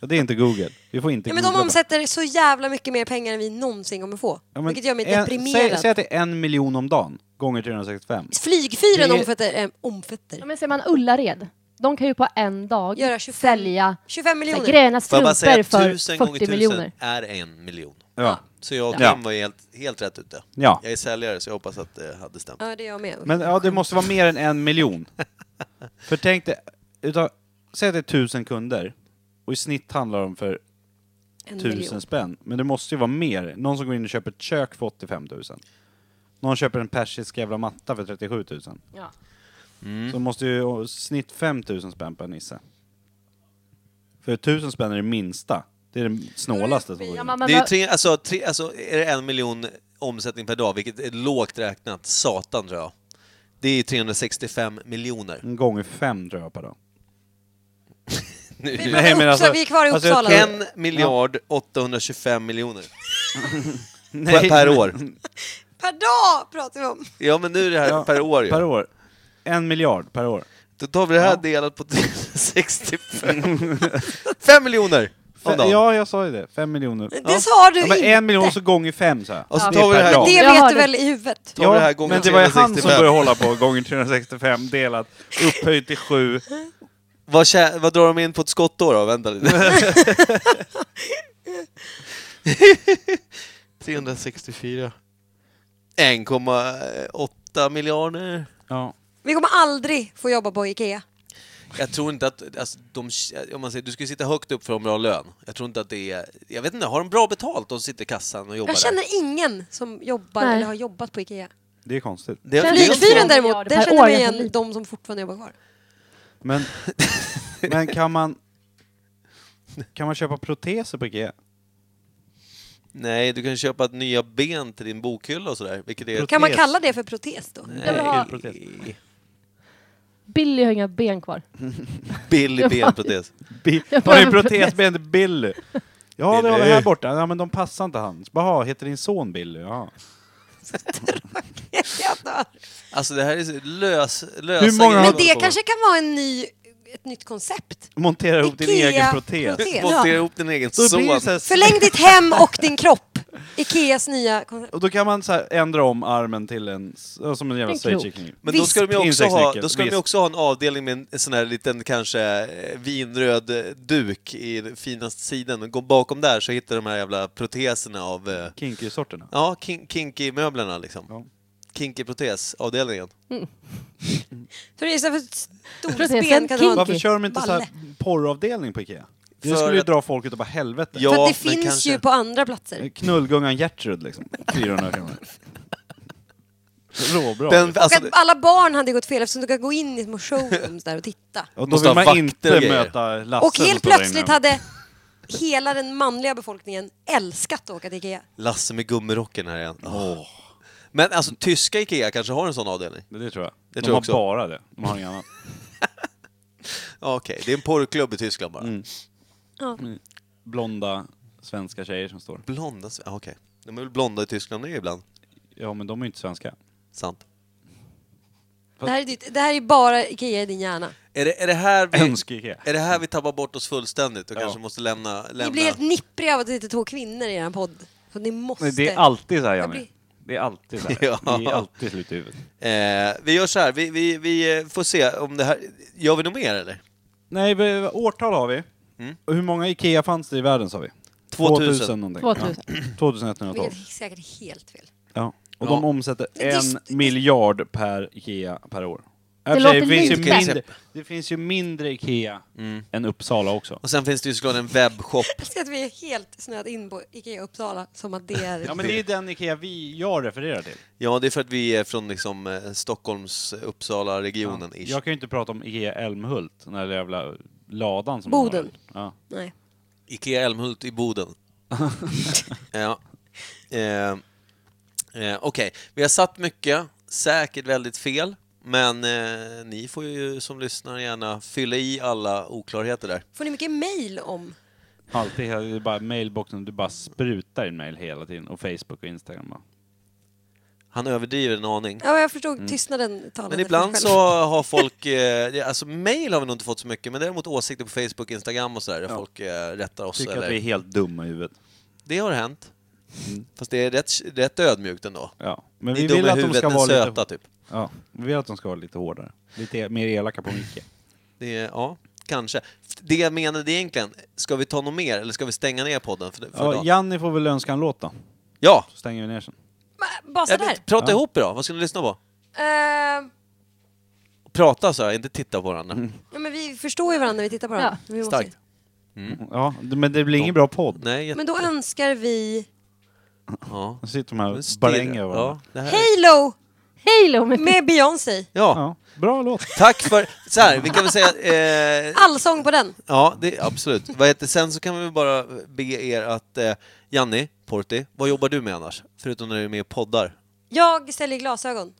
Speaker 1: Ja, Det är inte Google. Vi får inte
Speaker 2: Ja, men
Speaker 1: googla
Speaker 2: de
Speaker 1: bara.
Speaker 2: omsätter så jävla mycket mer pengar än vi någonsin kommer få.
Speaker 1: Ja, men
Speaker 2: vilket gör mig
Speaker 1: en- Säg,
Speaker 2: deprimerad.
Speaker 1: säg att det är en miljon om dagen, gånger 365.
Speaker 2: Flygfyren
Speaker 1: Det är-
Speaker 2: omsätter, eh, omsätter.
Speaker 5: Ja, men ser man Ullared, de kan ju på en dag
Speaker 2: Göra 25
Speaker 5: sälja
Speaker 2: 25
Speaker 5: så här,
Speaker 2: miljoner.
Speaker 5: gröna
Speaker 3: Får jag bara
Speaker 5: strumpor
Speaker 3: säga,
Speaker 5: för
Speaker 3: tusen gånger
Speaker 5: 40
Speaker 3: tusen
Speaker 5: miljoner.
Speaker 3: är en miljon.
Speaker 1: Ja.
Speaker 3: Så jag och
Speaker 1: Ja.
Speaker 3: Kim var ju helt, helt rätt ute.
Speaker 1: Ja.
Speaker 3: Jag är säljare så jag hoppas att det hade stämt.
Speaker 2: Ja, det är jag med.
Speaker 1: Men ja, det måste vara mer än en miljon. För tänk dig, utav, säg att det är tusen kunder och i snitt handlar de för
Speaker 2: en miljon.
Speaker 1: tusen spänn. Men det måste ju vara mer. Någon som går in och köper ett kök för 85 000. Någon köper en persisk jävla matta för 37 000.
Speaker 5: Ja.
Speaker 3: Mm.
Speaker 1: Så måste ju ha snitt 5 000 spänn per nisse. För 1000 spänn är det minsta. Det är det snålaste som går
Speaker 5: Ja,
Speaker 1: in.
Speaker 5: men,
Speaker 3: Det är ju
Speaker 5: vad-
Speaker 3: tre, alltså, tre, alltså är det en miljon omsättning per dag, vilket är lågt räknat, satan tror jag. Det är 365 miljoner.
Speaker 1: En gånger fem tror jag per dag.
Speaker 3: Nu-
Speaker 2: Vi, Nej, men alltså, vi är kvar i
Speaker 1: alltså, jag
Speaker 2: Uppsala.
Speaker 1: tror-
Speaker 2: nu.
Speaker 3: En miljard 825 miljoner.
Speaker 1: Nej.
Speaker 3: Per år.
Speaker 2: Per dag pratar vi om.
Speaker 3: Ja, men nu är det här
Speaker 1: Ja,
Speaker 3: per år ju.
Speaker 1: Per år. En miljard per år.
Speaker 3: Då tar vi det här delat på 365. Fem miljoner om dagen.
Speaker 1: Ja, jag sa ju det. Fem miljoner.
Speaker 2: Det sa du
Speaker 1: Ja, men en
Speaker 2: inte.
Speaker 1: miljon så gånger fem så här.
Speaker 3: Och så
Speaker 1: Det
Speaker 3: tar vi
Speaker 1: är
Speaker 3: det
Speaker 1: per
Speaker 3: här
Speaker 1: dag.
Speaker 2: Det
Speaker 5: Jag
Speaker 2: vet
Speaker 5: hörde.
Speaker 2: du väl i huvudet?
Speaker 3: Tar vi det här gånger
Speaker 1: men det var ju han som
Speaker 3: 365.
Speaker 1: började hålla på gånger 365 delat upphöjt till 7.
Speaker 3: Vad, tjä- vad drar de in på ett skott då? då? Vänta lite. 364. 1,8 miljarder.
Speaker 1: Ja.
Speaker 2: Vi kommer aldrig få jobba på Ikea.
Speaker 3: Jag tror inte att... Alltså, de, om man säger, du ska ju sitta högt upp för en bra lön. Jag tror inte att det är... Jag vet inte, har de bra betalt? De sitter i kassan och jobbar
Speaker 2: Jag
Speaker 3: där.
Speaker 2: känner ingen som jobbar
Speaker 5: Nej.
Speaker 2: eller har jobbat på Ikea.
Speaker 1: Det är konstigt.
Speaker 3: Det, det,
Speaker 5: Känner du-
Speaker 2: Flygfyren
Speaker 5: miljarder
Speaker 2: däremot, där
Speaker 5: per
Speaker 2: känner
Speaker 5: år,
Speaker 2: jag
Speaker 5: jag
Speaker 2: igen
Speaker 5: tror lite.
Speaker 2: de som fortfarande jobbar kvar.
Speaker 1: Men, men kan man... Kan man köpa proteser på Ikea?
Speaker 3: nej, du kan köpa ett nya ben till din bokhylla och sådär. Vilket är...
Speaker 2: Kan man
Speaker 1: Protes.
Speaker 2: kalla det för protes då?
Speaker 5: Jag vill ha-
Speaker 3: Nej.
Speaker 5: Billy har inga ben kvar.
Speaker 3: Billig benprotes.
Speaker 1: Bi-
Speaker 5: Jag
Speaker 1: Har
Speaker 5: behöver
Speaker 1: du protesbenet Billy? Ja, det har vi
Speaker 3: Billy.
Speaker 1: här borta. Ja, men de passar inte hans. Jaha, heter din son Billy? Ja.
Speaker 2: Jag dör.
Speaker 3: Alltså det här är så lös... lösa
Speaker 1: Hur många har-
Speaker 3: grejer
Speaker 2: Men
Speaker 3: man
Speaker 2: det
Speaker 3: får.
Speaker 2: kanske kan vara en ny, ett nytt koncept.
Speaker 1: Montera ihop din egen protes.
Speaker 2: Ikea-protes.
Speaker 3: Montera ihop din egen
Speaker 1: Då blir det
Speaker 3: son.
Speaker 1: så här,
Speaker 2: Förläng ditt hem och din kropp i Ikeas nya koncept.
Speaker 1: Och då kan man så här ändra om armen till en, s- ja, som en jävla
Speaker 5: En krok.
Speaker 1: straight chicken.
Speaker 3: Men då ska, de ju också ha,
Speaker 1: Insektsnyckel,
Speaker 3: då ska de ju
Speaker 1: visst.
Speaker 3: också ha en avdelning med en, en sån här liten kanske eh, vinröd eh, duk i den finaste sidan. Och Gå bakom där så hittar de här jävla proteserna av... eh,
Speaker 1: Kinky-sorterna.
Speaker 3: Ja, kin- kinky-möblerna liksom.
Speaker 1: Ja.
Speaker 3: Kinky-protesavdelningen.
Speaker 2: Så det är istället för ett
Speaker 5: Protesen
Speaker 2: stolsben kan du ha en-
Speaker 1: Varför kör de inte så här porravdelning på Ikea? Det
Speaker 3: För
Speaker 1: skulle ju
Speaker 3: att-
Speaker 1: dra folk utav bara helvete.
Speaker 3: Ja,
Speaker 2: För att
Speaker 3: men
Speaker 2: det finns
Speaker 3: kanske- Alltså,
Speaker 2: ju på andra platser.
Speaker 1: Knullgungan Gertrud liksom. 400 kronor. Råbra.
Speaker 3: Den, alltså,
Speaker 2: och att alla barn hade gått fel eftersom du kan gå in i små showrooms där och titta.
Speaker 1: och då vill
Speaker 3: måste ha
Speaker 1: man
Speaker 3: vakter och
Speaker 1: inte
Speaker 3: grejer.
Speaker 1: möta Lasse
Speaker 2: Och
Speaker 1: som
Speaker 2: helt
Speaker 1: står där
Speaker 2: plötsligt
Speaker 1: inne.
Speaker 2: hade hela den manliga befolkningen älskat att åka till Ikea.
Speaker 3: Lasse med gummirocken här igen. Åh. Men alltså, tyska Ikea kanske har en sån avdelning?
Speaker 1: Det tror jag. de
Speaker 3: Det tror jag
Speaker 1: har
Speaker 3: också.
Speaker 1: bara det. De har inget annat.
Speaker 3: Ja, Okej, det är en porrklubb i Tyskland bara.
Speaker 1: Blonda svenska tjejer som står.
Speaker 3: Blonda sve- ah, okej. De är väl blonda i Tyskland nu ibland?
Speaker 1: Ja, men de är ju inte svenska.
Speaker 3: Sant.
Speaker 2: Det här, är ditt, det här är bara Ikea i din hjärna.
Speaker 3: Är det, är det här vi...
Speaker 1: Önske-Ikea.
Speaker 3: Är det här vi tappar bort oss fullständigt och
Speaker 1: Ja.
Speaker 3: kanske måste lämna... lämna...
Speaker 2: Ni blir helt nippriga av att det sitter två kvinnor i er podd. Så ni måste...
Speaker 1: Nej, det är alltid så här,
Speaker 2: Jag
Speaker 1: Janne.
Speaker 2: blir-
Speaker 1: Det är alltid så här.
Speaker 3: Ja.
Speaker 1: Vi är alltid slut i huvudet.
Speaker 3: eh, vi gör så här, vi, vi, vi eh, får se om det här... Gör vi något mer eller?
Speaker 1: Nej, vi- årtal har vi.
Speaker 3: Mm.
Speaker 1: Och hur många IKEA fanns det i världen sa vi?
Speaker 3: 2000.
Speaker 1: någonting.
Speaker 5: 2000.
Speaker 1: Ja. 2112.
Speaker 2: Vilket är säkert helt fel.
Speaker 1: Ja. Och
Speaker 3: Ja.
Speaker 1: de omsätter
Speaker 2: Men det är
Speaker 1: en
Speaker 2: s-
Speaker 1: miljard per IKEA per år.
Speaker 5: Det låter
Speaker 1: det, finns ju
Speaker 5: lite.
Speaker 1: mindre, det finns ju mindre IKEA än Uppsala också.
Speaker 3: Och sen finns det ju såklart en webbshop.
Speaker 2: Jag älskar att vi är helt snöat in på Ikea Uppsala som att det är...
Speaker 1: Ja men det är ju den IKEA vi, jag refererar till.
Speaker 3: Ja, det är för att vi är från liksom eh, Stockholms, Uppsala-regionen. ish.
Speaker 1: Jag kan ju inte prata om IKEA Älmhult, den där jävla ladan som
Speaker 2: Boden.
Speaker 1: de har. Ja.
Speaker 2: Nej.
Speaker 3: Ikea Älmhult i Boden. ja. Eh, eh, Okej, vi har satt mycket, säkert väldigt fel. Men eh, ni får ju som lyssnar gärna fylla i alla oklarheter där.
Speaker 2: Får ni mycket mail om?
Speaker 1: Alltid, hela- det är bara mailboxen, du bara sprutar in mail hela tiden. Och Facebook och Instagram. va?
Speaker 3: Han överdriver en aning.
Speaker 2: Ja, jag förstod tystnaden talade
Speaker 3: Mm. Men
Speaker 2: för
Speaker 3: ibland
Speaker 2: sig
Speaker 3: så
Speaker 2: själv.
Speaker 3: har folk, eh, det- alltså mail har vi nog inte fått så mycket, men däremot åsikter på Facebook, Instagram och sådär, där folk eh, rättar oss.
Speaker 1: Tycker
Speaker 3: eller...
Speaker 1: att vi är helt dumma i huvudet.
Speaker 3: Det har hänt. Fast det är rätt, rätt ödmjukt ändå.
Speaker 1: Ja. Men
Speaker 3: Ni
Speaker 1: vi
Speaker 3: är dumma
Speaker 1: vill
Speaker 3: i
Speaker 1: att de
Speaker 3: huvudet,
Speaker 1: ska
Speaker 3: men
Speaker 1: vara
Speaker 3: söta,
Speaker 1: lite
Speaker 3: typ.
Speaker 1: Ja, vi vill att de ska vara lite hårdare. Lite e- mer elaka på Micke.
Speaker 3: Det är, ja, kanske. Det jag menade egentligen, ska vi ta något mer eller ska vi stänga ner podden för, för
Speaker 1: Ja,
Speaker 3: idag?
Speaker 1: Janni får väl önska en låt då.
Speaker 3: ja.
Speaker 1: Så stänger vi ner sen.
Speaker 2: Ma- Bara
Speaker 3: Jag
Speaker 2: sådär.
Speaker 3: vet- Prata
Speaker 1: Ja.
Speaker 3: ihop idag, vad ska ni lyssna på?
Speaker 2: Uh,
Speaker 3: Prata så jag, inte titta på varandra.
Speaker 1: Mm.
Speaker 2: ja, men vi förstår ju varandra när vi tittar på varandra.
Speaker 5: Ja.
Speaker 2: Vi måste ju.
Speaker 3: Starkt.
Speaker 1: Mm. Ja, d- men det blir ingen bra podd.
Speaker 3: Nej, jätte...
Speaker 2: Men då önskar vi
Speaker 3: Eh. ja.
Speaker 1: Nu sitter de här
Speaker 3: Men
Speaker 1: och
Speaker 3: stirra.
Speaker 1: bränger varandra.
Speaker 3: ja, det här...
Speaker 2: Halo
Speaker 5: Halo med
Speaker 2: med Beyoncé.
Speaker 3: Ja,
Speaker 1: Ja, bra låt.
Speaker 3: tack för... Så här, vi kan väl säga... Eh,
Speaker 2: Allsång på den.
Speaker 3: Ja, det, absolut. Vad heter, sen så kan vi väl bara be er att... Eh, Janni, Porti, vad jobbar du med annars? Förutom när du är med i poddar?
Speaker 2: Jag säljer glasögon.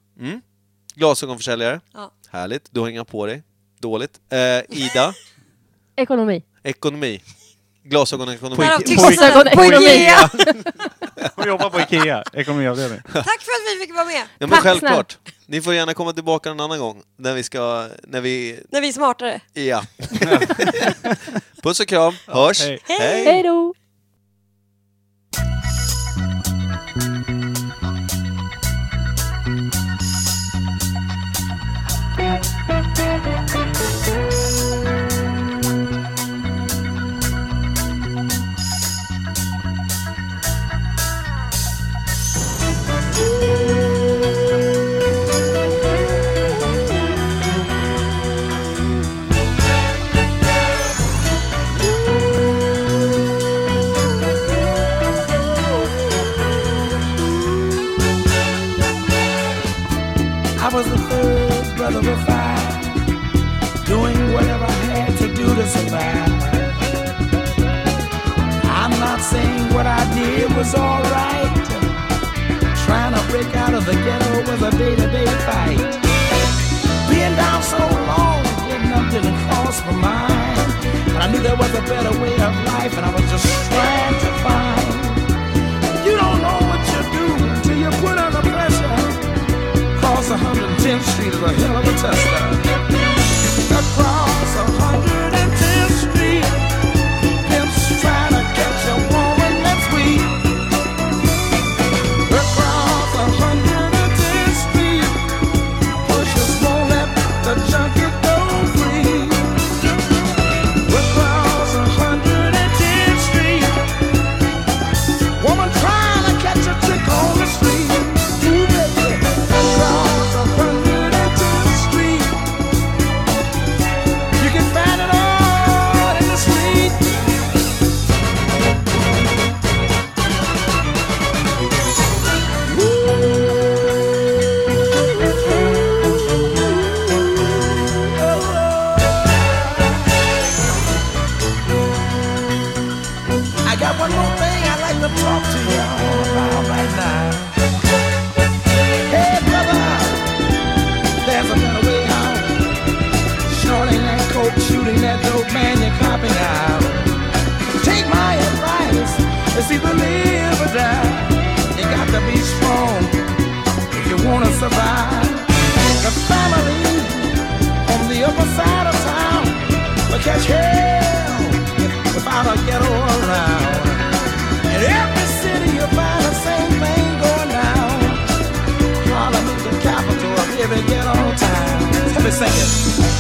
Speaker 3: Glasögonförsäljare?
Speaker 2: Ja.
Speaker 3: Härligt. Du har inga på dig. Dåligt. Eh, Ida?
Speaker 5: ekonomi.
Speaker 3: Ekonomi. Glasögonekonomi.
Speaker 2: Därav
Speaker 1: Pojke-
Speaker 2: tystnaden på
Speaker 5: pojke-
Speaker 2: Ikea.
Speaker 1: Hon jobbar på Ikea, ekonomiavdelning.
Speaker 2: Tack för att vi fick vara med.
Speaker 3: Ja, men
Speaker 5: Tack
Speaker 3: självklart. Ni får gärna komma tillbaka en annan gång när vi ska... När vi...
Speaker 2: När vi är smartare.
Speaker 3: Ja. Puss och kram. Hörs.
Speaker 1: hej.
Speaker 5: Hej då!
Speaker 9: I was the third brother of five, doing whatever I had to do to survive. I'm not saying what I did was alright. Trying to break out of the ghetto was a day-to-day fight. Being down so long, getting up didn't cross my mind. But I knew there was a better way of life, and I was just trying to find. You don't know what you do till you put under pressure. Across 110th Street is a hell of a tester. Across 110th Street, pimps trying to catch a woman that's weak.
Speaker 4: catch hell without a ghetto around. In every city you find the same thing going down. Harlem is the capital of every ghetto town. Let me sing it. Oh,